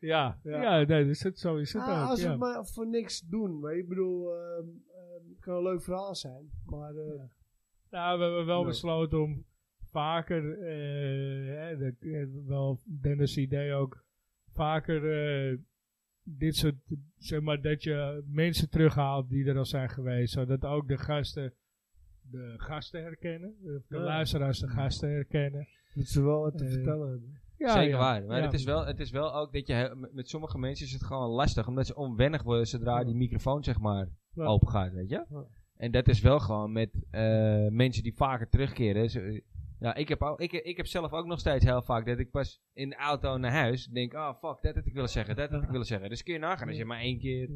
Speaker 3: Ja, ja.
Speaker 2: Ja.
Speaker 3: nee, dus dat, zo is het
Speaker 2: Ah,
Speaker 3: ook.
Speaker 2: als we
Speaker 3: ja.
Speaker 2: het maar voor niks doen. Maar ik bedoel, ehm, ehm, het kan een leuk verhaal zijn. Maar eh,
Speaker 3: Nou, we hebben wel
Speaker 2: Nee.
Speaker 3: besloten om vaker, eh, hè, dat, eh, wel Dennis' idee ook, vaker eh, dit soort, zeg maar, dat je mensen terughaalt die er al zijn geweest. Zodat ook de gasten de gasten herkennen, de
Speaker 2: Ja.
Speaker 3: luisteraars de gasten herkennen.
Speaker 2: Dat ze wel wat te
Speaker 3: Eh,
Speaker 2: vertellen hebben.
Speaker 3: Ja,
Speaker 1: Zeker
Speaker 3: ja.
Speaker 1: waar. Maar
Speaker 3: Ja.
Speaker 1: het, is wel, het is wel ook dat je he- met- met sommige mensen is het gewoon lastig. Omdat ze onwennig worden zodra die microfoon zeg maar
Speaker 2: Ja.
Speaker 1: open gaat, weet je.
Speaker 2: Ja.
Speaker 1: En dat is wel gewoon met eh, mensen die vaker terugkeren. Zo, eh, ja, ik heb, ook, ik, ik heb zelf ook nog steeds heel vaak dat ik pas in de auto naar huis denk... Ah, fuck, dat had ik willen zeggen, dat had ik willen zeggen. Dus kun je nagaan als je maar één keer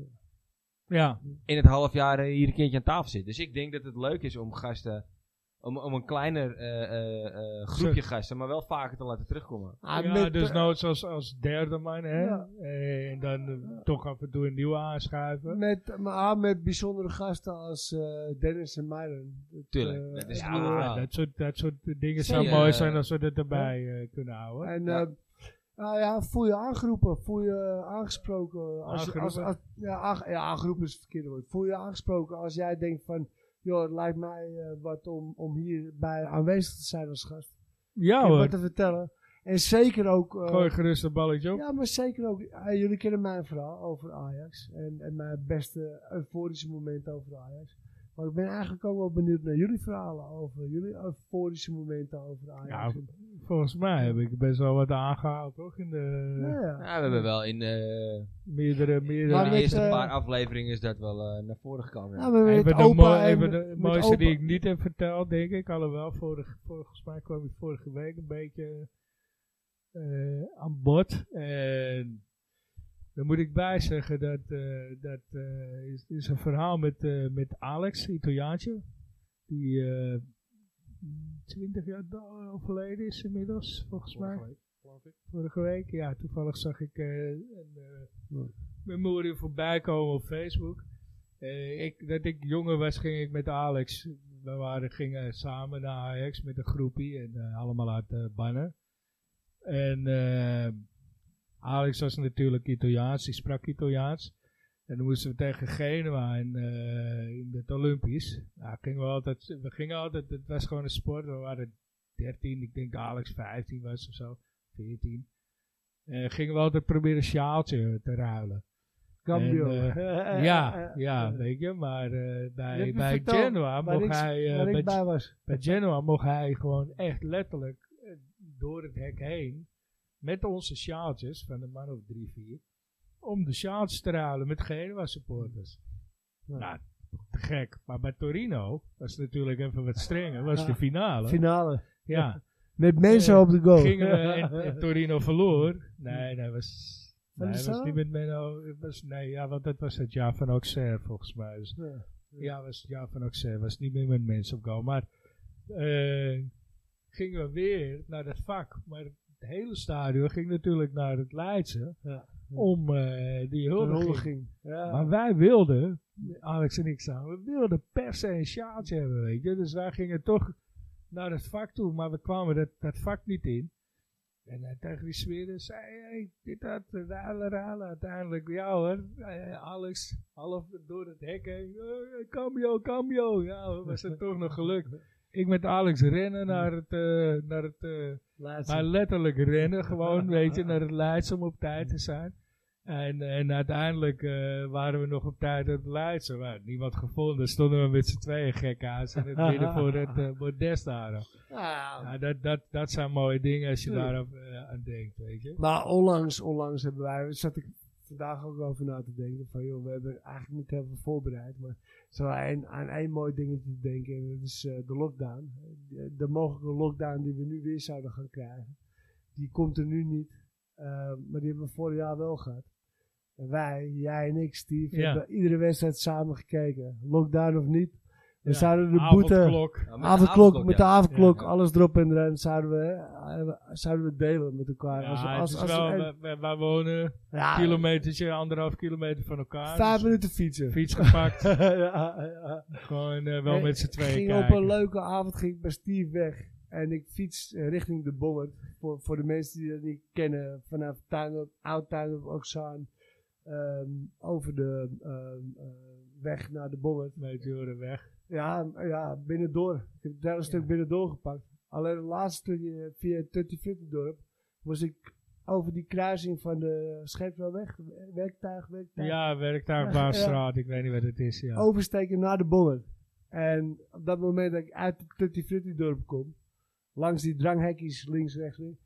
Speaker 3: Ja,
Speaker 1: in het half jaar eh, hier een keertje aan tafel zit. Dus ik denk dat het leuk is om gasten... Om, om een kleiner eh, eh, eh, groepje gasten, maar wel vaker te laten terugkomen.
Speaker 2: Ah,
Speaker 3: ja
Speaker 2: met,
Speaker 3: dus
Speaker 2: eh,
Speaker 3: noods als, als derde man, hè.
Speaker 2: Ja.
Speaker 3: Eh, en dan eh, toch af en toe een nieuwe aanschuiven.
Speaker 2: met, maar ah, met bijzondere gasten als eh, Dennis en Myron. Dat,
Speaker 1: Tuurlijk,
Speaker 2: eh,
Speaker 1: dat is
Speaker 3: Ja,
Speaker 1: het doel.
Speaker 3: dat, soort, dat soort dingen
Speaker 1: Zie
Speaker 3: zou
Speaker 1: je,
Speaker 3: mooi
Speaker 1: eh,
Speaker 3: zijn als we dat erbij eh, kunnen houden.
Speaker 2: En
Speaker 1: Ja.
Speaker 2: ja. nou ja, voel je aangeroepen, voel je aangesproken. Als, je- Als,
Speaker 3: Aangeroepen?
Speaker 2: als- ja, aange- ja, aangeroepen is het verkeerde woord. Voel je aangesproken als jij denkt van, joh, het lijkt mij eh, wat om, om hierbij aanwezig te zijn als gast.
Speaker 3: ja
Speaker 2: Ik heb
Speaker 3: hoor,
Speaker 2: wat te vertellen. En zeker ook... eh,
Speaker 3: Nou, eh, gooi gerust een balletje op.
Speaker 2: ja, maar zeker ook, eh, jullie kennen mijn verhaal over Ajax. En, en mijn beste euforische momenten over Ajax. Maar ik ben eigenlijk ook wel benieuwd naar jullie verhalen over jullie euforische momenten over Ajax.
Speaker 3: Ja, volgens mij heb ik best wel wat aangehaald, toch? In de
Speaker 2: Nou ja.
Speaker 1: Ja, we hebben wel in... eh,
Speaker 3: meerdere, meerdere...
Speaker 1: In
Speaker 2: Maar
Speaker 1: de
Speaker 2: met,
Speaker 1: eerste
Speaker 2: eh, Nou,
Speaker 1: paar afleveringen is dat wel eh, naar voren gekomen. ja.
Speaker 2: Ja, maar met
Speaker 3: Even de,
Speaker 2: opa
Speaker 3: mooi-
Speaker 2: en
Speaker 3: even de
Speaker 2: met
Speaker 3: mooiste die
Speaker 2: opa.
Speaker 3: ik niet heb verteld, denk ik. Alhoewel, vorig, volgens mij kwam ik vorige week een beetje eh, aan bod. En daar moet ik bij zeggen, dat, eh, dat eh, is, is een verhaal met, eh, met Alex, Italiaantje. Die eh 20 jaar da- overleden is inmiddels, volgens mij
Speaker 4: Vorige week, geloof ik.
Speaker 3: vorige week. Ja, toevallig zag ik eh een eh,
Speaker 2: Ja.
Speaker 3: memorial voorbij komen op Facebook. Eh, ik, dat ik jonger was, ging ik met Alex. We waren, gingen samen naar Ajax met een groepie. En eh, allemaal uit eh Bannen. En eh, Alex was natuurlijk Italiaans. Die sprak Italiaans. En dan moesten we tegen Genua in, eh, in het Olympisch. Nou, gingen we, altijd, we gingen altijd... Het was gewoon een sport. We waren 13. Ik denk dat Alex 15 was of zo. 14. Eh, gingen we altijd proberen een sjaaltje te ruilen.
Speaker 2: Cambio.
Speaker 3: En, eh, ja, ja, weet je, maar eh,
Speaker 2: Je
Speaker 3: bij,
Speaker 2: hebt me
Speaker 3: bij
Speaker 2: verteld
Speaker 3: Genoa
Speaker 2: waar
Speaker 3: mocht
Speaker 2: ik-
Speaker 3: hij, eh,
Speaker 2: Waar ik
Speaker 3: bij,
Speaker 2: bij was.
Speaker 3: bij Genoa mocht hij gewoon echt letterlijk eh, door het hek heen met onze sjaaltjes van een man of drie, vier, om de sjaaltjes te ruilen met Genoa supporters.
Speaker 2: Ja.
Speaker 3: Nou, te gek. Maar bij Torino was het natuurlijk even wat strenger, was de finale.
Speaker 2: Finale.
Speaker 3: Ja.
Speaker 2: Met mensen
Speaker 3: Eh,
Speaker 2: op de goal.
Speaker 3: Gingen we en, en Torino verloor. Nee, dat was...
Speaker 2: Van
Speaker 3: Nee,
Speaker 2: de
Speaker 3: dat was
Speaker 2: zaal?
Speaker 3: niet met Menno. het Was, nee, ja, want dat was het jaar van Auxerre volgens mij. Dus,
Speaker 2: Ja.
Speaker 3: ja, was het jaar van Auxerre. Was niet meer met mensen op goal. Maar eh, gingen we weer naar dat vak. Maar het hele stadion ging natuurlijk naar het Leidse.
Speaker 2: Ja.
Speaker 3: Om eh, die huldiging.
Speaker 2: Huldiging. Ja.
Speaker 3: Maar wij wilden, Alex en ik samen, we wilden per se een sjaaltje hebben, weet je. Dus wij gingen toch naar het vak toe, maar we kwamen dat, dat vak niet in. En eh, tegen die sfeer zei hij, dit had eh, rale rale uiteindelijk. Ja hoor, eh, Alex, half door het hek heen, eh, cambio, cambio. Ja, hoor, was het toch nog gelukt. Ik met Alex rennen naar het, eh, naar het eh,
Speaker 2: Laatste.
Speaker 3: maar letterlijk rennen gewoon, weet je, naar het Leids om op tijd te zijn. En, en uiteindelijk eh, waren we nog op tijd uit het Leids. Er werd niemand gevonden. Stonden we met z'n tweeën gek aan. in het midden voor het eh bordes daar.
Speaker 2: Ja.
Speaker 3: Ja, dat, dat, dat zijn mooie dingen als je
Speaker 2: Tuurlijk.
Speaker 3: daar eh, aan denkt, weet je.
Speaker 2: Maar onlangs, onlangs hebben wij, zat ik vandaag ook over na te denken van joh, we hebben eigenlijk niet heel veel voorbereid, maar zo aan, aan één mooi dingetje te denken en dat is eh, de lockdown. Eh, De, de mogelijke lockdown die we nu weer zouden gaan krijgen, die komt er nu niet, eh, maar die hebben we vorig jaar wel gehad. En wij, jij en ik, Steve,
Speaker 3: Ja.
Speaker 2: hebben iedere wedstrijd samen gekeken, lockdown of niet. We
Speaker 3: Ja, Ah,
Speaker 2: zouden de boete,
Speaker 3: Avondklok.
Speaker 1: Ja, Nou, met de
Speaker 2: avondklok, met de
Speaker 1: ja.
Speaker 2: avondklok,
Speaker 1: Ja.
Speaker 2: alles erop en erin, zouden we, eh, zouden we delen met elkaar.
Speaker 3: Ja,
Speaker 2: als,
Speaker 3: het
Speaker 2: als,
Speaker 3: is
Speaker 2: als-
Speaker 3: wel- eh,
Speaker 2: en- Ah.
Speaker 3: wij- wij, wij wonen
Speaker 2: ja,
Speaker 3: kilometertje, anderhalf kilometer van elkaar.
Speaker 2: vijf
Speaker 3: Dus
Speaker 2: minuten fietsen.
Speaker 3: fiets gepakt.
Speaker 2: ja, ja.
Speaker 3: gewoon eh, wel
Speaker 2: Nee,
Speaker 3: met z'n tweeën
Speaker 2: ging
Speaker 3: kijken.
Speaker 2: op een leuke avond ging ik bij Steve weg. En ik fiets eh, richting de Bommert. Voor, voor de mensen die dat niet kennen. Vanaf Tuindorp, Oud-Tuindorp, Oxaan. ehm, over de ehm, eh, weg naar de Bommert.
Speaker 3: Meteoren weg.
Speaker 2: Ja, m- ja, binnendoor. Ik heb eh, daar een stuk binnendoor gepakt. Alleen het laatste stukje via Tutti Frutti dorp moest ik over die kruising van de Scheepsbouwweg, werktuig, werktuig.
Speaker 3: Ja, werkt daar op Baanstraat. Ik weet niet wat het is.
Speaker 2: Oh,
Speaker 3: Ja.
Speaker 2: oversteken naar de Boller. En op dat moment dat ik uit het Tutti Frutti dorp kom, langs die dranghekjes links, rechts, links,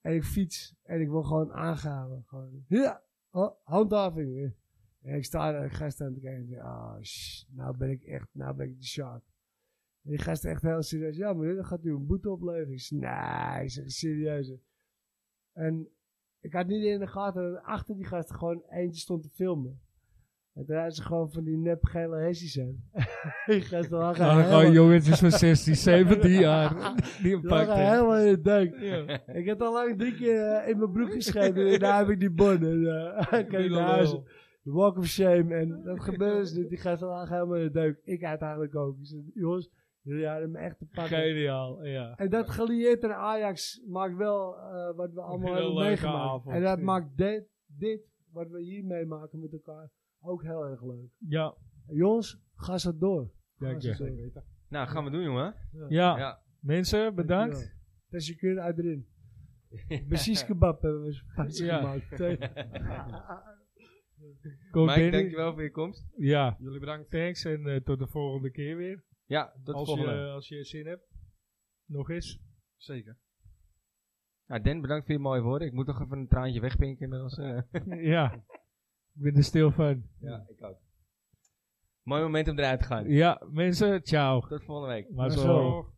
Speaker 2: en ik fiets en ik word gewoon aangehouden. Gewoon, ja, ho- handhaving. En ik sta daar, ik ga staan te kijken en ik denk, ah, sh, nou ben ik echt, nou ben ik de shark. En die gast echt heel serieus, ja meneer, dat gaat u een boete opleveren. Ik zeg, nee, ik zeg, serieus. hè." En ik had niet in de gaten dat achter die gast gewoon eentje stond te filmen. En daar hadden ze gewoon van die nep gele hessies aan. die gast lag
Speaker 3: Ah,
Speaker 2: helemaal-
Speaker 3: gewoon jongetjes van 16, 17 jaar. Die
Speaker 2: die lagen
Speaker 3: pakken.
Speaker 2: helemaal in het duik. Ik heb al lang drie keer eh, in mijn broek geschreven. en daar heb ik die bon. En eh, ik
Speaker 3: Die
Speaker 2: heb
Speaker 3: lol.
Speaker 2: naar huis. De walk of shame. En dat gebeurde dus niet. Die gaat vandaag helemaal in de duik. Ik uiteindelijk ook. Ik zeg, jongens, jullie hadden me echt te pakken.
Speaker 3: Geniaal, ja.
Speaker 2: En dat gelieerd aan Ajax maakt wel eh, wat we allemaal
Speaker 3: hele
Speaker 2: hebben
Speaker 3: leuke
Speaker 2: meegemaakt.
Speaker 3: avond,
Speaker 2: en dat
Speaker 3: ja.
Speaker 2: maakt dit, dit, wat we hier meemaken met elkaar, ook heel erg leuk.
Speaker 3: Ja,
Speaker 2: En jongens, ga zo door. Ga
Speaker 3: dank
Speaker 2: zo
Speaker 3: je.
Speaker 2: door.
Speaker 1: Nou, gaan we doen, jongen.
Speaker 3: Ja,
Speaker 1: Ja.
Speaker 3: mensen, bedankt.
Speaker 2: Dankjewel. Dus je kunt uit erin. Precies kebab hebben we zo'n paardje
Speaker 3: Ja.
Speaker 2: gemaakt.
Speaker 3: Komt
Speaker 1: Mike,
Speaker 3: Danny.
Speaker 1: dankjewel voor je komst.
Speaker 3: Ja,
Speaker 4: Jullie bedankt.
Speaker 3: thanks en eh, tot de volgende keer weer.
Speaker 1: Ja, tot de
Speaker 3: als,
Speaker 1: volgende.
Speaker 2: eh,
Speaker 3: Je, Eh, als je zin hebt. Nog eens.
Speaker 4: Zeker.
Speaker 1: Nou, Den, bedankt voor je mooie woorden. Ik moet toch even een traantje wegpinken inmiddels. eh.
Speaker 3: ja, ik ben er stil van.
Speaker 1: ja, ik ook. Mooi moment om eruit te gaan.
Speaker 3: Ja, mensen, ciao.
Speaker 1: Tot volgende week.
Speaker 3: Maar
Speaker 2: Maar
Speaker 3: zo.
Speaker 2: zo.
Speaker 4: Doeg.